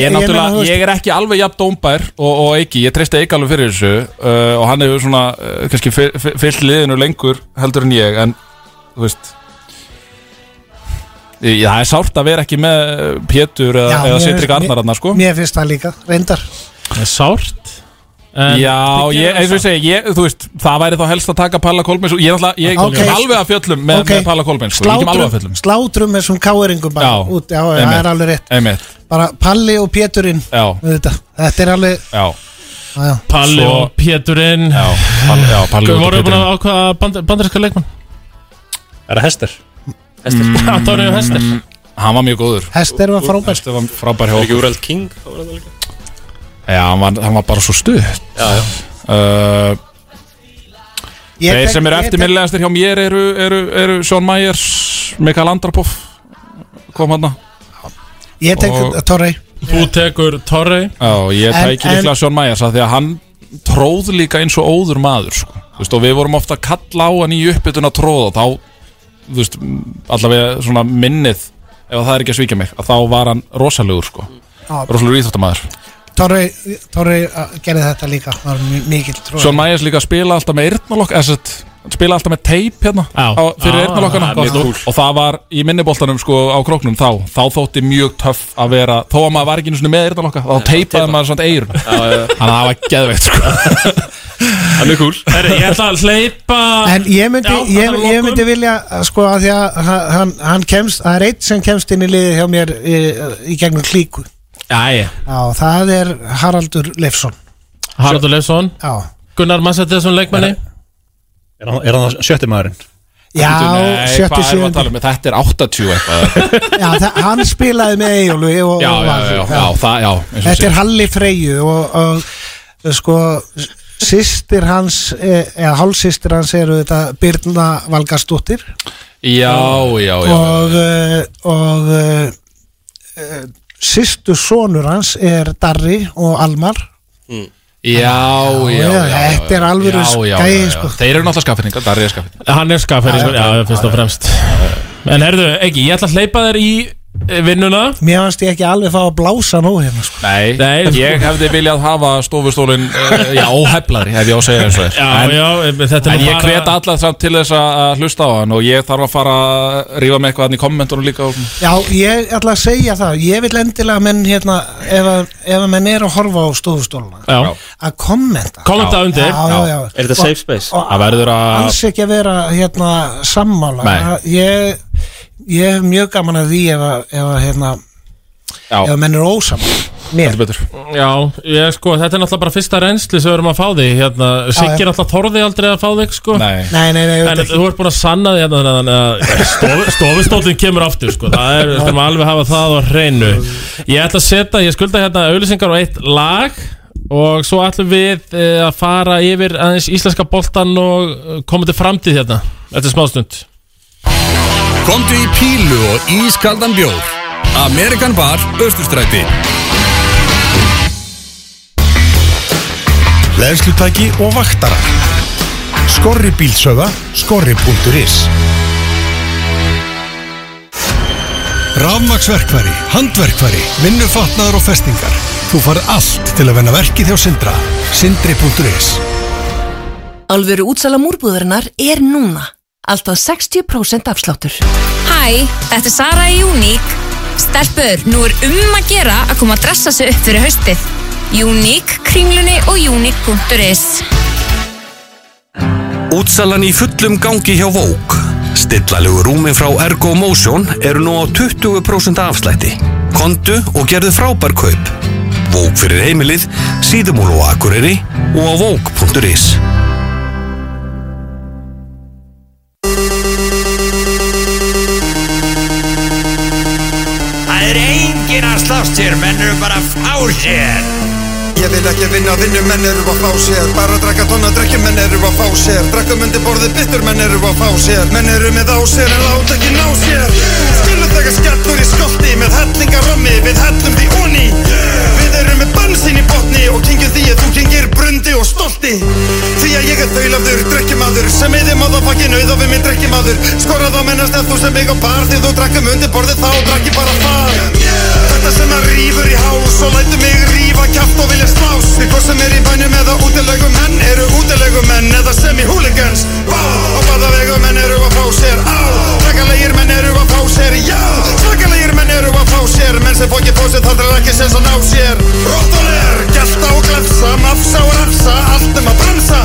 Speaker 11: Ég- ég
Speaker 13: er
Speaker 11: meina, þú
Speaker 13: náttúrulega,
Speaker 11: veist-
Speaker 13: ég er ekki alveg jafn dómbær og, og Eiki, ég treysti Eiki alveg fyrir þessu uh, og hann hefur svona, uh, kannski fyr- fyr- fyllt liðinu lengur heldur en ég en, þú veist ég, það er sárt að vera ekki með uh, Pétur eða,
Speaker 11: Já, mér
Speaker 13: eða
Speaker 11: finnst-
Speaker 13: Sitrik
Speaker 11: mér-
Speaker 13: Arnar hann, sko
Speaker 11: Mér finnst það líka, reyndar
Speaker 1: Sárt
Speaker 13: Já, ég, eins og ég segi, ég, þú veist, það væri þá helst að taka Palla Kolbeins og ég er náttúrulega, ég
Speaker 11: Ok.
Speaker 13: okay. alveg að fjöllum með,
Speaker 11: Ok.
Speaker 13: með Palla Kolbeins, sko, ég kem alveg að
Speaker 11: Slátrum,
Speaker 13: fjöllum
Speaker 11: slátrum þessum káeringum bara
Speaker 13: Já,
Speaker 11: út, já, já, það
Speaker 13: einmitt.
Speaker 11: er alveg rétt
Speaker 13: Einmitt,
Speaker 11: Bara Palli og Péturinn
Speaker 13: já,
Speaker 11: þetta. þetta er alveg
Speaker 13: já
Speaker 11: já, já.
Speaker 1: Palli
Speaker 13: Svo-
Speaker 1: og Péturinn
Speaker 13: Já, Palli, já, Palli og
Speaker 1: Við Sko, vorum búin
Speaker 13: Péturinn.
Speaker 1: að ákvaða band, bandarinska leikmann
Speaker 3: Er það Hester?
Speaker 1: Hester mm, Antonio Hester
Speaker 13: Hann var mjög góður
Speaker 11: Hester var frábær.
Speaker 13: Hester var frábær hjá
Speaker 2: Var ekki
Speaker 13: okkur
Speaker 2: Úrald King þá var það líka?
Speaker 13: Já, hann var, hann var bara svo stuð
Speaker 2: Já, já.
Speaker 13: uh,
Speaker 2: Ég
Speaker 13: Þeir
Speaker 2: tek-
Speaker 13: sem eru
Speaker 2: ég tek-
Speaker 13: eftirminnilegastir hjá mér eru, eru, eru Sean Myers, Mikael Andropov kom hann
Speaker 11: Ég tek
Speaker 13: Og-
Speaker 11: Torrey
Speaker 1: Þú tekur Torrey
Speaker 13: Já, ég
Speaker 11: En-
Speaker 13: tæki
Speaker 11: en-
Speaker 13: líklega Sean Myers af því að hann tróð líka eins og óður maður sko. Þú veist, og við vorum ofta að kalla á hann í uppbytun að tróða þá þú veist, allavega svona minnið ef það er ekki að svíkja mig að þá var hann rosalegur sko.
Speaker 11: Já.
Speaker 13: rosalegur íþróttamaður
Speaker 11: Torrey, Torrey uh, gerði þetta líka var mi- mikill trúi
Speaker 13: Sean Myers líka spila alltaf með eyrnalokk eða sett, hann spila alltaf með teip hérna
Speaker 1: Já.
Speaker 13: á, fyrir
Speaker 1: Já,
Speaker 13: eyrnalokkana
Speaker 1: það er mjög
Speaker 13: og, og það var í minniboltanum sko á króknum þá þá þótti mjög töff að vera þó að maður var ekki einu sinni með eyrnalokka þá teipaði maður svona eyrun
Speaker 2: já.
Speaker 13: þannig að það var geðveikt sko
Speaker 2: Það er mjög cool
Speaker 1: Herri, ég ætla að hleypa
Speaker 11: En ég myndi,
Speaker 1: Já,
Speaker 11: ég, ég
Speaker 1: þarna lokum.
Speaker 11: myndi vilja að sko að því að hann- hann, hann kemst, það er eitt sem kemst inn í liðið hjá mér í, í gegnum klíku
Speaker 1: Jæja,
Speaker 11: Já, það er Haraldur
Speaker 13: *laughs*
Speaker 11: Leifsson
Speaker 1: Haraldur Leifsson
Speaker 11: Já.
Speaker 1: Gunnar Massett þessum leikmanni
Speaker 3: Er hann- er hann sjötti maðurinn?
Speaker 11: Já,
Speaker 13: Nei,
Speaker 11: sjötti
Speaker 13: hvað erum við
Speaker 11: sjöndi
Speaker 13: að tala um? Þetta er 80 eitthvað
Speaker 11: Já, það, hann spilaði með Eyjólu og,
Speaker 13: Já,
Speaker 11: og
Speaker 13: já, já, já, já, það, já eins og þú
Speaker 11: Þetta
Speaker 13: segir.
Speaker 11: er Halli Freyju og, og sko sýstir hans eh, eða hálsýstir hans eru þetta Birna Valgarsdóttir
Speaker 13: Já, já, já
Speaker 11: og, eh, og eh, sýstu sonur hans er Darri og Almar
Speaker 13: Já, já, já, já
Speaker 11: þetta er alvöru skæi, sko.
Speaker 13: Þeir eru náttúrulega skaffinningar, það er skaffinningar
Speaker 1: Hann er skapherri, sko, já, fyrst og fremst En herðu, ekki, ég ætla að hleypa þér í eh, vinnuna
Speaker 11: Mér fannst ég ekki alveg fá að blása nóg hérna sko.
Speaker 13: Nei,
Speaker 1: Nei,
Speaker 13: ég hefði viljað hafa stofustólin uh, Já, óheflari, hef ég á að segja eins og þér
Speaker 1: Já,
Speaker 13: En-
Speaker 1: já, em, þetta er
Speaker 13: En
Speaker 1: nú
Speaker 13: ég
Speaker 1: bara
Speaker 13: hvet allar samt til þess að að hlusta á hann og ég þarf að fara að rífa með eitthvað hann í kommentunum líka og...
Speaker 11: Já, ég ætla að segja það Ég vil endilega að menn hérna ef að, ef að menn eru að horfa á stofustóluna
Speaker 1: Já.
Speaker 11: að kommenta
Speaker 1: Kommenta undir.
Speaker 11: já, já, já.
Speaker 2: Er þetta safe space?
Speaker 13: Það verður að
Speaker 11: alls ekki að vera hérna sammála
Speaker 13: Nei.
Speaker 11: Að ég, ég hef mjög gaman að því ef að, ef að hérna
Speaker 13: Já.
Speaker 11: ef að menn eru ósammála mér
Speaker 13: Heldur betur
Speaker 1: Já, ég sko, þetta er náttúrulega bara fyrsta reynsli sem við erum að fá þig hérna, Siggi
Speaker 11: já.
Speaker 1: er náttúrulega þorði aldrei að fá þig sko.
Speaker 13: Nei
Speaker 11: nei, nei, nei,
Speaker 1: En
Speaker 11: auðvitað ekki.
Speaker 1: þú ert búin að sanna því hérna þannig að stofu- stofustólinn kemur aftur sko. Það er, við skulum alveg hafa það á hreinu Ég ætla að setja, ég skulda hérna auðlýsingar og eitt lag Og svo ætlum við eh, að fara yfir aðeins íslenska boltan og eh, koma til framtíð hérna Þetta er smástund
Speaker 5: Komdu í pílu og ískaldan bjór Amerikan Bar, Östustræti
Speaker 4: Leðslutæki og vaktara Skorri bílsöða Skorri.is Rafmaksverkfæri, handverkfæri, vinnufatnaður og festingar Þú farið allt til að vinna verkið hjá Sindra Sindri.is
Speaker 14: Alvöru útsala múrbúðarinnar er núna. Alltaf 60% afsláttur.
Speaker 15: Hæ, þetta er Sara í Unique. Stelpur, nú er um að gera að koma að dressa sig upp fyrir haustið. Unique, kringlunni og unique.is
Speaker 5: Útsalan í fullum gangi hjá Vók Stillalegu rúmin frá Ergo Motion eru nú á 20% afslætti Kondu og gerðu frábær kaup Vók fyrir heimilið, síðumúl og akureyri og á vók.is
Speaker 12: Það er engin að slást hér, menn eru bara að fá sér
Speaker 16: Ég vil ekki vinna, vinnu menn eru að fá sér Bara að drakka tonna, drekki menn eru að fá sér Drakkum undir borði, byttur menn eru að fá sér Menn eru með á sér en láta ekki ná sér Spilum þegar skellur í skolti Með hellingarommi, við hellum því onni Við erum með bansinn í botni Og kingum því að þú kingir brundi og stolti Því að ég er þaulafður, drekkjumadur Sem eði maðafakkin auð og við minn drekkjumadur Skorað á mennast ef þú sem mig á bar Því þú drakkum um undir borði þá drakki bara far Þetta sem að rýfur í hás Og lætur mig rífa kjaft og vilja slás Því hvort sem er í bænum eða útilegum menn Eru útilegum menn eða sem í hooligans Vá, á hvaða vegum menn eru að fá sér Á, drakalegir menn eru að fá sér Já, svakalegir menn eru að fá sér Menn sem fókið fósið þáttur er ekki sens að ná sér Róttulegar, gælta og glefsa Mafsa og rafsa, allt um að bransa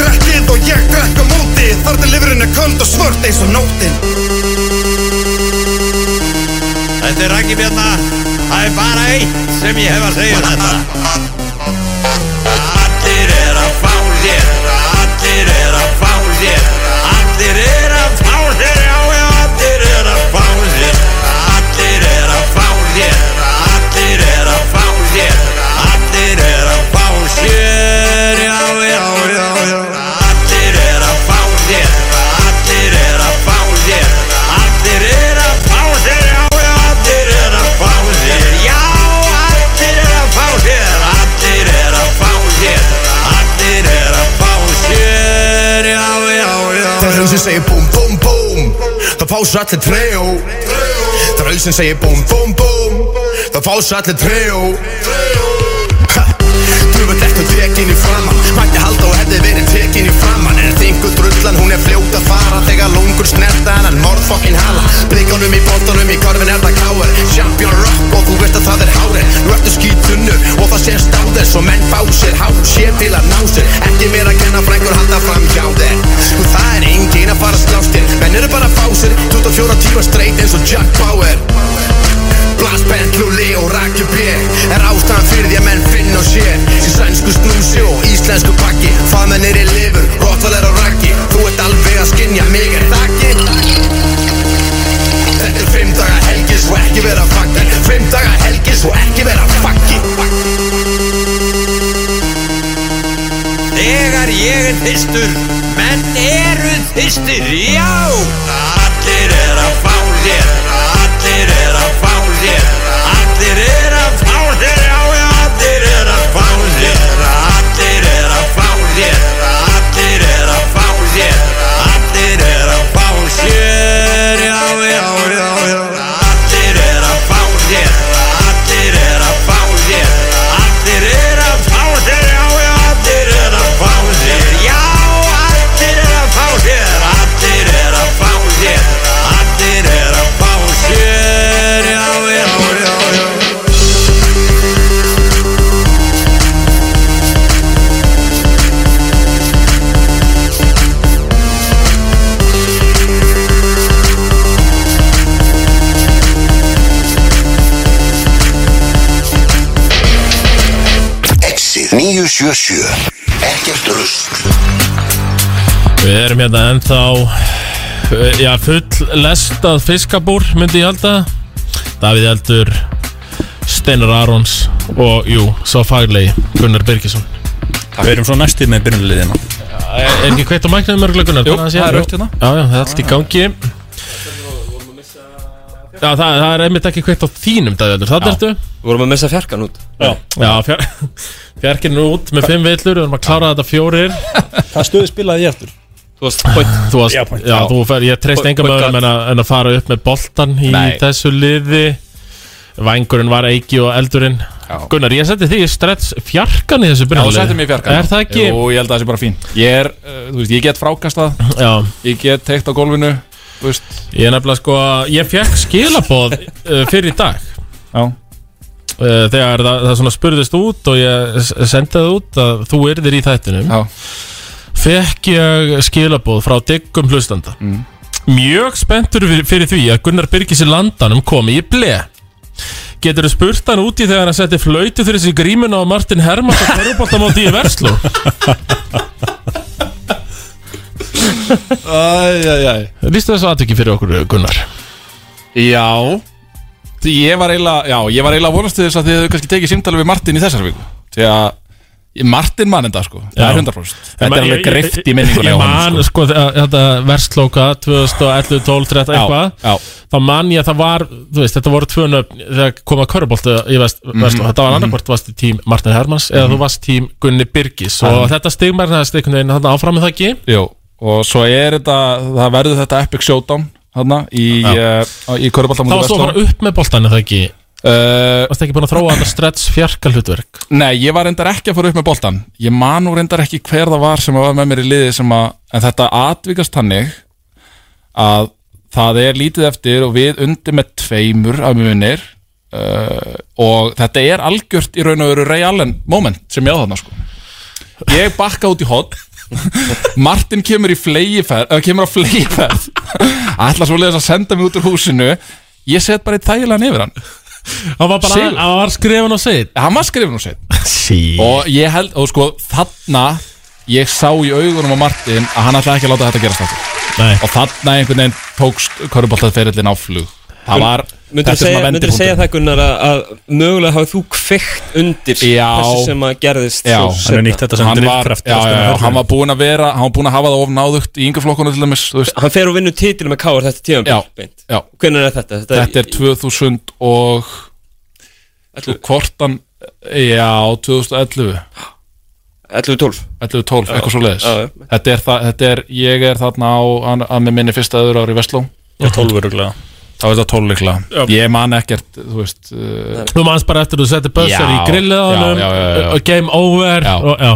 Speaker 16: Drekkið og ég drekk á móti Þar til lifurinn er köld og svört eins og nótin
Speaker 12: Þetta er ekki björna, það er bara eitt sem ég hef að segja um þetta Allir er að fá sér, allir er að fá sér Allir er að fá sér, já já, allir er að fá sér Allir er að fá sér, allir er að fá sér Allir er að fá sér, já já, já, já Allir er að fá sér, allir er að fá sér Allir er að fá sér, já já, allir er að fá sér Já, allir er að fá sér, allir er að fá sér Allir er að fá sér, já já, já
Speaker 17: Það er hausin segir búm, búm, búm Það fást allir trejó Það er hausin segir búm, búm, búm Það fást allir trejó Dröfum þetta tekin í framann Mætti halda og hefði verið tekin í framann En þingur drullan, hún er fljót að fara Þegar lungur snerta hennan morðfokkin hala Blikunum í boltanum, í korfin er það káir Champion rock og þú veist að það er hárin Nú ertu skítunur og það sést á þess Og menn fá sér hár Sér til að ná sér Ekki mér að kenna frængur halda fram hjá þér Og það er engin að fara að slást þér Menn eru bara að fá sér 24 tíma straight eins og Jack Bauer Blast, Bentley og Raki B Er ástæðan fyrir því að menn finna og sér Í sænsku snúsi og íslensku pakki Faðmennir í lifur, rottvaler og raggi Þú ert alveg að skinja mig en þakki Þetta er fimm daga helgi svo ekki vera fakt Þetta er fimm daga helgi svo ekki vera fakki
Speaker 12: Þegar ég er þyrstur Menn eru þyrstir, já Allir er að fá þér Allir er að fá þér Allir er að fá þér Já, já, allir er að fá þér Allir er að fá þér Allir er að fá þér Allir er að fá þér Já, já, já, já Allir er að fá þér Allir er að fá þér Allir er að fá þér Já, já, allir er að fá þér Já, allir er að fá þér Allir er að fá þér Allir er að fá þér Já, já, já, já
Speaker 8: Exit 977 Ekkert rusl
Speaker 1: Við erum hérna ennþá eh, Já, full lestað fiskabúr myndi ég halda Davíð Eldur Steinar Arons og jú, svo faglegi Gunnar Birgisson
Speaker 3: Við erum svo næstu með byrjunliðina
Speaker 1: Er er ekki kveitt á mæknaðum örgulega Gunnar?
Speaker 3: Jú,
Speaker 1: Þannig að sé-
Speaker 3: það er rautt hérna.
Speaker 1: Já, já, það er allt í gangi Já, það, það er einmitt ekki kveitt á þínum Davíð Eldur, það ertu
Speaker 2: Við vorum að missa fjarkan út
Speaker 3: Já,
Speaker 1: já fjar, *laughs* fjarkinn er út með fimm villur Við erum að klára þetta fjórir
Speaker 3: Hvað stöðu spilaði ég eftir?
Speaker 2: Þú varst point
Speaker 1: Þú varst, já, þú fer, ég treyst
Speaker 3: Point-
Speaker 1: enga
Speaker 3: point
Speaker 1: mögum en, að- en að fara upp með boltan í
Speaker 3: Nei.
Speaker 1: þessu liði Vængurinn var Eiki og Eldurinn Gunnar, ég seti því stretts fjarkan í þessu
Speaker 13: Já, þú
Speaker 1: byrjunarliði.
Speaker 13: settir mig í fjarkan
Speaker 1: Er það ekki?
Speaker 13: Jú, ég held að það sé bara fín Ég er, uh, þú veist, ég get frákastað
Speaker 1: Já.
Speaker 13: Ég get teikt á gólfinu Þú veist
Speaker 1: Ég er nefnilega sko Ég fekk skilaboð uh, fyrir í dag
Speaker 13: Já
Speaker 1: Eh, Þegar það, það svona spurðist út og ég s- sendi það út að þú yrðir í þættinum
Speaker 13: Já
Speaker 1: Fekk ég skilaboð frá diggum hlustanda Mjög spenntur fyr- fyrir því að Gunnar Birgis í landanum komi í ble Geturðu spurt hann úti þegar hann setti flöytu fyrir sig grímuna á Martin Hermann og Körubóltamóti í Versló?
Speaker 13: Æjæjæj
Speaker 1: *laughs* Lýstu þessu aðtöki fyrir okkur Gunnar
Speaker 13: Já Því Ég var eiginlega, já, ég var eiginlega að vonast til þess að þið hefðu kannski tekið símtali við Martin í þessar viku Því að ég- Martin mann enda sko Það er 100% Þetta er alveg greift í minningunni
Speaker 1: Ég
Speaker 13: á honum,
Speaker 1: man, sko, þe- þetta verslóka 2011, 12, 13,
Speaker 13: Já,
Speaker 1: eitthvað Þá man ég að það var, þú veist, þetta voru tvö nöfn Þegar koma körubólta í vest, mm
Speaker 13: Mhm.
Speaker 1: Þetta var
Speaker 13: Mhm.
Speaker 1: annarkvort, varst í tím Martin Hermans Eða þú varst tím Gunni Birgis Og
Speaker 13: Já.
Speaker 1: þetta stigmarnaðist einhvern veginn þarna áfram með það ekki
Speaker 13: Jú, og svo er þetta, það verður þetta epic showdown Þarna í, uh, í
Speaker 1: Það
Speaker 13: Körubaltamóti
Speaker 1: var svo að fara upp með boltan, er það ekki?
Speaker 13: Uh,
Speaker 1: Varst ekki búin að þróa þetta stretch fjarka hlutverk?
Speaker 13: Nei, ég var reyndar ekki að fara upp með boltan Ég man nú reyndar ekki hver það var sem var með mér í liði sem að, en þetta atvikast hannig að það er lítið eftir og við undir með tveimur af munir uh, og þetta er algjört í raun og veru Ray Allen moment sem ég á þarna sko Ég bakka út í hot *laughs* Martin kemur í fleigiferð eða kemur á *laughs* fleigiferð ætla svo að senda mig út úr húsinu ég set bara eitt þægilegan yfir hann
Speaker 1: Hann var bara- hann var skrifin og sitt
Speaker 13: Hann var skrifin og sitt
Speaker 1: Sí
Speaker 13: Og ég held, og sko þarna Ég sá í augunum á Martin að hann ætlaði ekki að láta þetta gerast aftur
Speaker 1: Nei.
Speaker 13: Og þarna einhvern veginn tókst Köruboltaferillin á flug Það var,
Speaker 2: Myndur þú segja, myndirðu
Speaker 13: vendipunkturinn.
Speaker 2: segja það Gunnar að, að mögulega hafið þú kveikt undir
Speaker 13: Já.
Speaker 2: þessu sem að gerðist
Speaker 13: Já, Hann var-
Speaker 2: drifkraft
Speaker 13: Já, já, já, hann var búinn að vera, hann var búinn að hafa það of náðugt í yngjaflokkuna til dæmis þú veist.
Speaker 2: Hann fer og vinnur titil með Káar þetta tíðan
Speaker 13: Já, já
Speaker 2: Hvernig er þetta? Þetta,
Speaker 13: Þetta er 2000 og Þú kvortan Já, 2011
Speaker 2: 11-12
Speaker 13: 11-12, eitthvað svo leiðis
Speaker 2: Já, já.
Speaker 13: þetta, er það- þetta er, ég er þarna á að- að með minni fyrsta öðru ári í Vestló
Speaker 3: Já, 12 öruglega
Speaker 13: Þá er þetta 12 líklega Ég man ekkert, þú veist eh,
Speaker 1: Þú manns bara eftir að þú setti buzzer
Speaker 13: Já,
Speaker 1: í grillið á
Speaker 13: já,
Speaker 1: honum
Speaker 13: já, já, já.
Speaker 1: uh, Game over
Speaker 13: Já.
Speaker 1: Og, já.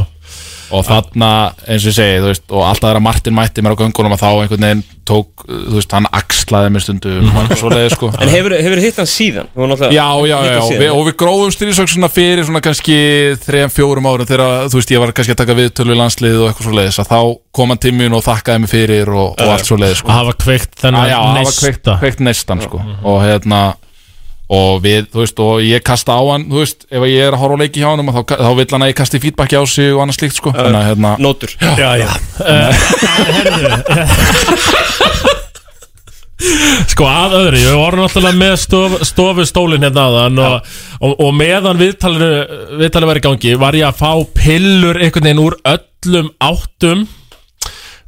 Speaker 13: og þarna eins og ég segi þú veist, og alltaf þegar Martin mætti mér á göngunum að þá einhvern veginn tók, uh, þú veist, hann axlaði mér stundum og svo leiði sko
Speaker 2: En hefur, hefur hitt hann síðan? Þú hefur náttúrulega
Speaker 13: *laughs* Já,
Speaker 2: hitt
Speaker 13: já, já,
Speaker 2: hann
Speaker 13: já.
Speaker 2: síðan.
Speaker 13: Við, og við grófum styrjusök svona fyrir svona kannski 3-4 árum þegar þú veist ég var kannski að taka viðtölu í landslið og eitthvað svo leiðis að þá kom hann til mín og þakkaði mig fyrir og, og allt svo leiðis sko.
Speaker 1: Að hafa
Speaker 13: *laughs*
Speaker 1: kveikt þennan
Speaker 13: Að- já, að hafa
Speaker 1: neista.
Speaker 13: kveikt, kveikt neistan sko. og hérna og við, þú veist, og ég kasta á hann þú veist, ef ég er að horfa á leiki hjá hann þá, þá vill hann að ég kasti feedbacki á sig og annað slíkt sko.
Speaker 2: Já, já.
Speaker 13: Þannig að, hérna,
Speaker 2: Nótur
Speaker 13: Já, já
Speaker 1: Eh, Sko að öðru, við vorum náttúrulega með stof, stofustólin hérna áðan og, og, og meðan viðtalinu, viðtalinu var í gangi var ég að fá pillur einhvern veginn úr öllum áttum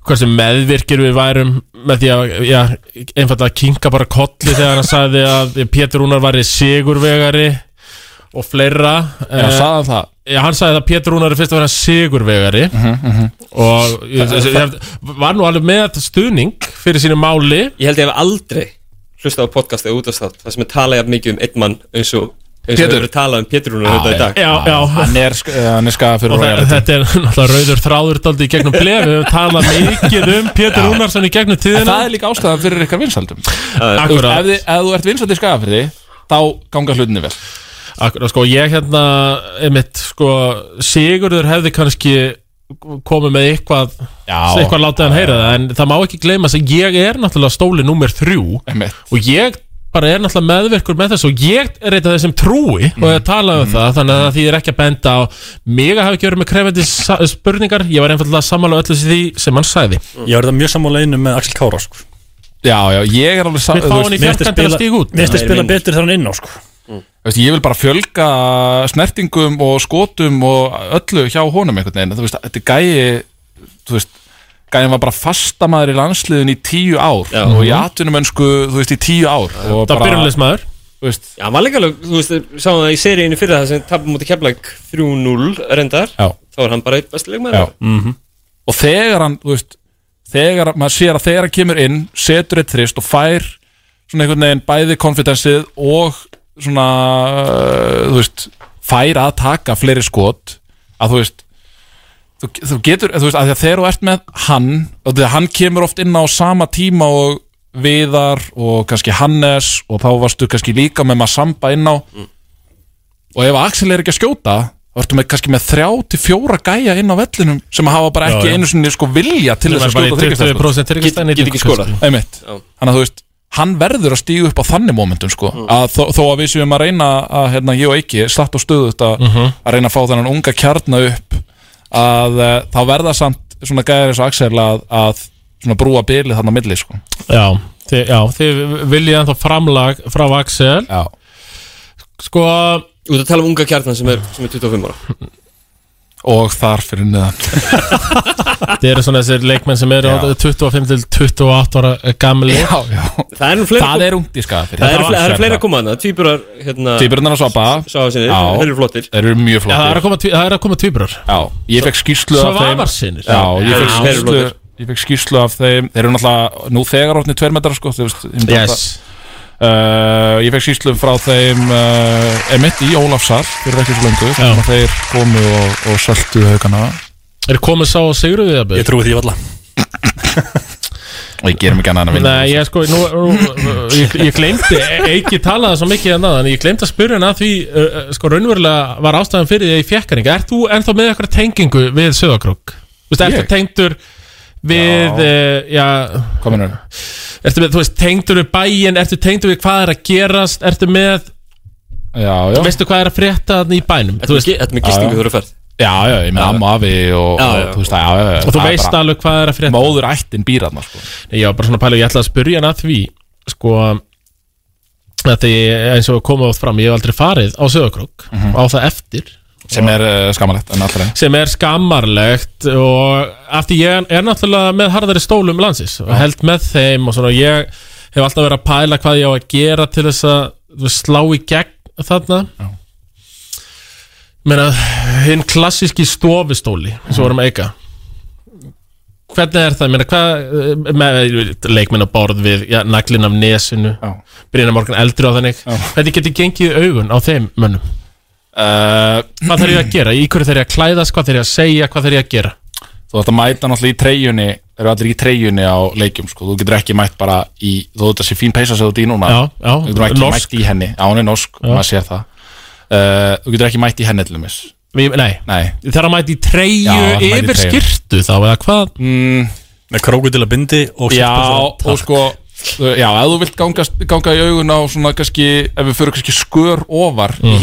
Speaker 1: hversu meðvirkir við værum með því að, já, einfallega kinka bara kolli þegar hann sagði að Pétur Rúnar væri sigurvegari og fleira
Speaker 13: Já, sagði hann það?
Speaker 1: Eh,
Speaker 13: Mhm,
Speaker 1: Já, hann sagði það að Pétur Rúnar er fyrst að vera sigurvegari og ég,
Speaker 2: Þa-
Speaker 1: ég,
Speaker 2: það-
Speaker 1: ég, var nú alveg með stuðning fyrir sínu máli
Speaker 2: Ég held ég hef aldrei hlustað á podcast eða útastátt Það sem er talað jafn mikið um einn mann eins og eins og
Speaker 13: Pétur.
Speaker 2: hefur verið talað um Pétur Rúnar
Speaker 13: Já,
Speaker 2: þetta í dag
Speaker 1: já, já.
Speaker 13: Ah, hann er, sk- eh, hann er skafað fyrir
Speaker 1: og þe-
Speaker 13: royalty.
Speaker 1: þetta er náttúrulega rauður þráður daldi í gegnum blef, við höfum talað mikið um Pétur
Speaker 13: Já.
Speaker 1: Rúnarsson í gegnum tíðina
Speaker 13: En það er líka ástæðan fyrir ykkar vinsaldum
Speaker 1: Akkurat.
Speaker 13: Þú veist, ef, þið- ef þú ert vinsald í skafafyrði þá ganga hlutinni vel
Speaker 1: Akkurat, sko, ég hérna einmitt, sko, Sigurður hefði kannski komið með eitthvað
Speaker 13: Já.
Speaker 1: eitthvað látið hann heyra það en það má ekki gleyma þess að ég er náttúrulega stóli númer þrjú
Speaker 13: einmitt.
Speaker 1: og ég bara er náttúrulega meðverkur með þess og ég er eitt af þeim sem trúi og
Speaker 13: Mm.
Speaker 1: ég tala um það þannig að því er ekki að benda á mig að hafa ekki verið með krefandi sa- spurningar ég var einfallega sammála öllu því sem hann sagði
Speaker 3: Ég var það mjög sammála einu með Axel Kára sko.
Speaker 13: Já, já, ég er alveg
Speaker 1: Við fáum hann í fjarkann til að stíga út.
Speaker 3: Mér finnst
Speaker 1: Nei,
Speaker 3: að spila
Speaker 1: vinur.
Speaker 3: betur þegar hann er inn á sko.
Speaker 13: Veist, ég vil bara fjölga snertingum og skotum og öllu hjá honum einhvern veginn þú veist, þetta er gæi þú veist, gæin var bara fastamaður í landsliðin í tíu ár já. og í
Speaker 1: Mhm.
Speaker 13: atvinnum þú veist, í tíu ár og bara-
Speaker 1: maður
Speaker 2: Já, hann var líka alveg, þú veist, sáum það í seríinu fyrir það sem tapum mútið keflag 3-0 reyndar
Speaker 13: Já.
Speaker 2: Þá er hann bara eitt besti leikmaður
Speaker 13: Já. mhm. og þegar hann þú veist, þegar maður sér að þegar hann kemur inn setur eitt þrist og fær svona einhvern veginn bæði konfidensið og svona uh, þú veist, fær að taka fleiri skot að þú veist þú, þú getur, þú veist, að því að þegar þú ert með hann, og því að hann kemur oft inn á sama tíma og viðar og kannski Hannes og þá varstu kannski líka með maður samba inn á
Speaker 1: Mm.
Speaker 13: og ef Axel er ekki að skjóta þá ertu með kannski með þrjá til fjóra gæja inn á vellinum sem hafa bara
Speaker 1: Já,
Speaker 13: ekki
Speaker 1: já.
Speaker 13: einu sinni sko vilja til
Speaker 1: Sem
Speaker 13: þess
Speaker 1: er
Speaker 13: að
Speaker 1: bara í
Speaker 13: skjóta
Speaker 1: 20% tryggastæðin í Get- get ekki skorað. kannski.
Speaker 13: einmitt
Speaker 1: Já.
Speaker 13: þannig að þú veist hann verður að stígu upp á þannig momentum sko að þó, þó að við séum að reyna að hérna ég og ekki slatt og stöðu þetta
Speaker 1: Mhm.
Speaker 13: að reyna að fá þennan unga kjarna upp að uh, þá verða samt svona gæðir eins og Axel að, að svona brúa bilið þarna á milli sko
Speaker 1: Já, þið, já, þið viljið ennþá framlag frá Axel
Speaker 13: Já
Speaker 1: Sko
Speaker 2: Út að tala um unga kjarnan sem er, sem er 25 ára
Speaker 13: og þar fyrir
Speaker 1: *laughs*
Speaker 13: neðan
Speaker 1: Þið eru svona þessir leikmenn sem eru
Speaker 13: Já.
Speaker 1: 25 til 28 ára gamli
Speaker 13: Já, já
Speaker 2: Það er nú fleira
Speaker 13: Það er ungt í Skagafirði.
Speaker 2: Það eru fleira,
Speaker 13: Það var
Speaker 2: er fleira
Speaker 13: sérna.
Speaker 2: að koma þarna Týpurar, hérna
Speaker 13: Tvíburarnar á Svabba.
Speaker 2: Sá sinni,
Speaker 13: Já.
Speaker 2: þeir eru flottir
Speaker 13: Þeir eru mjög
Speaker 1: Já,
Speaker 13: flottir
Speaker 1: það er að koma, tví- það er að koma tvíbrar
Speaker 13: Já, ég fekk skýrslu af þeim
Speaker 1: Svavarssynir.
Speaker 13: Já, ég fekk
Speaker 1: Já, þeir eru
Speaker 13: skýrslu
Speaker 1: flottir.
Speaker 13: Ég fekk skýrslu af þeim Þeir eru náttúrulega nú þegar orðni tveir metrar sko þú veist, ég myndi
Speaker 1: Yes.
Speaker 13: alltaf- uh, Ég fekk skýrslu frá þeim uh, Emitt í Ólafsar Fyrir ekki svo lengu
Speaker 1: Já.
Speaker 13: Þannig að þeir komu og, og söltu haugana
Speaker 1: Er komið sá og sigur við það?
Speaker 13: Ég trúi því valla Og ég gerum ekki annað en að vinna
Speaker 1: Nei, ég sko, nú, nú, ég, ég glemdi, ekki talaði svo mikið um en aðan, ég glemdi að spyrja hann að því, uh, uh, sko, raunverulega var ástæðan fyrir því að ég fekk hann ekki. Ert þú ennþá með eitthvað tengingu við Söðakrók? Þú veist, ertu
Speaker 13: Ég?
Speaker 1: tengdur við, uh, já...
Speaker 13: Hvað mennur?
Speaker 1: Ertu með, þú veist, tengdur við bæinn, ertu tengdur við hvað er að gerast, ertu með...
Speaker 13: Já, já.
Speaker 1: Veistu hvað er að frétta þarna í bænum?
Speaker 2: Ertu með gi- ertu með gistingu þegar þú ferð?
Speaker 13: Já, já, ég með amma afi og,
Speaker 1: Já,
Speaker 13: og
Speaker 1: já.
Speaker 13: þú veist að, já, já, já,
Speaker 1: og þú
Speaker 13: það er
Speaker 1: veist
Speaker 13: bara-
Speaker 1: alveg hvað er að frétta
Speaker 13: móður ættin býr þarna sko.
Speaker 1: Nei, ég var bara svona pæla, ég ætlaði að spyrja hann að því sko að því eins og koma átt fram, ég hef aldrei farið á Söðakrók á það eftir
Speaker 13: Sem er uh, skammalegt en allra
Speaker 1: sem er skammarlegt og af því ég er náttúrulega með harðari stólum landsins og held með þeim og svona ég hef alltaf verið að pæla hvað ég á að gera til þess að þú veist, slá í gegn þarna Já. meina hinn klassíski stofustóli eins og vorum að eika hvernig er það, meina hvað eh, með leikmenn á borð við já, naglinn af nesinu, Brynja Morgan eldri á þannig hvernig getur gengið í augun á þeim mönnum
Speaker 13: Uh,
Speaker 1: Hvað þarf ég að gera? Í hverju þarf ég að klæðast? Hvað þarf ég að segja? Hvað þarf ég að gera?
Speaker 13: Þú ætti að mæta náttúrulega í treyjunni Það eru allir í treyjunni á leikjum sko. Þú getur ekki mætt bara í Þú þetta sé fín peysa sem þú ert í núna
Speaker 1: Já, já,
Speaker 13: Þú getur ekki
Speaker 1: norsk.
Speaker 13: mætt í henni Já, hún er norsk,
Speaker 1: Já.
Speaker 13: maður sér það uh, Þú getur ekki mætt í henni til dæmis
Speaker 1: Við- Nei,
Speaker 13: Nei.
Speaker 1: það er að mæta í treyju yfir skyrtu þá eða hvað
Speaker 13: mm.
Speaker 3: Með krókudila bindi og
Speaker 13: Já,
Speaker 3: sérpulsu.
Speaker 13: og sko uh, Já, ef þú vilt gangast, ganga í augun á svona kannski, ef við fyrir kannski skör ofar
Speaker 1: Mm.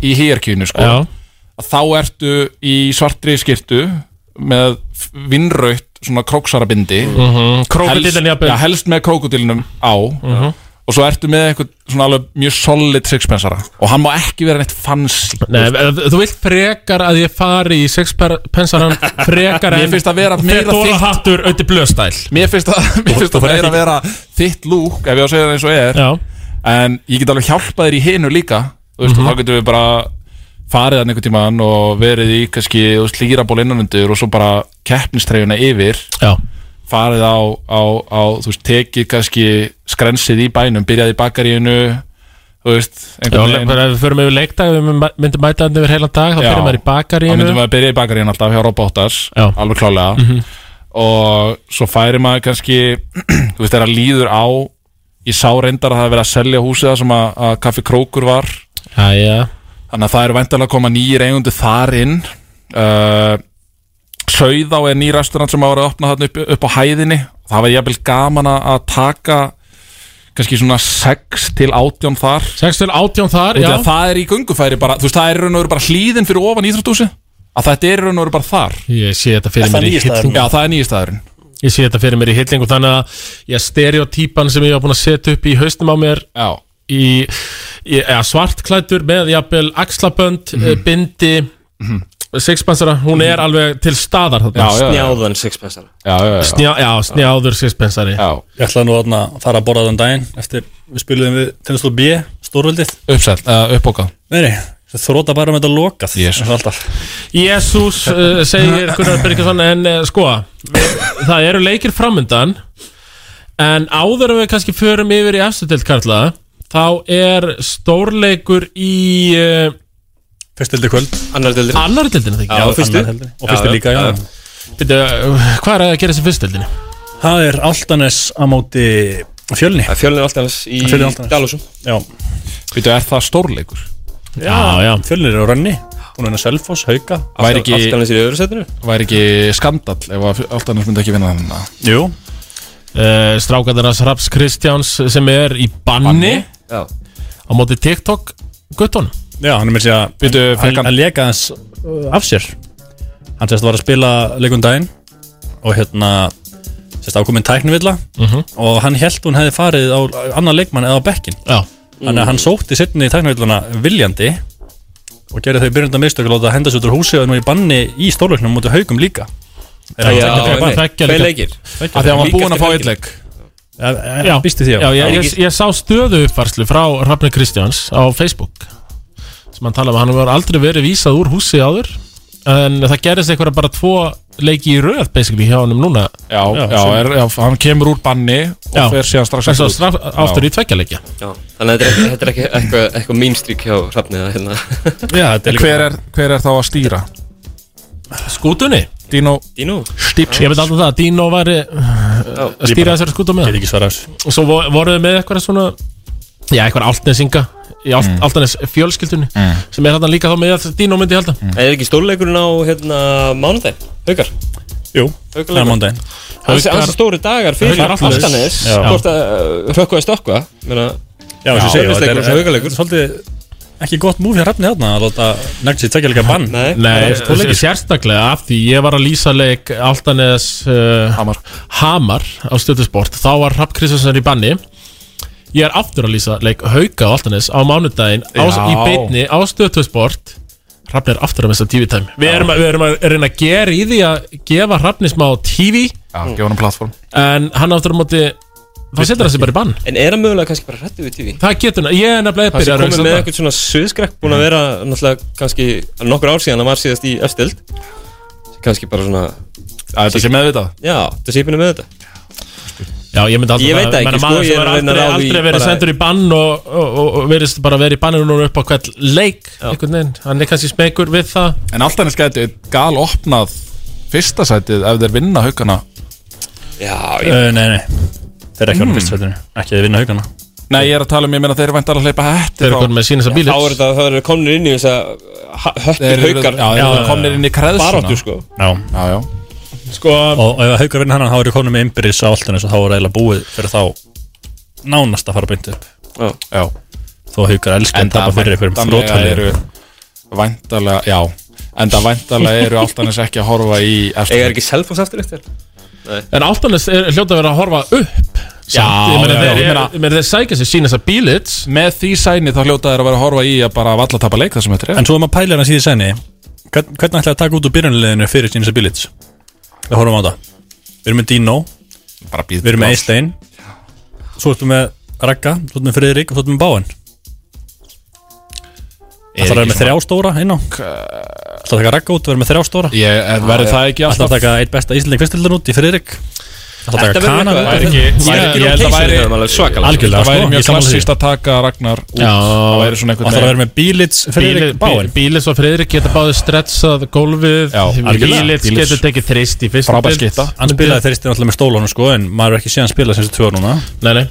Speaker 13: í hýrkínu sko,
Speaker 1: Já.
Speaker 13: að þá ertu í svartri skyrtu með vinnraut svona króksarabindi
Speaker 1: Mhm. Krókódíllinn jafnvel.
Speaker 13: helst, já, helst með krókudillinum á
Speaker 1: Mhm.
Speaker 13: og svo ertu með eitthvað svona alveg mjög solid sixpensara og hann má ekki vera neitt fancy
Speaker 1: Nei, ef- ef þú vilt frekar að ég fari í sexpensaran frekar en
Speaker 13: *laughs* Mér finnst að vera meira
Speaker 1: Fedora
Speaker 13: þykkt.
Speaker 1: hattur auðvitað blöðstæl
Speaker 13: Mér finnst að, mér finnst að vera, vera þitt lúk ef ég á að segja það eins og er
Speaker 1: Já.
Speaker 13: en ég get alveg hjálpað þér í hinu líka þú veist, og
Speaker 1: Mhm.
Speaker 13: þá getum við bara farið að einhvern tíman og verið í kannski þú veist, líraból innanundur og svo bara keppnistreyjuna yfir
Speaker 1: Já.
Speaker 13: farið á, á, á, þú veist, tekið kannski skrensið í bænum, byrjað í bakaríinu þú veist,
Speaker 1: Já, bara ef við förum yfir leikdag ef við myndum mæta hann yfir heilan dag þá
Speaker 13: Já.
Speaker 1: fyrir maður í
Speaker 13: Þá
Speaker 1: bakaríinu
Speaker 13: myndum við að byrja í bakaríinu alltaf hjá Rob Óttars Alveg klálega
Speaker 1: Mhm.
Speaker 13: Og svo færi maður kannski *clears throat* Þú veist, þegar líður á Ég sá reyndar að það er verið að selja húsið það sem að, að Kaffi Krókur var
Speaker 1: Æja
Speaker 13: Þannig að það eru væntanlega að koma nýjir eigundu þar inn uh, Sauðá er ný restaurant sem að vera að opna þarna upp, upp á hæðinni Það var jafnvel gaman að að taka kannski svona 6 til 18 þar
Speaker 1: 6 til 18 þar, já.
Speaker 13: Það er í göngufæri bara, þú veist, það er í raun og veru bara hlýðin fyrir ofan íþróttúsi Að þetta er í raun og veru bara þar
Speaker 1: Ég sé þetta fyrir
Speaker 13: Er það
Speaker 1: mér í
Speaker 13: nýi staðurinn?
Speaker 1: hillingu
Speaker 13: Já, það er nýjistæðurinn
Speaker 1: Ég sé þetta fyrir mér í hillingu þannig að ég stereotypan sem ég var búin að setja upp í haustum á mér
Speaker 13: já.
Speaker 1: í í- ja, svartklættur með jafnvel axlabönd, mm bindi mm sixpensara, hún er alveg til staðar þarna
Speaker 2: Snjáðan sixpensara
Speaker 13: já,
Speaker 1: Snjá, já, snjáður sixpensari
Speaker 13: já.
Speaker 3: Ég ætlaði nú þarna að fara að borða þann daginn eftir við spiluðum við tennislu B, stórvöldið
Speaker 13: Uppsett, uh, uppbókað
Speaker 3: Nei, nei, það þróta bara með þetta lokað Jesus alltaf
Speaker 1: Jésús uh,
Speaker 3: *laughs*
Speaker 1: segir Gunnar Birgisson en uh, sko það eru leikir framundan en áður en við kannski förum yfir í efstutild Karla þá er stórleikur í uh,
Speaker 3: Fyrstöldi kvöld
Speaker 2: Annardildin
Speaker 1: Annardildin
Speaker 3: Já, og fyrstu. Og fyrstu líka, já.
Speaker 1: Býttu, uh, hvað er að gera þessi fyrstildinni?
Speaker 3: Það er Altanes á móti fjölni
Speaker 2: Fjölni Altanes í Dalúsum
Speaker 3: Já
Speaker 13: Veitu, er það stórleikur?
Speaker 1: Já, já.
Speaker 3: Fjölnir er á rönni Hún er henni Selfoss, Hauka
Speaker 13: Væri ekki-
Speaker 2: Altanes er í öðru setinu
Speaker 13: Væri ekki skandall ef að Altanes myndi ekki vinna þennan
Speaker 3: Jú
Speaker 1: uh, Strákadarnas Raps Kristjáns sem er í banni, á móti TikTok guttunum
Speaker 3: Já, hann er mér sér að
Speaker 13: Býtu,
Speaker 3: hann,
Speaker 1: fekk hann-
Speaker 3: hann leka hans uh, af sér Hann sérst var að spila leikum daginn Og hérna Sérst ákomin tæknivilla
Speaker 1: Mhm.
Speaker 3: Og hann held hún hefði farið á annan leikmann eða á bekkin
Speaker 1: Já
Speaker 3: Þannig að hann sótti setni í tæknivillana viljandi Og gerði þau byrjunda mistök að Láta henda sér út úr húsi og er nú í banni í stórleiknum Mútu haugum líka
Speaker 1: Já, já, já, tveggja leikja. Tveggja leikja. Líka eftir
Speaker 13: leik
Speaker 1: Já.
Speaker 3: Já, býstu því
Speaker 1: Já, ég, ég, ég sá stöðu uppfarslu frá Rafni Kristjáns á Facebook sem hann talaði um, hann var aldrei verið vísað úr húsi áður en það gerist einhverja bara tvo leiki í röð basically hjá honum núna
Speaker 13: Já, já, er, já, hann kemur úr banni og
Speaker 1: Já.
Speaker 13: fer síðan strax
Speaker 1: En svo
Speaker 13: aftur út.
Speaker 1: straf- aftur í tveggja leikja.
Speaker 2: Já, þannig að þetta er ekki- þetta er ekki eitthvað eitthva mínstrík hjá Hrafniða hérna
Speaker 13: En hver er, hver er þá að stýra?
Speaker 1: Skútunni?
Speaker 13: Dino
Speaker 2: Dino
Speaker 1: Stips Ég veit alltaf það að Dino var að stýra þessari skútu með
Speaker 3: Get ekki svarað
Speaker 1: Og svo vo- voruð þið með eitthvað svona Já, eitthvað altnesinga í alt,
Speaker 2: Mm.
Speaker 1: altnes fjölskyldunni
Speaker 13: Mm.
Speaker 1: sem er þarna líka þá með að Dino myndi ég halda
Speaker 2: Það Mm. er ekki stórleikurinn á hérna mánudag Haukar
Speaker 3: Jú,
Speaker 2: Haukar
Speaker 3: mánudaginn.
Speaker 2: Hansi
Speaker 3: Haukar-
Speaker 2: stóri dagar fyrir
Speaker 3: Haukar Altanes.
Speaker 2: Altanes
Speaker 3: Já.
Speaker 2: Hvort að hrökkvaði stökkva Meina
Speaker 3: Já, eins og segja, þetta er-
Speaker 2: Örnisleikur og svo haugalegur
Speaker 3: Svolítið ekki gott múfi að rafni þarna að láta negnsið tvekja líka bann sko,
Speaker 1: Nei, sérstaklega af því ég var að lýsa leik Altanes uh, Hamar. á stjórnsport þá var Rapp Kristjánsson í banni ég er aftur að lýsa leik Hauka á Altanes á mánudaginn á,
Speaker 13: Já.
Speaker 1: í beinni á stjórnsport Rapp er aftur að missa TV-tæmi við, erum að- við erum að reyna að gera í því að gefa Rappni smá TV
Speaker 13: Já, gefa hann platform
Speaker 1: en hann aftur á móti þá setur hann sig bara í bann
Speaker 2: En er hann mögulega kannski bara hrættu við TV?
Speaker 1: það getur, ég er nefnilega
Speaker 2: Hann sé
Speaker 1: byrjaður að
Speaker 2: komið
Speaker 1: hugsa
Speaker 2: með
Speaker 1: það.
Speaker 2: eitthvað svona suðskrekk Búin að vera náttúrulega kannski nokkur ár síðan Hann var síðast í Östild Kannski bara svona
Speaker 13: Að þetta sé meðvitað
Speaker 2: Já, þetta sé pínu með þetta
Speaker 1: Já, ég myndi alltaf
Speaker 2: Ég veit það ekki,
Speaker 1: menna,
Speaker 2: sko,
Speaker 1: maður
Speaker 2: ég er
Speaker 1: sem er
Speaker 2: að reyna að
Speaker 1: aldrei,
Speaker 2: ráða í
Speaker 1: aldrei verið
Speaker 2: bara-
Speaker 1: sendur í bann og, og, og, og verið bara verið í banninu núna upp á hvern leik einhvern veginn, hann er kannski smekur við það
Speaker 13: En alltaf hann er skætið gal opnað fyrsta sætið ef þeir vinna haugana
Speaker 2: Já,
Speaker 13: Eh,
Speaker 3: ég... nei, nei Þeir eru ekki á mm. fyrst sætinu Ekki að þeir vinna haugana
Speaker 13: Nei, ég er að tala um, ég meina þeir væntar að hleypa hætti
Speaker 3: Þeir eru komnir með sína þessa bíla.
Speaker 2: Þá er þetta, það eru komnir inn í þess að höttir
Speaker 13: Þeir eru-
Speaker 2: haukar
Speaker 13: já, þeir eru komnir inn í kreðsuna.
Speaker 2: Baráttu sko
Speaker 3: Já,
Speaker 13: já, já.
Speaker 1: Sko,
Speaker 3: Og ef haukar vinna hann þá eru konum með ymbirins á alltaf þá er eiginlega búið fyrir þá nánast að fara beint upp
Speaker 2: Já,
Speaker 13: já.
Speaker 3: Þó haukar elska að tapa fyrir einhverjum
Speaker 13: eru
Speaker 3: þrótfæli
Speaker 13: væntalega, já En það væntalega eru alltaf hans ekki að horfa í
Speaker 2: Egar ekki selfos eftir eftir
Speaker 1: En Altanes er hljóta að vera að horfa upp
Speaker 13: Já,
Speaker 1: ég meina
Speaker 13: já,
Speaker 1: þeir,
Speaker 13: já.
Speaker 1: ég meina- ég meina þeir sækja sér sína þess að bílits
Speaker 13: Með því sæni þá hljóta þeir að vera að horfa í að bara valla tapa leik þessum þetta er
Speaker 3: En svo um er maður pælir hann síði sæni hvern- Hvernig ætlaði að taka út úr byrjunliðinu fyrir Genius Abilities? Við horfum á það Við erum með Dino Við erum með Eistein Svo ertum með Ragga, svo ertum með Friðrik og svo ertum með Báin Það þarf að vera með þrjá stóra inn á Það þarf að taka Ragga út og vera með þrjá stóra
Speaker 13: Ég, eh, verður það ekki
Speaker 3: alltaf Það taka eitt besta Íslanding fyrstildan út í Friðrik Það þarf að taka Kana
Speaker 13: Það væri ekki-
Speaker 3: Ég-
Speaker 13: væri-
Speaker 3: ég
Speaker 13: ég
Speaker 3: held að væri- Algjörlega
Speaker 13: Það
Speaker 3: sko,
Speaker 13: væri
Speaker 3: ég
Speaker 13: mjög
Speaker 3: sammála því.
Speaker 13: klassist að taka Ragnar út
Speaker 1: Já.
Speaker 13: Það væri
Speaker 3: Það
Speaker 13: svona einhvern
Speaker 3: þarf að vera með Bílits, Friðrik, Báin
Speaker 1: Bílits og Friðrik geta báði stretsað gólfið
Speaker 3: algjörlega.
Speaker 1: Bílits
Speaker 3: Bílits.
Speaker 1: getur tekið þrist í fyrst
Speaker 3: Frábær skytta Hann spilaði þristin alltaf með stólunum sko En maður er ekki séð hann spila sem þessi tvö ár núna
Speaker 1: Nei, nei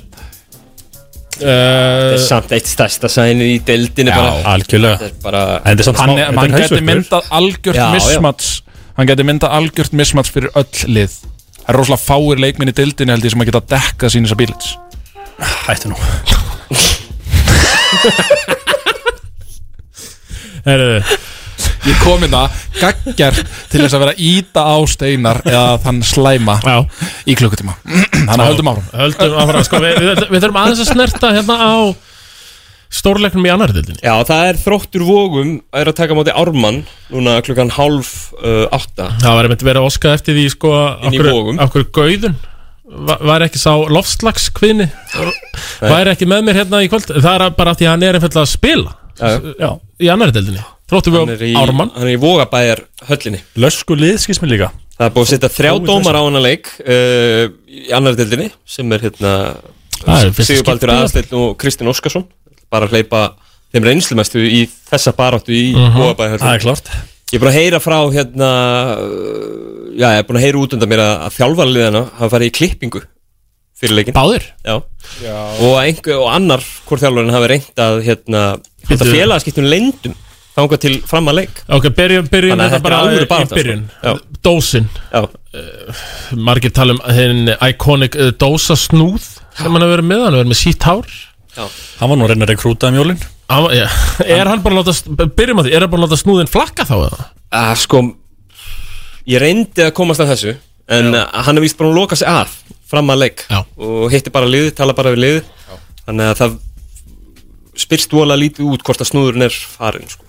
Speaker 2: Þetta er samt eitt stærsta sæni í deildinu
Speaker 3: Eh, Já,
Speaker 2: bara.
Speaker 3: algjörlega.
Speaker 2: Þetta er bara
Speaker 3: En þetta er samt
Speaker 13: Hann,
Speaker 3: smá-
Speaker 13: er-
Speaker 3: þetta
Speaker 13: hann
Speaker 3: er sko.
Speaker 13: geti
Speaker 3: hausverkur.
Speaker 13: myndað algjört
Speaker 3: Já, já.
Speaker 13: mismats Hann geti myndað algjört mismats fyrir öll lið Það er rosalega fáir leikminni dildinu held ég sem að geta dekkað sín þessar bílits
Speaker 3: Hættu nú
Speaker 1: Herðu
Speaker 13: Ég kom inn það gaggar til þess að vera að íta á steinar eða þann slæma
Speaker 1: já.
Speaker 13: í klukkutíma *clears throat* Þannig að höldum áfram
Speaker 1: Höldum áfram, sko, við, við, við þurfum aðeins að snerta hérna á stórleiknum í annar dildinni
Speaker 2: Já, það er þróttur vógum að er að taka á móti Ármann núna klukkan hálf uh, átta
Speaker 1: Það var einmitt verið að oska eftir því sko af
Speaker 2: Inni í
Speaker 1: hverju-
Speaker 2: Vogum.
Speaker 1: af hverju gauðun va- var ekki sá loftslagskvinni var ekki með mér hérna í kvöld það er bara af því að hann er einfallega að spila
Speaker 2: Já,
Speaker 1: já. í annari deildinni þróttum
Speaker 2: Hann er í,
Speaker 1: við á Ármann
Speaker 2: hann er í vógabæjar höllinni
Speaker 3: Lösku lið skils mér líka
Speaker 2: Það er búið að setja þrjá
Speaker 1: Ómikið
Speaker 2: dómar á hana leik uh, í annar deildinni sem er hérna
Speaker 1: Það er fyrsta
Speaker 2: Sigurbaldur
Speaker 1: skipti.
Speaker 2: Aðarsteinn og Kristinn Óskarsson bara að hleypa þeim reynslumestu í þessa baráttu í uh
Speaker 3: Mhm.
Speaker 2: -huh.
Speaker 3: Það er klárt.
Speaker 2: Ég er búin að heyra frá hérna uh, já, ég er búin að heyra út undan mér að, að þjálfarliðana hafa farið í klippingu fyrir leikin
Speaker 1: Báðir?
Speaker 2: Já,
Speaker 13: Já.
Speaker 2: Og, einhver, og annar hvort þjálfarinn hafi reynd að hérna, halda
Speaker 1: Bíddu.
Speaker 2: félagaskiptum leyndum þangað til fram að leik
Speaker 1: Ok, byrjum, byrjum
Speaker 2: Þannig að þetta
Speaker 1: þetta
Speaker 2: er
Speaker 1: bara
Speaker 2: alvöru
Speaker 1: í
Speaker 2: barátta,
Speaker 1: byrjun
Speaker 2: sko. Já.
Speaker 1: Dósin Eh,
Speaker 2: uh,
Speaker 1: Margir tala um hinn iconic uh, dósa snúð sem hann hefur verið með, hann hefur verið með sítt hár
Speaker 2: Já.
Speaker 3: Hann var nú að reyna að rekrúta um jólin
Speaker 1: Hann, ja. Er hann bara að láta, byrjum að því, er hann bara að láta snúðin flakka þá eða?
Speaker 2: að sko ég reyndi að komast að þessu en Já. hann er vist bara að loka sig að fram að leik Já. og hitti bara liðið, tala bara við liðið þannig að það spyrst vola lítið út hvort að snúðurinn er farin sko.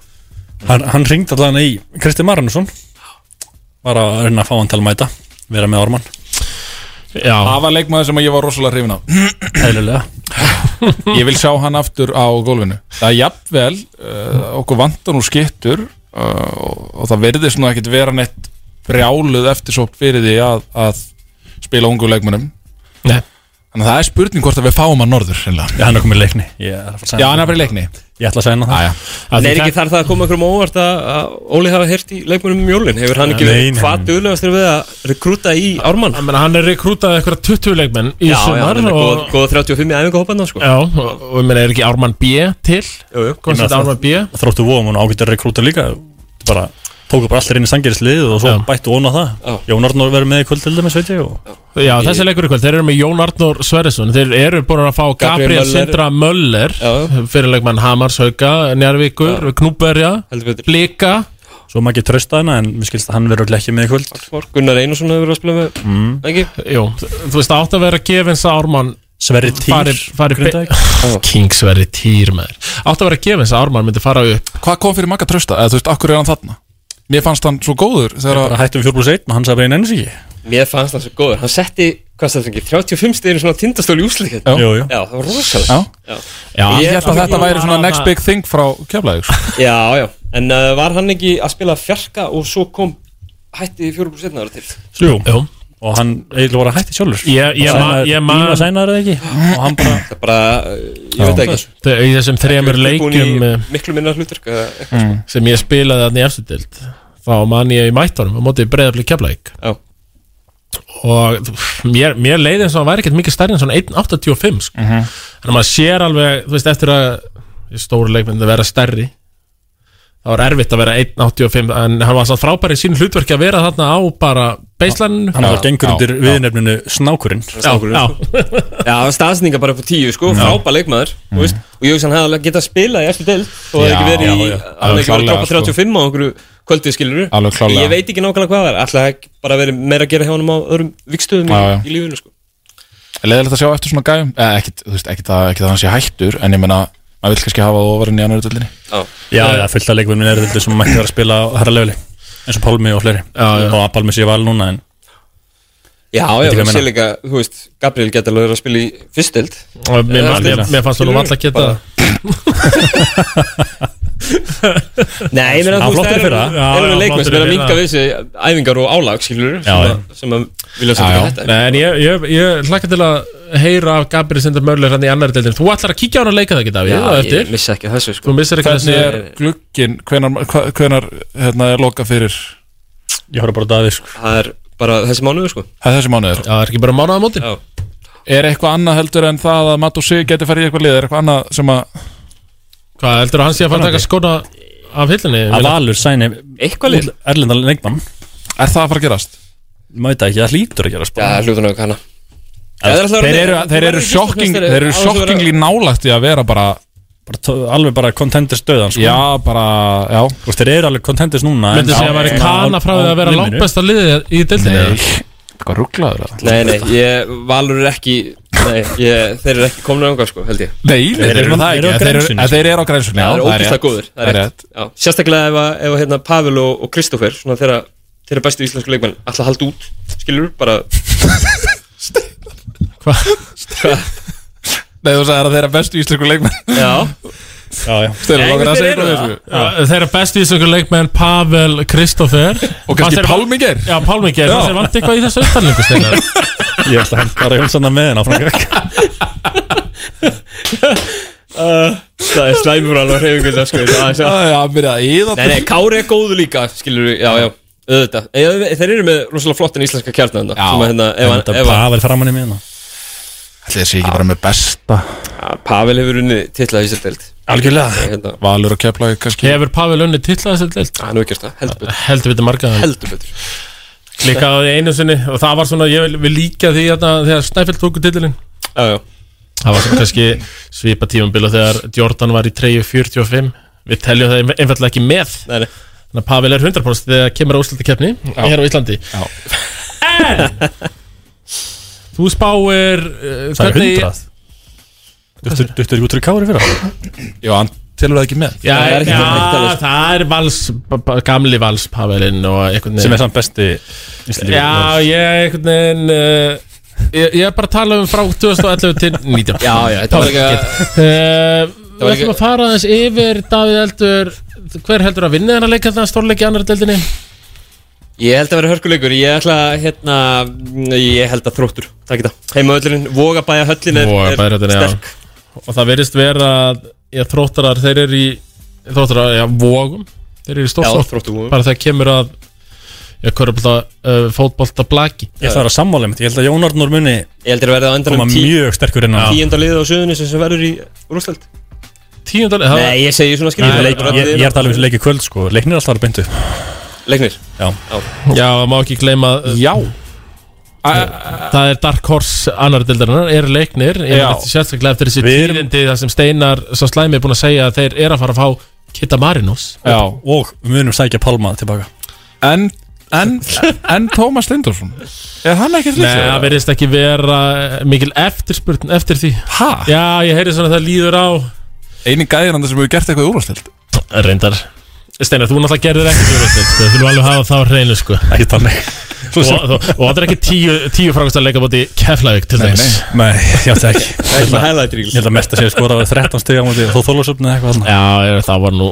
Speaker 3: Hann, hann ringd allan í Kristi Maranusson Var að reyna að fá hann til að mæta Vera með Orman
Speaker 1: Já.
Speaker 13: Það var leikmaður sem ég var rosalega hrifin á
Speaker 3: Heilulega
Speaker 13: *clears throat* Ég vil sjá hann aftur á gólfinu Það er jafnvel, uh, okkur vantar nú skittur uh, og, og það verðist nú ekkit vera neitt brjáluð eftir svo fyrir því að, að spila ungu leikmunum
Speaker 1: Nei.
Speaker 13: Þannig að það er spurning hvort að við fáum hann norður Já,
Speaker 3: hann er komið leikni Ég er að fara að segja
Speaker 13: Já, hann er bara í leikni
Speaker 3: Ég ætla að segja hann
Speaker 13: það
Speaker 2: en er ekki þar það að koma einhverjum á óvart að, að Óli hafa heyrt í leikmönum um jólin hefur hann ekki
Speaker 1: Nei,
Speaker 2: verið
Speaker 1: nei.
Speaker 2: hvað duðlegast við að rekrúta í Ármann
Speaker 1: Menna, hann er rekrútað eitthvað 20 leikmenn í
Speaker 2: Já, já,
Speaker 1: sumar
Speaker 2: hann er með
Speaker 1: og,
Speaker 2: góð, góð 35 í æfingahópanna sko.
Speaker 1: já, og, og ég meina, er ekki Ármann B til?
Speaker 2: Jú, jú.
Speaker 1: Komst þetta Ármann B?
Speaker 3: Þróttu vóum hún ágætti að rekrúta líka Þetta bara Tóku bara allir inn í sangerislið Og svo bættu hún á það Jón Arnór verið með í kvöld til dæmis veit ég og...
Speaker 1: Já, þessi leikur í kvöld, þeir eru með Jón Arnór Sverrisson Þeir eru búin að fá
Speaker 2: Gabriel
Speaker 1: Gabriel
Speaker 2: Möller.
Speaker 1: Sindra Möller Fyrirleikmann Hamars Hauka, Njárvíkur, Knúberja Blika
Speaker 3: Svo maður ekki trösta hana En mér skilst að hann verið ekki með í kvöld
Speaker 2: Gunnar Einarsson hefur verið að spila með
Speaker 3: mm.
Speaker 2: ekki?
Speaker 1: Jú, þú veist, átt að vera gefins að Ármann
Speaker 3: Sverri Týr,
Speaker 1: fari, fari
Speaker 3: Grindavík.
Speaker 1: King Sverri Týr maður Átt að vera gefins að Ármann myndi fara upp
Speaker 13: Hvað kom fyrir Magga Trösta? Eða þú veist, akkur er hann þarna? Mér fannst hann svo góður þegar
Speaker 3: Bara hættum 4 plus 1 og hann sagði bara einn enn sig
Speaker 2: Mér fannst hann svo góður, hann setti hvað stæðum ekki, 35 steginu svona tindastóli úsleik
Speaker 13: Já. Jú, jú.
Speaker 2: já, það var rosalega
Speaker 13: Já.
Speaker 2: Já.
Speaker 13: Ég held að þetta væri svona next big thing frá keflaðið
Speaker 2: *laughs* Já, já, en uh, var hann ekki að spila fjarka og svo kom hætti fjórum pluss 1 ára til
Speaker 3: Jú,
Speaker 1: Jú.
Speaker 3: og hann eiginlega var að hætti sjálfur
Speaker 1: Ég- ég ma- ég man-
Speaker 3: Íma sænar eða ekki og hann bara
Speaker 2: Það er bara, ég veit það ekki
Speaker 1: Þe- Í þessum þremur
Speaker 2: Tilbúin
Speaker 1: leikjum
Speaker 2: í
Speaker 1: eh,
Speaker 2: Miklu minna hlutur
Speaker 1: Mm. sem ég spilaði þarna í eftir dild þá man ég í mættunum á móti breyðafli keflæk
Speaker 2: Já.
Speaker 1: og pff, mér, mér leiði eins og hann væri ekkert mikið stærri en svona 1.85 sko.
Speaker 3: Mhm.
Speaker 1: þannig að maður sér alveg þú veist eftir að í stóru leikmyndi vera stærri það var erfitt að vera 1.85 en hann var samt frábæri í sín hlutverki að vera þarna á bara baseline
Speaker 3: hann var gengur undir viðnefninu snákurinn
Speaker 1: Snákurinn, já.
Speaker 2: sko.
Speaker 1: *laughs*
Speaker 2: Já, staðsendinga bara upp á tíu sko, frábær leikmaður þú veist, og ég hugsa hann hefði alveg getað að spila í eftir deild og hefði
Speaker 1: Mm. Já,
Speaker 2: ekki verið í,
Speaker 1: já, já.
Speaker 2: hann hefði
Speaker 1: Alveg
Speaker 2: ekki verið að
Speaker 1: klárlega,
Speaker 2: droppa 35 á einhverju kvöldið skiluru
Speaker 1: Alveg klárlega.
Speaker 2: Ég veit ekki nákvæmlega hvað það er, alltaf ekki bara verið meira að gera hjá honum á öðrum vikstöðum í,
Speaker 13: Já, já.
Speaker 2: í lífinu sko
Speaker 13: Leðilegt að sjá eftir svona gæjum eh, ekkit, þú veist, ekkit, að, ekkit að hann sé hættur En ég meina, maður vil kannski hafa það ofar enn í annar dildinni
Speaker 2: Já,
Speaker 3: já, já fullt af leikvunni er þetta sem mætti vera að spila á herra leveli eins og Pálmi og fleiri já, já. og að Pálmi sé val núna en
Speaker 2: Já,
Speaker 3: Veit
Speaker 2: já,
Speaker 3: ekki
Speaker 2: ég
Speaker 3: hvað
Speaker 2: sé
Speaker 3: meina.
Speaker 2: líka, þú veist, Gabriel getur alveg verið að spila í fyrst deild
Speaker 1: Og mér-
Speaker 2: Eða
Speaker 1: mér-
Speaker 2: spila.
Speaker 1: mér fannst það nú
Speaker 2: Skilurðu?
Speaker 1: varla geta *laughs*
Speaker 2: Bara- Nei, ég meina þú
Speaker 1: Hann
Speaker 2: veist,
Speaker 1: flottur í
Speaker 2: það
Speaker 1: fyrra.
Speaker 2: eru-
Speaker 1: Já,
Speaker 2: eru
Speaker 1: já,
Speaker 2: leikmenn sem er að
Speaker 1: flottur í fyrra.
Speaker 2: minka við sig æfingar og álag, skilur
Speaker 1: Já, já.
Speaker 2: sem að vilja setja
Speaker 1: Já,
Speaker 2: þetta
Speaker 1: já. Nei, en ég, ég, ég hlakka til að heyra af Gabriel Sindar Mörler hann í annar deildin Þú ætlar að kíkja á hann að leika það ekki,
Speaker 2: Já,
Speaker 1: Davíð, á
Speaker 2: ég
Speaker 1: eftir
Speaker 2: missa ekki þessu sko
Speaker 1: Þú missir ekki
Speaker 13: Hvernig er
Speaker 1: þessu-
Speaker 13: glugginn, hvenar, hva- hvenar hérna, er loka fyrir
Speaker 3: Ég horf bara daði sko
Speaker 2: Það er bara þessi mánuður sko
Speaker 13: Það er þessi mánuður
Speaker 1: Já, það er ekki bara mánuða móti
Speaker 2: Já
Speaker 13: Er eitthvað annað heldur en það að Matt og Sig geti farið í eitthvað lið Er eitthvað annað sem að
Speaker 1: Hvað heldur að hann sé að fara að taka skona af hillinni?
Speaker 3: að Valur sæni
Speaker 2: Eitthvað lið.
Speaker 3: Erlendan leikmann
Speaker 13: Er það að fara að gerast?
Speaker 3: Mæta ekki, það hlýtur að gerast
Speaker 2: Já, hlutun auðvitað hana
Speaker 13: Þeir eru, þeir eru sjokking Þeir eru sjokkingli nálægt í að vera bara
Speaker 3: bara, tó- alveg bara contenders döðan sko.
Speaker 13: Já, bara, já
Speaker 3: Þú veist, þeir eru alveg contenders núna en-
Speaker 1: Myndi segja að væri
Speaker 3: svona á-
Speaker 1: kana frá því
Speaker 3: á
Speaker 1: að vera
Speaker 3: liminu.
Speaker 1: langbesta liðið í deildinni
Speaker 13: Hvað rugglaður það?
Speaker 2: Nei, nei, ég valur er ekki Nei, ég, þeir eru ekki komnir ánga sko, held ég
Speaker 13: Nei, nei, þeir eru það ekki en Þeir eru- en þeir eru á sko. grænsunni
Speaker 2: Það er ógæslega góður, það er
Speaker 13: rétt
Speaker 2: rétt Já, Sérstaklega ef, að- ef að, hérna, Pavel og, og Kristoffer Svona þeirra, þeirra bestu íslensku leikmenn Alltaf haldi út, skilur, bara
Speaker 13: Nei, þú sagði að þeir eru bestu íslensku leikmenn *laughs*
Speaker 2: Já
Speaker 3: Já, já
Speaker 13: Þeir eru að segja
Speaker 1: Þeir
Speaker 13: eitthvað við þessu
Speaker 1: eru- þeir eru bestu íslensku leikmenn Pavel Kristoffer
Speaker 13: Og kannski Pálmi Geir.
Speaker 1: Já, Pálmi Geir,
Speaker 13: Já.
Speaker 1: það sé vant eitthvað í þessu upptalningu Steinar.
Speaker 3: *laughs* Ég ætla að henda bara Jónsson að með henn á frangak
Speaker 2: uh, Það er slæmur alveg hreyfingulega sko Það er
Speaker 13: Já, já, byrja að íða
Speaker 2: Nei, nei, Kári er góðu líka, skilur við, já, já, auðvitað Eða, Þeir eru með rosalega flottin íslenska kjarnan Já, sem að hérna, ef hann,
Speaker 3: Þetta
Speaker 2: ef hann
Speaker 3: Pavel framann í miðuna
Speaker 13: Ætli þessi ekki bara með besta
Speaker 2: Ja, Pavel hefur unnið titlað í sér deild
Speaker 3: Algjörlega
Speaker 2: Hérna,
Speaker 13: Valur og keflaði kannski
Speaker 1: Hefur Pavel unni titlaði þessu deild?
Speaker 2: hann hefur gert það, heldur betur
Speaker 1: Heldur við þetta margaðan
Speaker 2: Heldur betur
Speaker 1: Líka á því einu sinni og það var svona, ég vil, vil líka því að þegar Snæfell tóku titilinn
Speaker 2: Já, já
Speaker 1: Það var svona kannski svipa tímambila þegar Jordan var í 3.45 Við teljum það einfallega ekki með
Speaker 2: Nei, nei.
Speaker 1: Þannig að Pavel er 100% þegar kemur áslöldi keppni hér á Íslandi
Speaker 13: Já.
Speaker 2: *laughs*
Speaker 1: En Þú spáir uh,
Speaker 3: Það er hundrað Duttur duttur ekki út úr kári fyrir það
Speaker 13: Já, hann telur það ekki með
Speaker 1: Já,
Speaker 2: Það
Speaker 1: það
Speaker 2: er
Speaker 1: er,
Speaker 2: ekki
Speaker 1: já,
Speaker 2: hægt
Speaker 1: það er vals, b- b- gamli vals Pavelinn og
Speaker 3: sem
Speaker 1: einhvern
Speaker 3: er
Speaker 1: veginn
Speaker 3: samt besti Íslendingur.
Speaker 1: Já, ég einhvern veginn uh, ég, ég er bara að tala um frá 2011 til 19
Speaker 2: Já, já, þetta var ekki
Speaker 1: Eh, Við
Speaker 2: var
Speaker 1: ætlum
Speaker 2: ekki-
Speaker 1: að fara aðeins yfir Davíð Eldur Hver heldur að vinna þennan leik Þannig að stórleiki í annar deildinni
Speaker 2: Ég held að vera hörkuleikur, ég ætla að, hérna, ég held að þróttur Takk í það Heimavöllurinn, Vogabæja höllin er, er
Speaker 1: Vogabæjarhöllin, já.
Speaker 2: sterk
Speaker 1: Og það verðist vera að já, Þróttarar, þeir eru í Þróttarar, já, vógum Þeir eru í
Speaker 2: Já,
Speaker 1: stórsók
Speaker 2: þróttur Vogum
Speaker 1: Bara þegar kemur að Já, körpulta, uh, fótbolta blaki
Speaker 3: Ég ætla að vera sammála mitt Ég held að Jón Arnór muni
Speaker 2: Ég held að verða á
Speaker 3: koma
Speaker 2: endanum tí,
Speaker 3: mjög sterkur inn á
Speaker 2: tíunda liðið á söðunni sem verður í Rúsland
Speaker 1: Tíundalegi, það
Speaker 2: Nei, ég segi svona
Speaker 3: Ég
Speaker 2: skiljum
Speaker 3: ég- ég er að tala um þessi leiki í kvöld sko Leiknir er alltaf að beintu
Speaker 2: Leiknir
Speaker 3: Já.
Speaker 1: já, það má ekki gleyma uh,
Speaker 13: Já
Speaker 1: Það er Dark Horse annar deildarinnar, er leiknir Ég
Speaker 13: Já.
Speaker 1: veit sérstaklega eftir þessi
Speaker 3: Við erum-
Speaker 1: tíðindi Það sem Steinar, svo slæmi er búin að segja að Þeir eru að fara að fá Kitta Marinos
Speaker 13: Já
Speaker 3: Og við munum sækja Palma tilbaka
Speaker 13: En, en, en Tómas Lindorsson Er hann ekkert
Speaker 1: Nei, það
Speaker 13: líka?
Speaker 1: verðist ekki vera eh, mikil eftirspurn eftir því
Speaker 13: Ha?
Speaker 1: Já, ég heyri svona að það líður á
Speaker 13: Einu gæðiranda sem hefur gert eitthvað úrvastild
Speaker 1: Reyndar Steinar, þú náttúrulega gerðir ekki júrasteitt Þú viljum alveg hafa það á hreinu sko
Speaker 3: Ekki þannig
Speaker 1: og, og, og þetta er ekki tíu, tíu frákvæmst að leika bóti Keflavík til dæmis
Speaker 3: Nei, ég átti ekki
Speaker 1: Það er svona highlight reels.
Speaker 3: Ég held að mest að sé skora við 13 stiga á móti Þó þólusöfnið eitthvað svona
Speaker 1: Já, ég- það var nú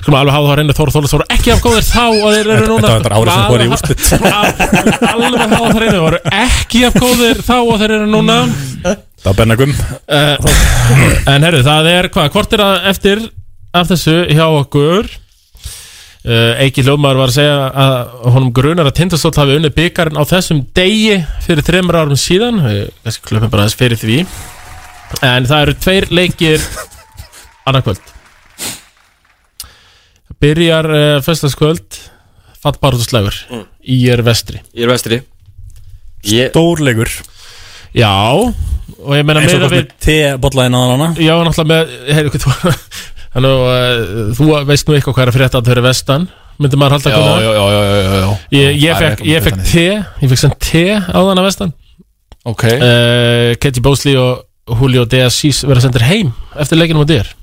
Speaker 1: Skulum alveg hafa það reyndið Þór Þór Þór ekki af góðir þá og þeir eru
Speaker 3: Þetta-
Speaker 1: núna
Speaker 3: þetta var bara árið sem fór í úrslit.
Speaker 1: Skulum al- Alveg hafa það reyndið voru ekki af góðir þá og þeir eru núna
Speaker 3: Það var bennagum
Speaker 1: uh, En herru, það er hvað, hvort er það eftir af þessu hjá okkur uh, Eiki Ljómaður var að segja að honum grunar að Tindastóll hafi unnið byggarinn á þessum degi fyrir þreymur árum síðan Eh, Við kannski klöfum bara aðeins fyrir því En það eru tveir leikir annarkvöld Byrjar uh, fyrstaskvöld Fattbáratuslægur
Speaker 2: Mm.
Speaker 1: Í er vestri
Speaker 2: Ég er vestri ég...
Speaker 3: Stórleikur
Speaker 1: Já Og ég meina
Speaker 3: Eins og
Speaker 1: meira
Speaker 3: hvort með te-bollaðina á hana
Speaker 1: Já, náttúrulega með heyr, hvað, þú, *laughs* hann, uh, þú veist nú eitthvað hvað er að frétta að þau eru vestan myndi maður halda
Speaker 13: Já, já,
Speaker 1: Gunnar?
Speaker 13: já, já, já, já, já.
Speaker 1: Ég,
Speaker 13: Það
Speaker 1: ég
Speaker 13: er
Speaker 1: fekk,
Speaker 13: eitthvað
Speaker 1: ég fekk
Speaker 13: utan í.
Speaker 1: te ég fekk sem te á þann að vestan
Speaker 13: Ok
Speaker 1: uh, Katie Bosley og Julio De Assis verða sendir heim eftir leikinum á dyr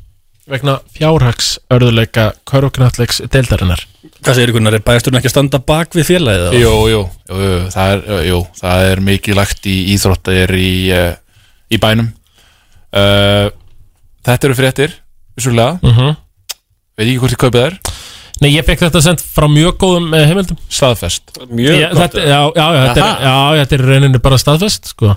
Speaker 1: vegna fjárhags örðuleika körfknattleiks deildarinnar
Speaker 3: Hvað segir ykkur, er bæjasturinn ekki að standa bak við félagið?
Speaker 13: Jú, jú, jú, jú, það er, jú, jú, það er mikilvægt í íþróttir í, eh, í bænum uh, Þetta eru fréttir, vissulega
Speaker 1: Mhm.
Speaker 13: Veit ekki hvort ég kaupið þær
Speaker 1: Nei, ég fekk þetta sendt frá mjög góðum eh, heimildum
Speaker 13: Staðfest
Speaker 2: Mjög
Speaker 1: já,
Speaker 2: gott,
Speaker 1: þetta,
Speaker 2: eða?
Speaker 1: já, já, já, þetta er, já, þetta er í rauninni bara staðfest sko.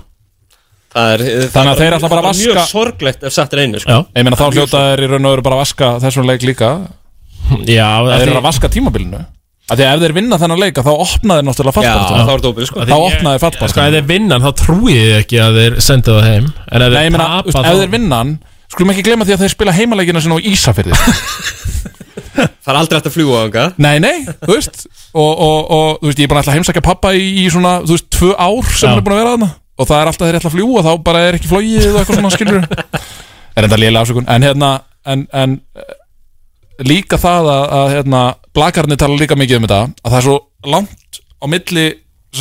Speaker 2: Það er,
Speaker 13: Þannig að þeir ætla bara að
Speaker 2: það er Mjög
Speaker 13: vaska-
Speaker 2: sorglegt ef satt er einu sko.
Speaker 1: Já.
Speaker 13: Ég meina þá hljóta þær í raun og veru bara að vaska þessum leik líka
Speaker 1: Já,
Speaker 13: Það eru að vaska tímabilinu Af því að ef þeir vinna þennan leika þá opna þeir náttúrulega fattbáratuna
Speaker 2: þá er þetta opið, sko.
Speaker 13: Þá opnaði fattbáratuna
Speaker 1: Sko, ef þeir vinnan þá trúi ég ekki að þeir sendu það heim En ef
Speaker 13: Nei, ég
Speaker 1: þeir
Speaker 13: meina, þú
Speaker 1: tapa
Speaker 13: veist,
Speaker 1: þá
Speaker 13: ef þeir vinnan Skulum ekki gleyma því að þeir spila heimaleikina sinna á Ísafirði
Speaker 2: *laughs* Það er aldrei hægt að fljúa ánga
Speaker 13: Nei, nei, þú veist og, og, og þú veist, ég er bara alltaf að heimsækja pappa í, í svona, þú veist, tvö ár sem
Speaker 1: Já.
Speaker 13: hann er búin að vera þarna og það er alltaf þeir ætla að fljúa þá bara er ekki flogið eða eitthvað svona skilur er enda lélega ásökun en hérna, en, en eh, líka það að, að hérna, blakarnir tala líka mikið um þetta að það er svo langt á milli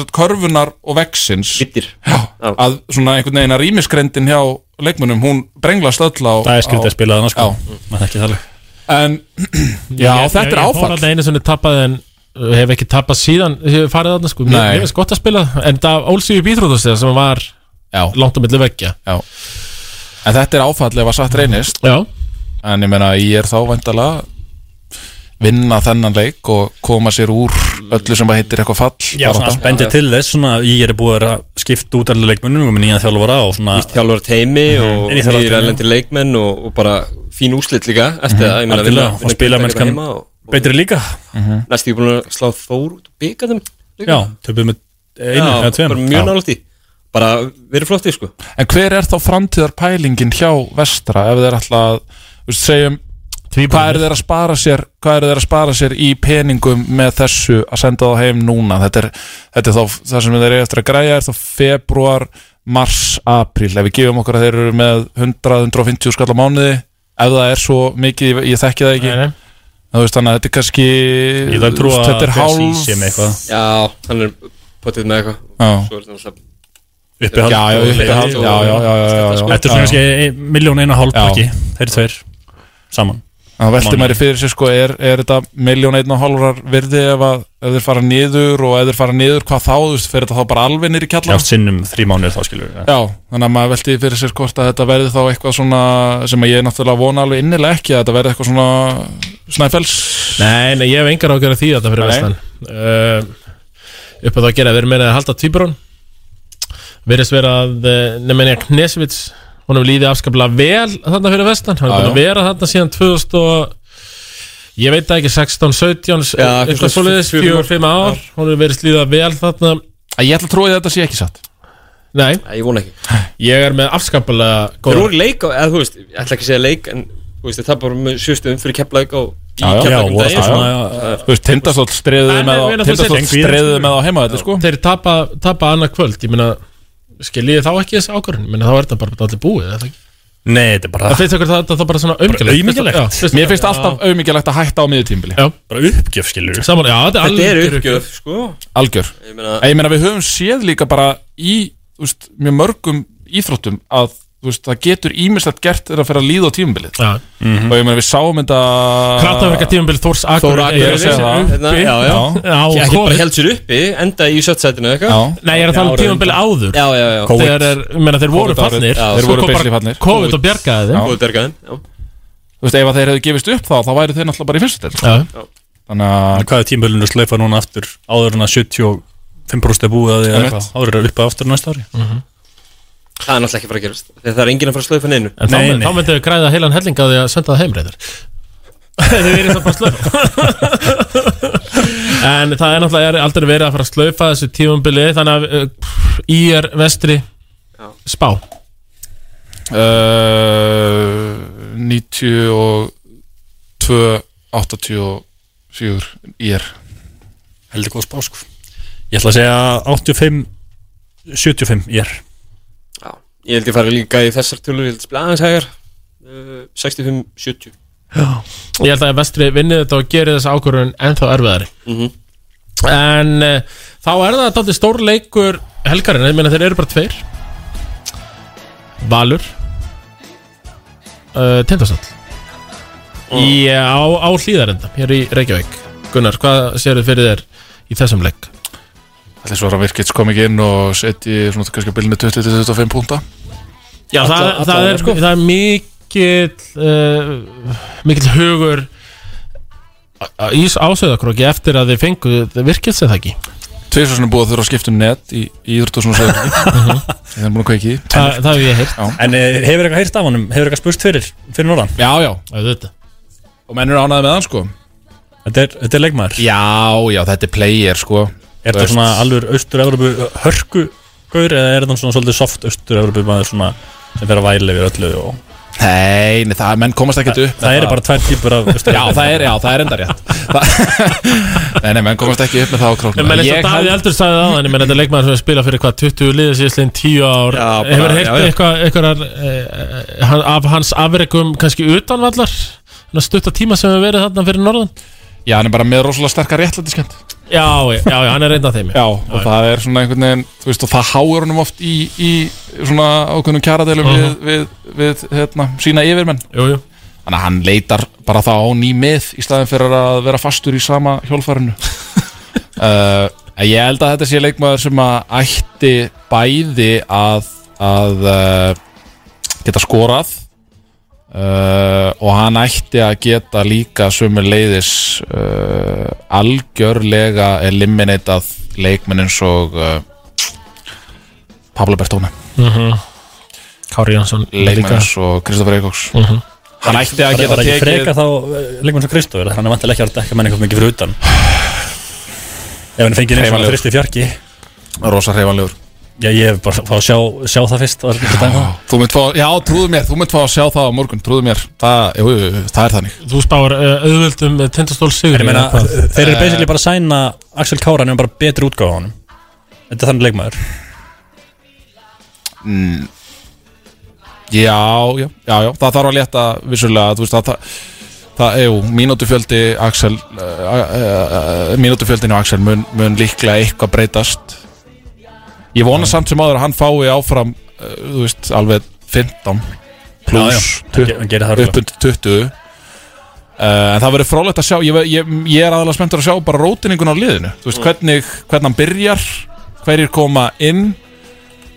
Speaker 13: satt, körfunar og vexins
Speaker 2: Vittir
Speaker 13: Já, að svona einhvern veginn að rýmiskrendin hjá leikmunum, hún brenglast öll á
Speaker 3: Það er skrítið
Speaker 13: á-
Speaker 3: að spila þarna sko
Speaker 13: Já.
Speaker 3: Maður þekki það alveg.
Speaker 13: En, *clears throat* já, þetta er
Speaker 1: Ég fór
Speaker 13: áfall
Speaker 1: alltaf einu sinni tapað en uh, hef ekki tapað síðan þegar ég hef farið þarna sko Mér
Speaker 13: Nei.
Speaker 1: mér finnst gott að spila En það ólsýði býþrótastega sem var
Speaker 13: Já.
Speaker 1: langt á milli veggja
Speaker 13: Já En þetta er áfall ef að satt reynist
Speaker 1: Já
Speaker 13: En ég meina, ég er þá vendala vinna þennan leik og koma sér úr öllu sem að heitir eitthvað fall
Speaker 3: Já, svona spendið til þess svona, Ég er búið að vera að skipta út allir leikmunum og með nýja þjálfara og svona Nýtt
Speaker 2: þjálfara teimi og
Speaker 3: Nýtt þjálfara
Speaker 2: nýjir erlendir leikmenn og, og bara fín úslit líka eftir það, ég meina
Speaker 3: Mhm. Algjörlega,
Speaker 2: vinna-
Speaker 3: og
Speaker 2: vinna
Speaker 3: spilamennskan
Speaker 2: heima og- og-
Speaker 3: betri líka.
Speaker 13: Mhm.
Speaker 2: Næstu ég búin að slá Þór út og byggja þeim líka.
Speaker 3: Já, töpuð með einu
Speaker 2: Já,
Speaker 3: eða tveim.
Speaker 2: bara mjög
Speaker 3: Já.
Speaker 2: nálægt í bara verið flotti sko
Speaker 13: En hver er þá framtíðar pælingin hjá vestra ef þeir ætla að þú veist, segjum, hvað eru þeir að spara sér hvað eru þeir að spara sér í peningum með þessu að senda þá heim núna þetta er, þetta er þá það sem þeir eru eftir að græja er þá februar, mars, apríl ef við gefum okkur að þeir eru með 100-150 skall á mánuði ef það er svo mikið, ég, ég þekki það ekki
Speaker 1: nei.
Speaker 13: Þú veist, þannig að þetta er kannski
Speaker 3: Ég þarf að trúa
Speaker 13: þetta er
Speaker 3: að
Speaker 13: hálf
Speaker 3: Chelsea sé með eitthvað.
Speaker 2: Já, hann er potið með eitthvað
Speaker 13: Já.
Speaker 2: Svo er þetta náttúrulega-
Speaker 3: Uppihald
Speaker 13: Já, já,
Speaker 3: og
Speaker 13: uppihald,
Speaker 3: leiðir og-
Speaker 13: já, já, já, já, já, já.
Speaker 3: Þetta er svona
Speaker 13: Já, já.
Speaker 3: kannski miljón einu hálf
Speaker 13: Já.
Speaker 3: pakki Þeir tveir saman
Speaker 13: Það velti
Speaker 3: Mánuði.
Speaker 13: maður í fyrir sér sko, er, er þetta miljón einn og hálfrar virði ef, að, ef þeir fara niður og ef þeir fara niður hvað þá, þú veist, fyrir þetta þá bara alveg niður í
Speaker 3: Já,
Speaker 13: kjallar
Speaker 3: sinnum þrý mánuðir þá skilur við
Speaker 13: Já, þannig að maður velti því fyrir sér hvort að þetta verði þá eitthvað svona sem að ég náttúrulega vona alveg innilega ekki að þetta verði eitthvað svona snæfells
Speaker 1: Nei, nei, ég hef engar ágjörð af því þetta fyrir
Speaker 13: Nei.
Speaker 1: vestan uh, Upp að það gera, við erum meira að halda tvíbrón Verðist vera að eh, nema nefnja Knesvits Honum líði afskaplega vel þarna fyrir vestan Hann er
Speaker 13: Já,
Speaker 1: búin að
Speaker 13: já.
Speaker 1: vera þarna síðan 2000 og Ég veit það ekki, 16, 17
Speaker 13: Já,
Speaker 1: Eitthvað
Speaker 13: eitthvað
Speaker 1: svoleiðis,
Speaker 13: fjögur
Speaker 1: 4-5 ár Honum verðist líða vel þarna
Speaker 13: Ég ætla að trúi að þetta sé ekki satt
Speaker 1: Nei,
Speaker 2: ég vona ekki
Speaker 1: Ég er með afskaplega
Speaker 2: Þeir
Speaker 1: góða
Speaker 2: voru í leik, á- eða þú veist, ég ætla ekki að segja leik en þú veist, það bara með sjöstum fyrir keflaug á í
Speaker 13: Já, já,
Speaker 2: Keflavík um
Speaker 13: já, voru
Speaker 2: daginn,
Speaker 13: það,
Speaker 2: sko.
Speaker 13: já, já.
Speaker 2: Það er-
Speaker 13: Þú veist, Tindastóll streðuðu með á- Tindastóll streðuðu með á heimavelli, sko
Speaker 1: Þeir tapa, tapa annað kvöld Ég meina, skiljið þá ekki þessi ákvörðin Ég meina, þá er þetta bara allir búið, eða ekki
Speaker 3: Nei, þetta er bara
Speaker 1: Það finnst okkur það, það, það bara svona auðmikilegt
Speaker 3: aumingjalegt.
Speaker 13: Mér finnst alltaf auðmikilegt að hætta á miðutímbili
Speaker 3: Bara uppgjöf skilur við
Speaker 1: Saman, já, þetta er
Speaker 2: Þetta er
Speaker 1: algjör
Speaker 2: uppgjöf, sko
Speaker 13: Algjör
Speaker 2: Ég meina-
Speaker 13: En Ég meina við höfum séð líka bara í þú veist, mjög mörgum íþróttum að þú þú veist, það getur ímislegt gert þegar að fyrir að líða á tímabilið
Speaker 1: ja.
Speaker 13: og ég meina við sáum þetta
Speaker 1: Kraftaverka tímabil Þórs
Speaker 13: Ah.
Speaker 1: Akureyri
Speaker 13: Þór Akureyri
Speaker 2: Hérna, já, já. Ekki- ekki bara held sér uppi enda í sjötsætinu eða
Speaker 13: Já.
Speaker 2: eitthvað
Speaker 1: Nei, ég er að tala um tímabil áður
Speaker 2: já, já, já.
Speaker 1: Þegar er, ég meina, þeir voru
Speaker 13: COVID-árið.
Speaker 1: fannir
Speaker 13: Já. Þeir voru basically fallnir.
Speaker 1: COVID og bjargaði þeim
Speaker 2: COVID bjargaði þeim,
Speaker 13: Þú veist, ef að þeir hefðu gefist upp þá, þá væri þeir náttúrulega bara í fyrstu deild, sko.
Speaker 1: Já.
Speaker 13: Þannig að
Speaker 3: Hvað er tímabölinu sleifa núna aftur áður en að 75% er búið að því eða eitthvað áður er uppið aftur næsta ári
Speaker 2: Mhm. það er náttúrulega ekki bara að gerast þegar það er enginn að fara að slöfa neinu
Speaker 1: En þá, nei, þá myndið við græða heilan helling að því að senda það *laughs* heimreitur Þið verið það bara slöfa *laughs* En það er náttúrulega er aldrei verið að fara að slöfa þessu tímambili Þannig að uh, pff, í er vestri spá
Speaker 13: Uh, 92 84 í er
Speaker 3: heldur góð spá sko Ég ætla að segja 85 75 ég er
Speaker 2: ég held ég fara líka í þessar tölur ég held spila aðeins hægar uh, 65-70
Speaker 1: Ég held að vestri vinnið þetta og gerir þessa ákvörðun ennþá erfiðari
Speaker 2: Mhm.
Speaker 1: En uh, þá er það dálítið stór leikur helgarinn Ég meina þeir eru bara tveir Valur uh, Tindastall
Speaker 13: Mm.
Speaker 1: í, á, á hlýðarenda Hér í Reykjavík Gunnar, hvað séu þið fyrir þér í þessum leik?
Speaker 13: Það er svo að virkits kom ekki inn og setji svona kannski á bilinu 20-25 púnta
Speaker 1: Já,
Speaker 13: Alla-
Speaker 1: það,
Speaker 13: alla
Speaker 1: það,
Speaker 13: vega,
Speaker 1: er,
Speaker 13: sko.
Speaker 1: það er mikill uh, mikill hugur á- í ásöðakróki eftir að þið fengu það virkið sem það ekki
Speaker 13: Tveir svo sem búið að þurfa að skipta um net í, í íþrótt og svona segja Það er búin að kveiki í því.
Speaker 1: Þa, Það hef ég heyrt
Speaker 13: Já.
Speaker 3: En eh, hefur eitthvað heyrt af honum? Hefur eitthvað spurt fyrir, fyrir norðan?
Speaker 13: Já, já,
Speaker 1: Auðvitað.
Speaker 13: og menn eru ánæði með hann sko
Speaker 3: Þetta er, þetta er leikmaður
Speaker 13: Já, já, þetta er player sko
Speaker 3: Er
Speaker 13: Þú
Speaker 3: þetta
Speaker 13: veist.
Speaker 3: svona alveg austur-evropu hörku gaur eða er þetta svona svolítið soft austur-evropu maður svona sem fer að væla yfir öllu og
Speaker 13: Nei, nei, það, menn komast ekkert upp
Speaker 3: það eru bara tvær típur af
Speaker 13: Já, það er, já, það er enda rétt Það- *laughs* Nei, nei, menn komast ekki upp með það á
Speaker 1: En
Speaker 13: króknum
Speaker 1: menn eins og Davíð Eldur sagði það Þannig menn þetta er leikmaður sem spila fyrir hvað 20 liðið síðastlegin 10 ár
Speaker 13: Já, bara- já,
Speaker 1: Hefur
Speaker 13: já.
Speaker 1: heyrt eitthvað eitthvað, eh, hann- af hans afrekum kannski utanvallar Þannig að stutta tíma sem hefur verið þarna fyrir norðan
Speaker 13: Já, hann er bara með rosalega sterkar réttlætiskend
Speaker 1: Já, já, já, hann er reyndað þeim
Speaker 13: Já, og það er svona einhvern veginn Þú veist, og það háur honum oft í, í svona ákveðnum kjaradeilum
Speaker 1: Mhm.
Speaker 13: við, við, við hérna, sína yfirmenn
Speaker 1: Jú, jú
Speaker 13: Þannig að hann leitar bara þá á ný mið í staðin fyrir að vera fastur í sama
Speaker 1: *laughs*
Speaker 13: hjólfarinu uh, en Ég held að þetta sé leikmaður sem að ætti bæði að, að uh, geta skorað uh, og hann ætti að geta líka sömu leiðis uh, algjörlega eliminatað leikmenn eins og uh, Pablo Bertone
Speaker 1: Mhm. Kári Jónsson
Speaker 13: leikmenn
Speaker 1: líka.
Speaker 13: eins og Kristoffer Eikóks
Speaker 1: Mhm.
Speaker 13: Hann ætti að
Speaker 3: Var-
Speaker 13: geta
Speaker 3: Var ekki
Speaker 13: tekið-
Speaker 3: freka þá leikmenn sem Kristóður hann er vantilega ekki að dekka menn eitthvað mikið fyrir utan Ef hann fengið eins og
Speaker 13: Hreyfanlegur.
Speaker 3: fristi fjarki
Speaker 13: Rosa hreifanlegur
Speaker 3: Já, ég hef bara fá að sjá, sjá það fyrst það er ekki þetta ennþá.
Speaker 13: Þú mynd fá, já, trúðu mér, þú mynd fá að sjá það á morgun, trúðu mér, það, jú, jú, jú, það er þannig.
Speaker 1: Þú spáir uh, auðvöldum uh, tindastól sigur
Speaker 3: En ég meina,
Speaker 1: eða hvað?
Speaker 3: þeir eru basically bara að sæna Axel Kára en bara betri útgáð á honum Þetta er þannig leikmaður
Speaker 13: Mm. Já, já, já, já, það þarf að leta vissulega, þú veist, það, það, það jú, mínútufjöldi Axel, uh, uh, uh, mínútufjöldinu Axel mun, mun líklega eitthvað breytast. Ég vona samt sem áður að hann fái áfram, uh, þú veist, alveg 15 pluss
Speaker 3: Já, já, hann ge- hann gerir það örugglega.
Speaker 13: upp undir 20 Uh, en það verður frólægt að sjá ég, ve- ég, ég er aðalega spenntur að sjá bara rótiningun á liðinu Þú veist, hvernig, hvernig hann byrjar hverjir koma inn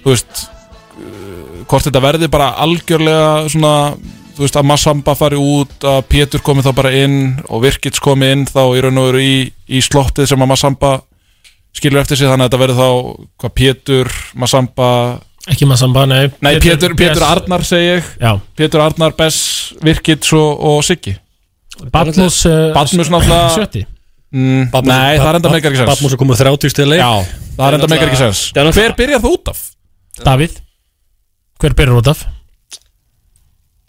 Speaker 13: þú veist uh, hvort þetta verði bara algjörlega svona, þú veist, að Massamba fari út að Pétur komi þá bara inn og Virkits komi inn þá í raun og veru í, í slottið sem að Massamba skilur eftir sig, þannig að þetta verður þá hvað Pétur, Massamba
Speaker 1: Ekki maður samband, nei
Speaker 13: Nei, Pétur, Pétur
Speaker 1: Bess.
Speaker 13: Arnar segi ég
Speaker 1: Já.
Speaker 13: Pétur Arnar, Bess, Virkits og, og Siggi
Speaker 1: Badmus uh,
Speaker 13: Badmus náttúrulega
Speaker 1: Sjötti
Speaker 13: Mm,
Speaker 3: Badmus-
Speaker 13: nei, það er enda
Speaker 3: Bad-
Speaker 13: meikar ekki sens
Speaker 3: Badmus er komið 30 stiga leik
Speaker 13: Já, það er enda meikar ekki sens Hver byrjar þú út af?
Speaker 1: Davíð Hver byrjar út af?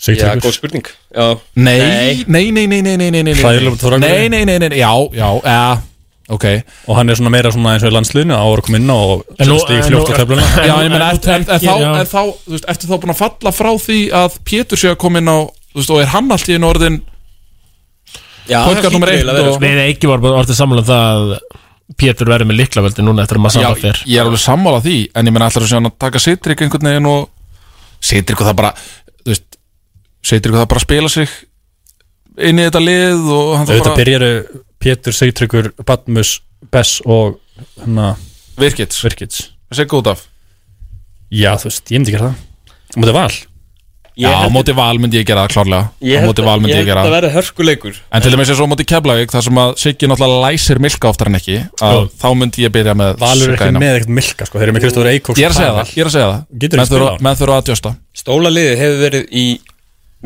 Speaker 2: já, góð spurning já.
Speaker 13: Nei, nei, nei, nei, nei, nei, nei, nei, nei.
Speaker 3: Hræðilegur Þór Akureyri.
Speaker 13: Nei, nei, nei, nei, nei, já, já, eða, ok
Speaker 3: Og hann er svona meira svona eins og í landsliðinu á að koma inn á og
Speaker 1: En nú-
Speaker 3: stig
Speaker 1: en
Speaker 3: fljótt
Speaker 1: nú-
Speaker 3: á
Speaker 1: *laughs*
Speaker 3: töfluna
Speaker 13: *laughs* Já, ég meina,
Speaker 1: En
Speaker 13: er, er, er,
Speaker 1: ekki,
Speaker 13: þá,
Speaker 1: já.
Speaker 13: er þá, þú veist, ertu þá búin að falla frá því að Pétur sé að koma inn á, þú veist, og er hann allt í einu orðin
Speaker 2: já,
Speaker 13: Podcast
Speaker 2: það
Speaker 13: númer
Speaker 2: hlýtur eiginlega að vera,
Speaker 13: eitt og-
Speaker 2: sko.
Speaker 1: Nei, nei, ekki var bara orðið sammála um það að Pétur verður með líklavöldi núna eftir að maður samband fer
Speaker 13: ég er alveg sammála því, en ég meina, ætlar þú sé að taka sitrik einhvern veginn og setur ykkur það bara þú veist, setur ykkur það bara að spila sig inn í þetta lið og hann þarf
Speaker 3: Auðvitað
Speaker 13: bara
Speaker 3: byrjaru Pétur Seytryggur, Batmus, Bess og hérna
Speaker 13: Virkits
Speaker 3: Virkits
Speaker 13: Þessi er góð af
Speaker 3: Já, þú veist, ég myndi gera það Á Móti val
Speaker 13: Já, á móti val myndi ég gera það klárlega
Speaker 2: Ég
Speaker 13: Á
Speaker 2: held
Speaker 13: móti
Speaker 2: að-
Speaker 13: val myndi
Speaker 2: ég
Speaker 13: ég
Speaker 2: held
Speaker 13: gera
Speaker 2: að
Speaker 13: það
Speaker 2: verði hörkuleikur
Speaker 13: En til dæmis eins og á móti Keflavík þar sem að Siggi náttúrulega læsir Milka oftar en ekki að þá myndi ég byrja með
Speaker 3: Valur er
Speaker 13: Sigga
Speaker 3: ekki
Speaker 13: inn á.
Speaker 3: með ekkert milka, sko Þeir eru með Kristóður Eikóks
Speaker 13: Ég er að segja það, ég er að segja það
Speaker 3: Getur
Speaker 13: Menn
Speaker 3: ekki
Speaker 13: þurfa-
Speaker 3: spila
Speaker 13: Menn þurfa að adjusta
Speaker 2: Stóla liðið hefur verið í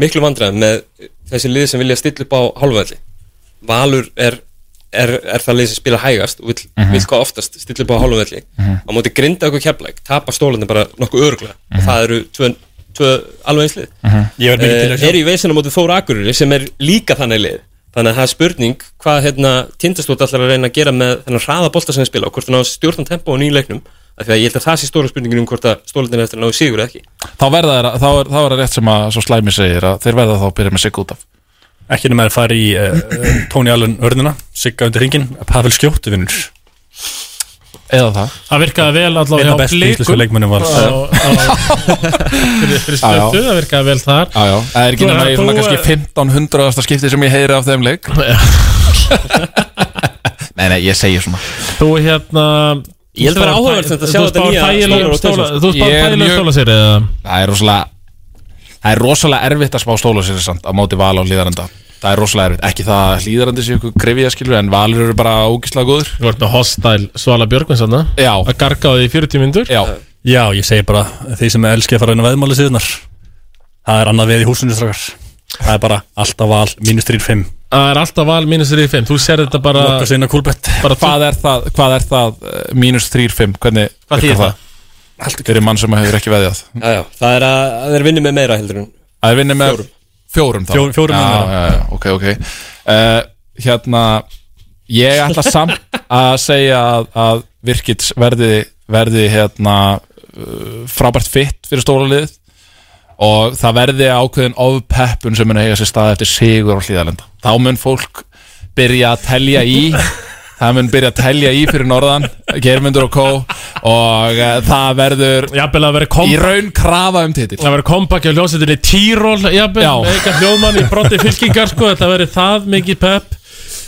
Speaker 2: miklu vandræðum með þessi liðið sem vilja stilla upp á hálfvelli Valur er, er, er það liðið sem spila hægast og vill,
Speaker 13: Mhm.
Speaker 2: vill hvað oftast stilla upp á hálfvelli
Speaker 13: Mhm.
Speaker 2: á móti grinda okkur keflæk, tapa stólanum bara nokkuð öruglega og það eru tvö, tvö alveg eins lið
Speaker 13: Mhm. Ég verð mikið til að
Speaker 2: Eh,
Speaker 13: sjá.
Speaker 2: er í veisinu móti Þóra Akureyri sem er líka þannig lið þannig að það er spurning hvað hérna, tindastótt allar að reyna að gera með þennan hraða bolta sem þeir spila og hvort það ná stjórnum tempo á nýju leiknum af því að ég held að það sé stóra spurningin um hvort að stólandin eftir að ná sigur eða ekki
Speaker 13: Þá verða þeir að, þá er, þá er það rétt sem að svo slæmi segir að þeir verða þá að byrja með Sigga út af
Speaker 3: Ekki nema þeir fari í uh, Tony Allen örnina Sigga undir hringin, Pavel Skjóttu vinnur
Speaker 13: Eða það
Speaker 1: Það virkaði vel
Speaker 3: Einn
Speaker 1: allavega
Speaker 3: af bestu íslensku leikmönnum Vals.
Speaker 1: Á- á- Fyrir fyrir
Speaker 13: Já, já.
Speaker 1: stöttu, það virkaði vel þar
Speaker 13: Já, já, það er ekki
Speaker 1: Þú-
Speaker 13: nema í
Speaker 1: þú-
Speaker 13: svona kannski 1500. skipti sem ég heyri af
Speaker 3: *laughs*
Speaker 13: þeim leik Nei, nei, ég segi svona
Speaker 1: Þú hérna
Speaker 13: Ég held bara áhugavert þetta að sjá þetta nýja
Speaker 1: Þú
Speaker 13: Stóra-
Speaker 1: stóla Þú
Speaker 13: Ég
Speaker 1: spáð
Speaker 13: er
Speaker 1: þægilega
Speaker 13: mjög-
Speaker 1: stóla sér eða
Speaker 13: Það er rosalega Það er rosalega erfitt að spá stóla sér samt á móti val og hlýðarenda Það er rosalega erfitt, ekki það að hlýðarandi séu ykkur grefja skilur en valur eru bara ógislega góður
Speaker 1: Þú ert með hostile Svala Björgvins hann
Speaker 13: Já
Speaker 1: Að garga á því í 40 myndur
Speaker 13: Já
Speaker 3: Já, ég segi bara Þeir sem elski að fara inn á veðmáli síðunar Það er annað veð í húsinu strakar Það er bara alltaf val, mínus 3-5
Speaker 1: Það er alltaf val mínus 3-5 Þú sér þetta bara
Speaker 3: Lokast inn á kúlbett
Speaker 1: Bara
Speaker 13: Hvað er það, hvað er það eh, mínus 3-5, hvernig
Speaker 2: Hvað
Speaker 13: virkar
Speaker 2: þýðir það?
Speaker 13: það? Fyrir mann sem hefur ekki veðjað
Speaker 2: Já, já, það er að, að þeir vinni með meira heldur en
Speaker 13: Það er vinnið með
Speaker 2: Fjórum.
Speaker 13: fjórum þá
Speaker 2: Fjó- fjórum
Speaker 13: já,
Speaker 2: vinnum
Speaker 13: já, já, ok, ok uh, Hérna Ég ætla samt að segja að, að virkits verði, verði hérna uh, frábært fitt fyrir stóra liðið og það verði ákveðin ofpeppun sem mun eiga sér stað eftir sigur á hlýðalenda þá mun fólk byrja að telja í það mun byrja að telja í fyrir norðan germyndur og kó og uh, það verður
Speaker 1: Jafnvel að verður
Speaker 13: í raun krafa um titil
Speaker 1: Það verður kompakki á hljómsveitinni Tíról Jafnvel
Speaker 13: Já.
Speaker 1: Eitthvað hljóðmann í brotti fylkingar sko Þetta verður það mikið pepp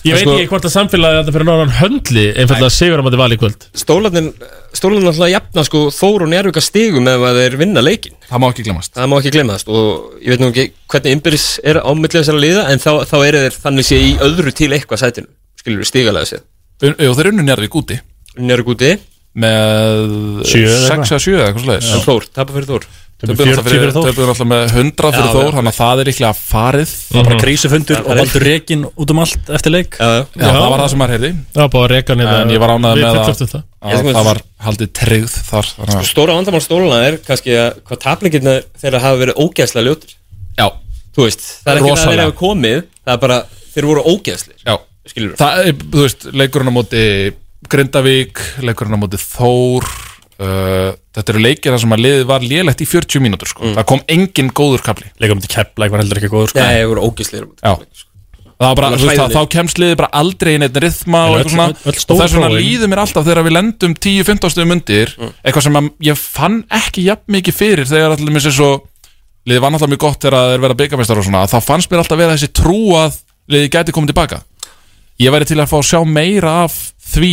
Speaker 1: Ég
Speaker 2: En
Speaker 1: veit
Speaker 2: sko-
Speaker 1: ekki hvort að samfélagi þetta fyrir norðan höndli Einfallega sigur að maður val í kvöld
Speaker 2: Stólanin, stólanin alltaf jafna sko Þórun er auka stigum ef að þeir vinna leikin
Speaker 13: Það má ekki glemast
Speaker 2: Það má ekki glemast og ég veit nú ekki hvernig innbyrðis er ámillið þessara liða en þá, þá eru þeir þannig sé í öðru til eitthvað sætinu skilur við stigalega séð
Speaker 13: Jú, þeir unnu Njarðvík úti
Speaker 2: Njörg úti
Speaker 13: með
Speaker 2: Sjö eða
Speaker 13: 6 eða 7 eða eitthvað slags
Speaker 2: En Þór, tapa fyrir Þór
Speaker 13: Töpuðu náttúrulega fyrir- töpuðu náttúrulega með 100 fyrir
Speaker 2: Já,
Speaker 13: Þór
Speaker 2: já.
Speaker 13: Þannig að það er líklega farið
Speaker 3: Það er bara krísufundur og valdur rekin út um allt eftir leik
Speaker 2: Já,
Speaker 13: Já, það var það sem maður heyrði
Speaker 1: Já, bara reka niður
Speaker 13: En ég var ánægð
Speaker 1: Við
Speaker 13: með að,
Speaker 1: fullyrtum það.
Speaker 2: Ég
Speaker 13: að
Speaker 2: sko-
Speaker 13: það var haldið tryggð þar þannig
Speaker 2: sko,
Speaker 13: að-
Speaker 2: stóra vandamál stólana er kannski að hvað taplingirna þeirra hafa verið ógæðslega ljótir
Speaker 13: Já
Speaker 2: Þú veist, það er ekki það að þeir
Speaker 13: Rosalega.
Speaker 2: hafa komið það er bara, þeir voru ógæðslir
Speaker 13: Já
Speaker 2: Skilur við
Speaker 13: Það, er, þú veist, leikurinn á móti Grindavík, leikurinn á móti Þór uh, Þetta eru leikir þar sem að liðið var lélegt í 40 mínútur sko. Það kom engin góður kapli
Speaker 3: Leikum til Keplæk var heldur ekki góður
Speaker 13: sko.
Speaker 2: Mm. Nei, þeir voru ógæðslir
Speaker 13: Já Það var bara,
Speaker 2: Alveg
Speaker 13: þú
Speaker 2: sko.
Speaker 13: veist, þá,
Speaker 2: hræðilegir.
Speaker 13: þá kemst liðið bara aldrei inn einn
Speaker 2: En
Speaker 13: rithma og
Speaker 2: öll-
Speaker 13: eitthvað svona
Speaker 2: öll- öll
Speaker 13: og þess vegna
Speaker 2: stórprófin.
Speaker 13: líður mér alltaf þegar við lendum 10-15 stöðum undir eitthvað sem að ég fann ekki jafn mikið fyrir þegar allir mér sér svo liðið var náttúrulega mjög gott þegar þeir verða byggamestar og svona þá fannst mér alltaf vera þessi trú að liðið gæti komið tilbaka ég væri til að fá að sjá meira af því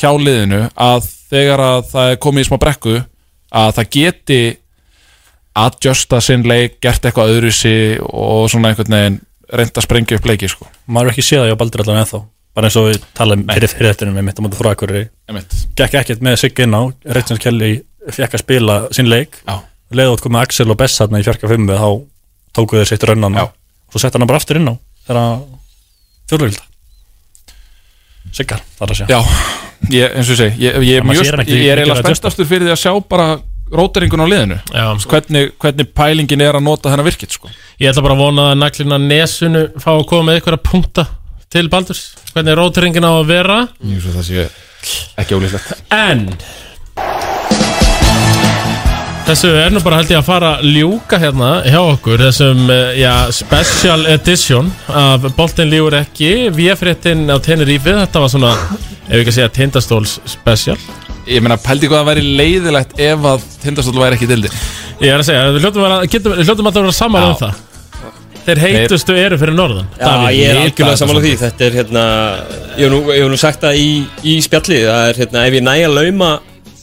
Speaker 13: hjá liðinu að þegar að það er komið í smá brekku að það geti adjusta sinn leik, gert eitthvað öðru og svona einhvern veginn reynd að sprengja upp leiki sko.
Speaker 3: Maður hefur ekki séð það hjá Baldur allan ennþá Bara eins og við talaðum fyrir fyrir þetta með mitt á móti frá Akureyri
Speaker 13: Einmitt.
Speaker 3: Gekk ekkert með Sigga inn á Reitjans Kelly fekk að spila sín leik Leða út komið Axel og Bess hérna í 45 þá tókuðu þeir sitt rönnan á Svo sett hann bara aftur inn á þegar fjórleikilda Siggar, þar að sé
Speaker 13: Já, ég, eins og ég segi Ég, ég er
Speaker 3: En maður
Speaker 13: mjög,
Speaker 3: sér hann ekki-
Speaker 13: ég er
Speaker 3: ekki
Speaker 13: eiginlega
Speaker 3: að adjusta.
Speaker 13: spenntastur fyrir því að sjá bara róteringun á liðinu Þess, hvernig, hvernig pælingin er að nota þennan virkit sko.
Speaker 1: sko. Ég ætla bara að vona að naglina nesunu fá að koma með einhverja punkta til Baldurs Hvernig rótringin á að vera
Speaker 13: Ég svo það sé ekki ólíklegt
Speaker 1: En Þessu er nú bara held ég að fara að ljúka hérna hjá okkur Þessum, eh, já, special edition Af Boltin lífur ekki Véfréttin á Tenerife Þetta var svona, ef við ekki að segja, tindastóls special
Speaker 13: Ég meina, pældi hvað það væri leiðilegt ef að tindastóll væri ekki dildi
Speaker 1: Ég er að segja, við hljóttum að, vera- getum- við hljótum að það vera saman um það Þeir heitustu eru fyrir norðan
Speaker 2: Já, ég er algjörlega sammála því Þetta er hérna Ég hef nú, ég hef nú sagt það í, í spjalli Það er hérna Ef ég næja lauma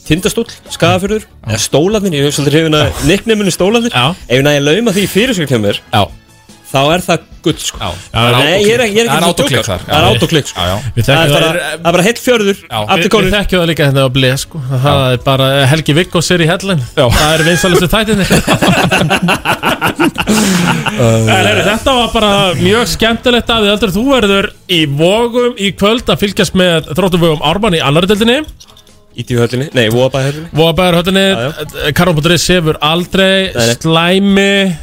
Speaker 2: Tindastóll, skafurður Eða stólarnir Ég hef svolítið hrifin að Nickneminu stólarnir Já. Ef ég næja lauma því fyrirsöknum mér
Speaker 13: Já
Speaker 2: Þá er það gull sko Já.
Speaker 1: Það er
Speaker 2: Nei, ég er ekki, ég er ekki
Speaker 1: Það er
Speaker 2: að djóka,
Speaker 1: autoclick
Speaker 2: sko.
Speaker 1: þar.
Speaker 2: Það er
Speaker 1: Já.
Speaker 2: autoklikk sko
Speaker 1: Já, já. Við
Speaker 2: Það er
Speaker 1: þekkjum
Speaker 2: bara,
Speaker 1: það.
Speaker 2: það er bara heill fjörður
Speaker 1: Við,
Speaker 2: Aftur
Speaker 1: við
Speaker 2: konur
Speaker 1: þekkjum það líka hérna á bleið sko Það er bara Helgi Vikkos er í hellin Það er vinsalistu tætinni
Speaker 2: *laughs*
Speaker 1: En heyrðu, Þetta var bara mjög skemmtilegt að við aldrei þú verður í vogum í kvöld að fylgjast með þróttum vögum Ármann í annari deildinni
Speaker 2: Ítíu höllinni, nei, Vóabæði höllinni
Speaker 1: Vóabæður höllinni Karol.is sefur Eh, aldrei
Speaker 2: Nei, nei.
Speaker 1: Slæmi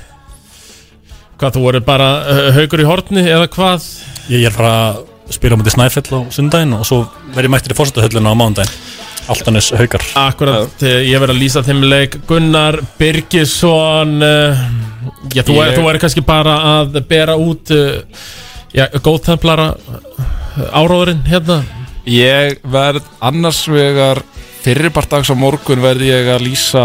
Speaker 1: Hvað þú voru bara uh, haugur í hortni eða hvað
Speaker 3: Ég er fara að spila á myndi Snæfell á sundaginn og svo verð ég mættir í fórstahöllinu á mándaginn Altanis haukar
Speaker 1: Akkurat, eh, ég verð að lýsa þeim leik Gunnar Birgisson uh, Já, þú, er,
Speaker 2: Ég-
Speaker 1: þú er kannski bara að bera út uh, Já, góðtemplara Áróðurinn hérna
Speaker 13: Ég verð annars vegar fyrirpartags á morgun verð ég að lýsa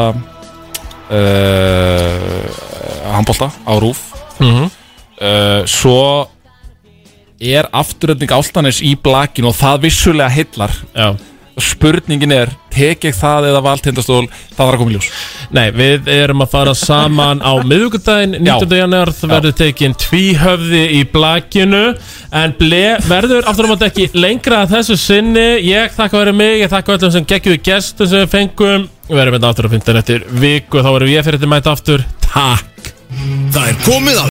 Speaker 13: uh, handbólta á rúf
Speaker 1: Mhm.
Speaker 13: uh, Svo er afturöldning áltanis í blakinu og það vissulega heillar
Speaker 1: Já
Speaker 13: Spurningin er, tek ég það eða valtindastól, það var að koma í ljós
Speaker 1: Nei, við erum að fara saman á miðugudaginn 19. janúar það verður tekin tvíhöfði í blakinu en ble, verður aftur um að ekki lengra að þessu sinni ég þakka verið mig, ég þakka öllum sem geggjum gestum sem við fengum við verðum hérna aftur á 15 eftir viku þá verðum ég fyrir þetta mæta aftur Takk
Speaker 18: Það er komið að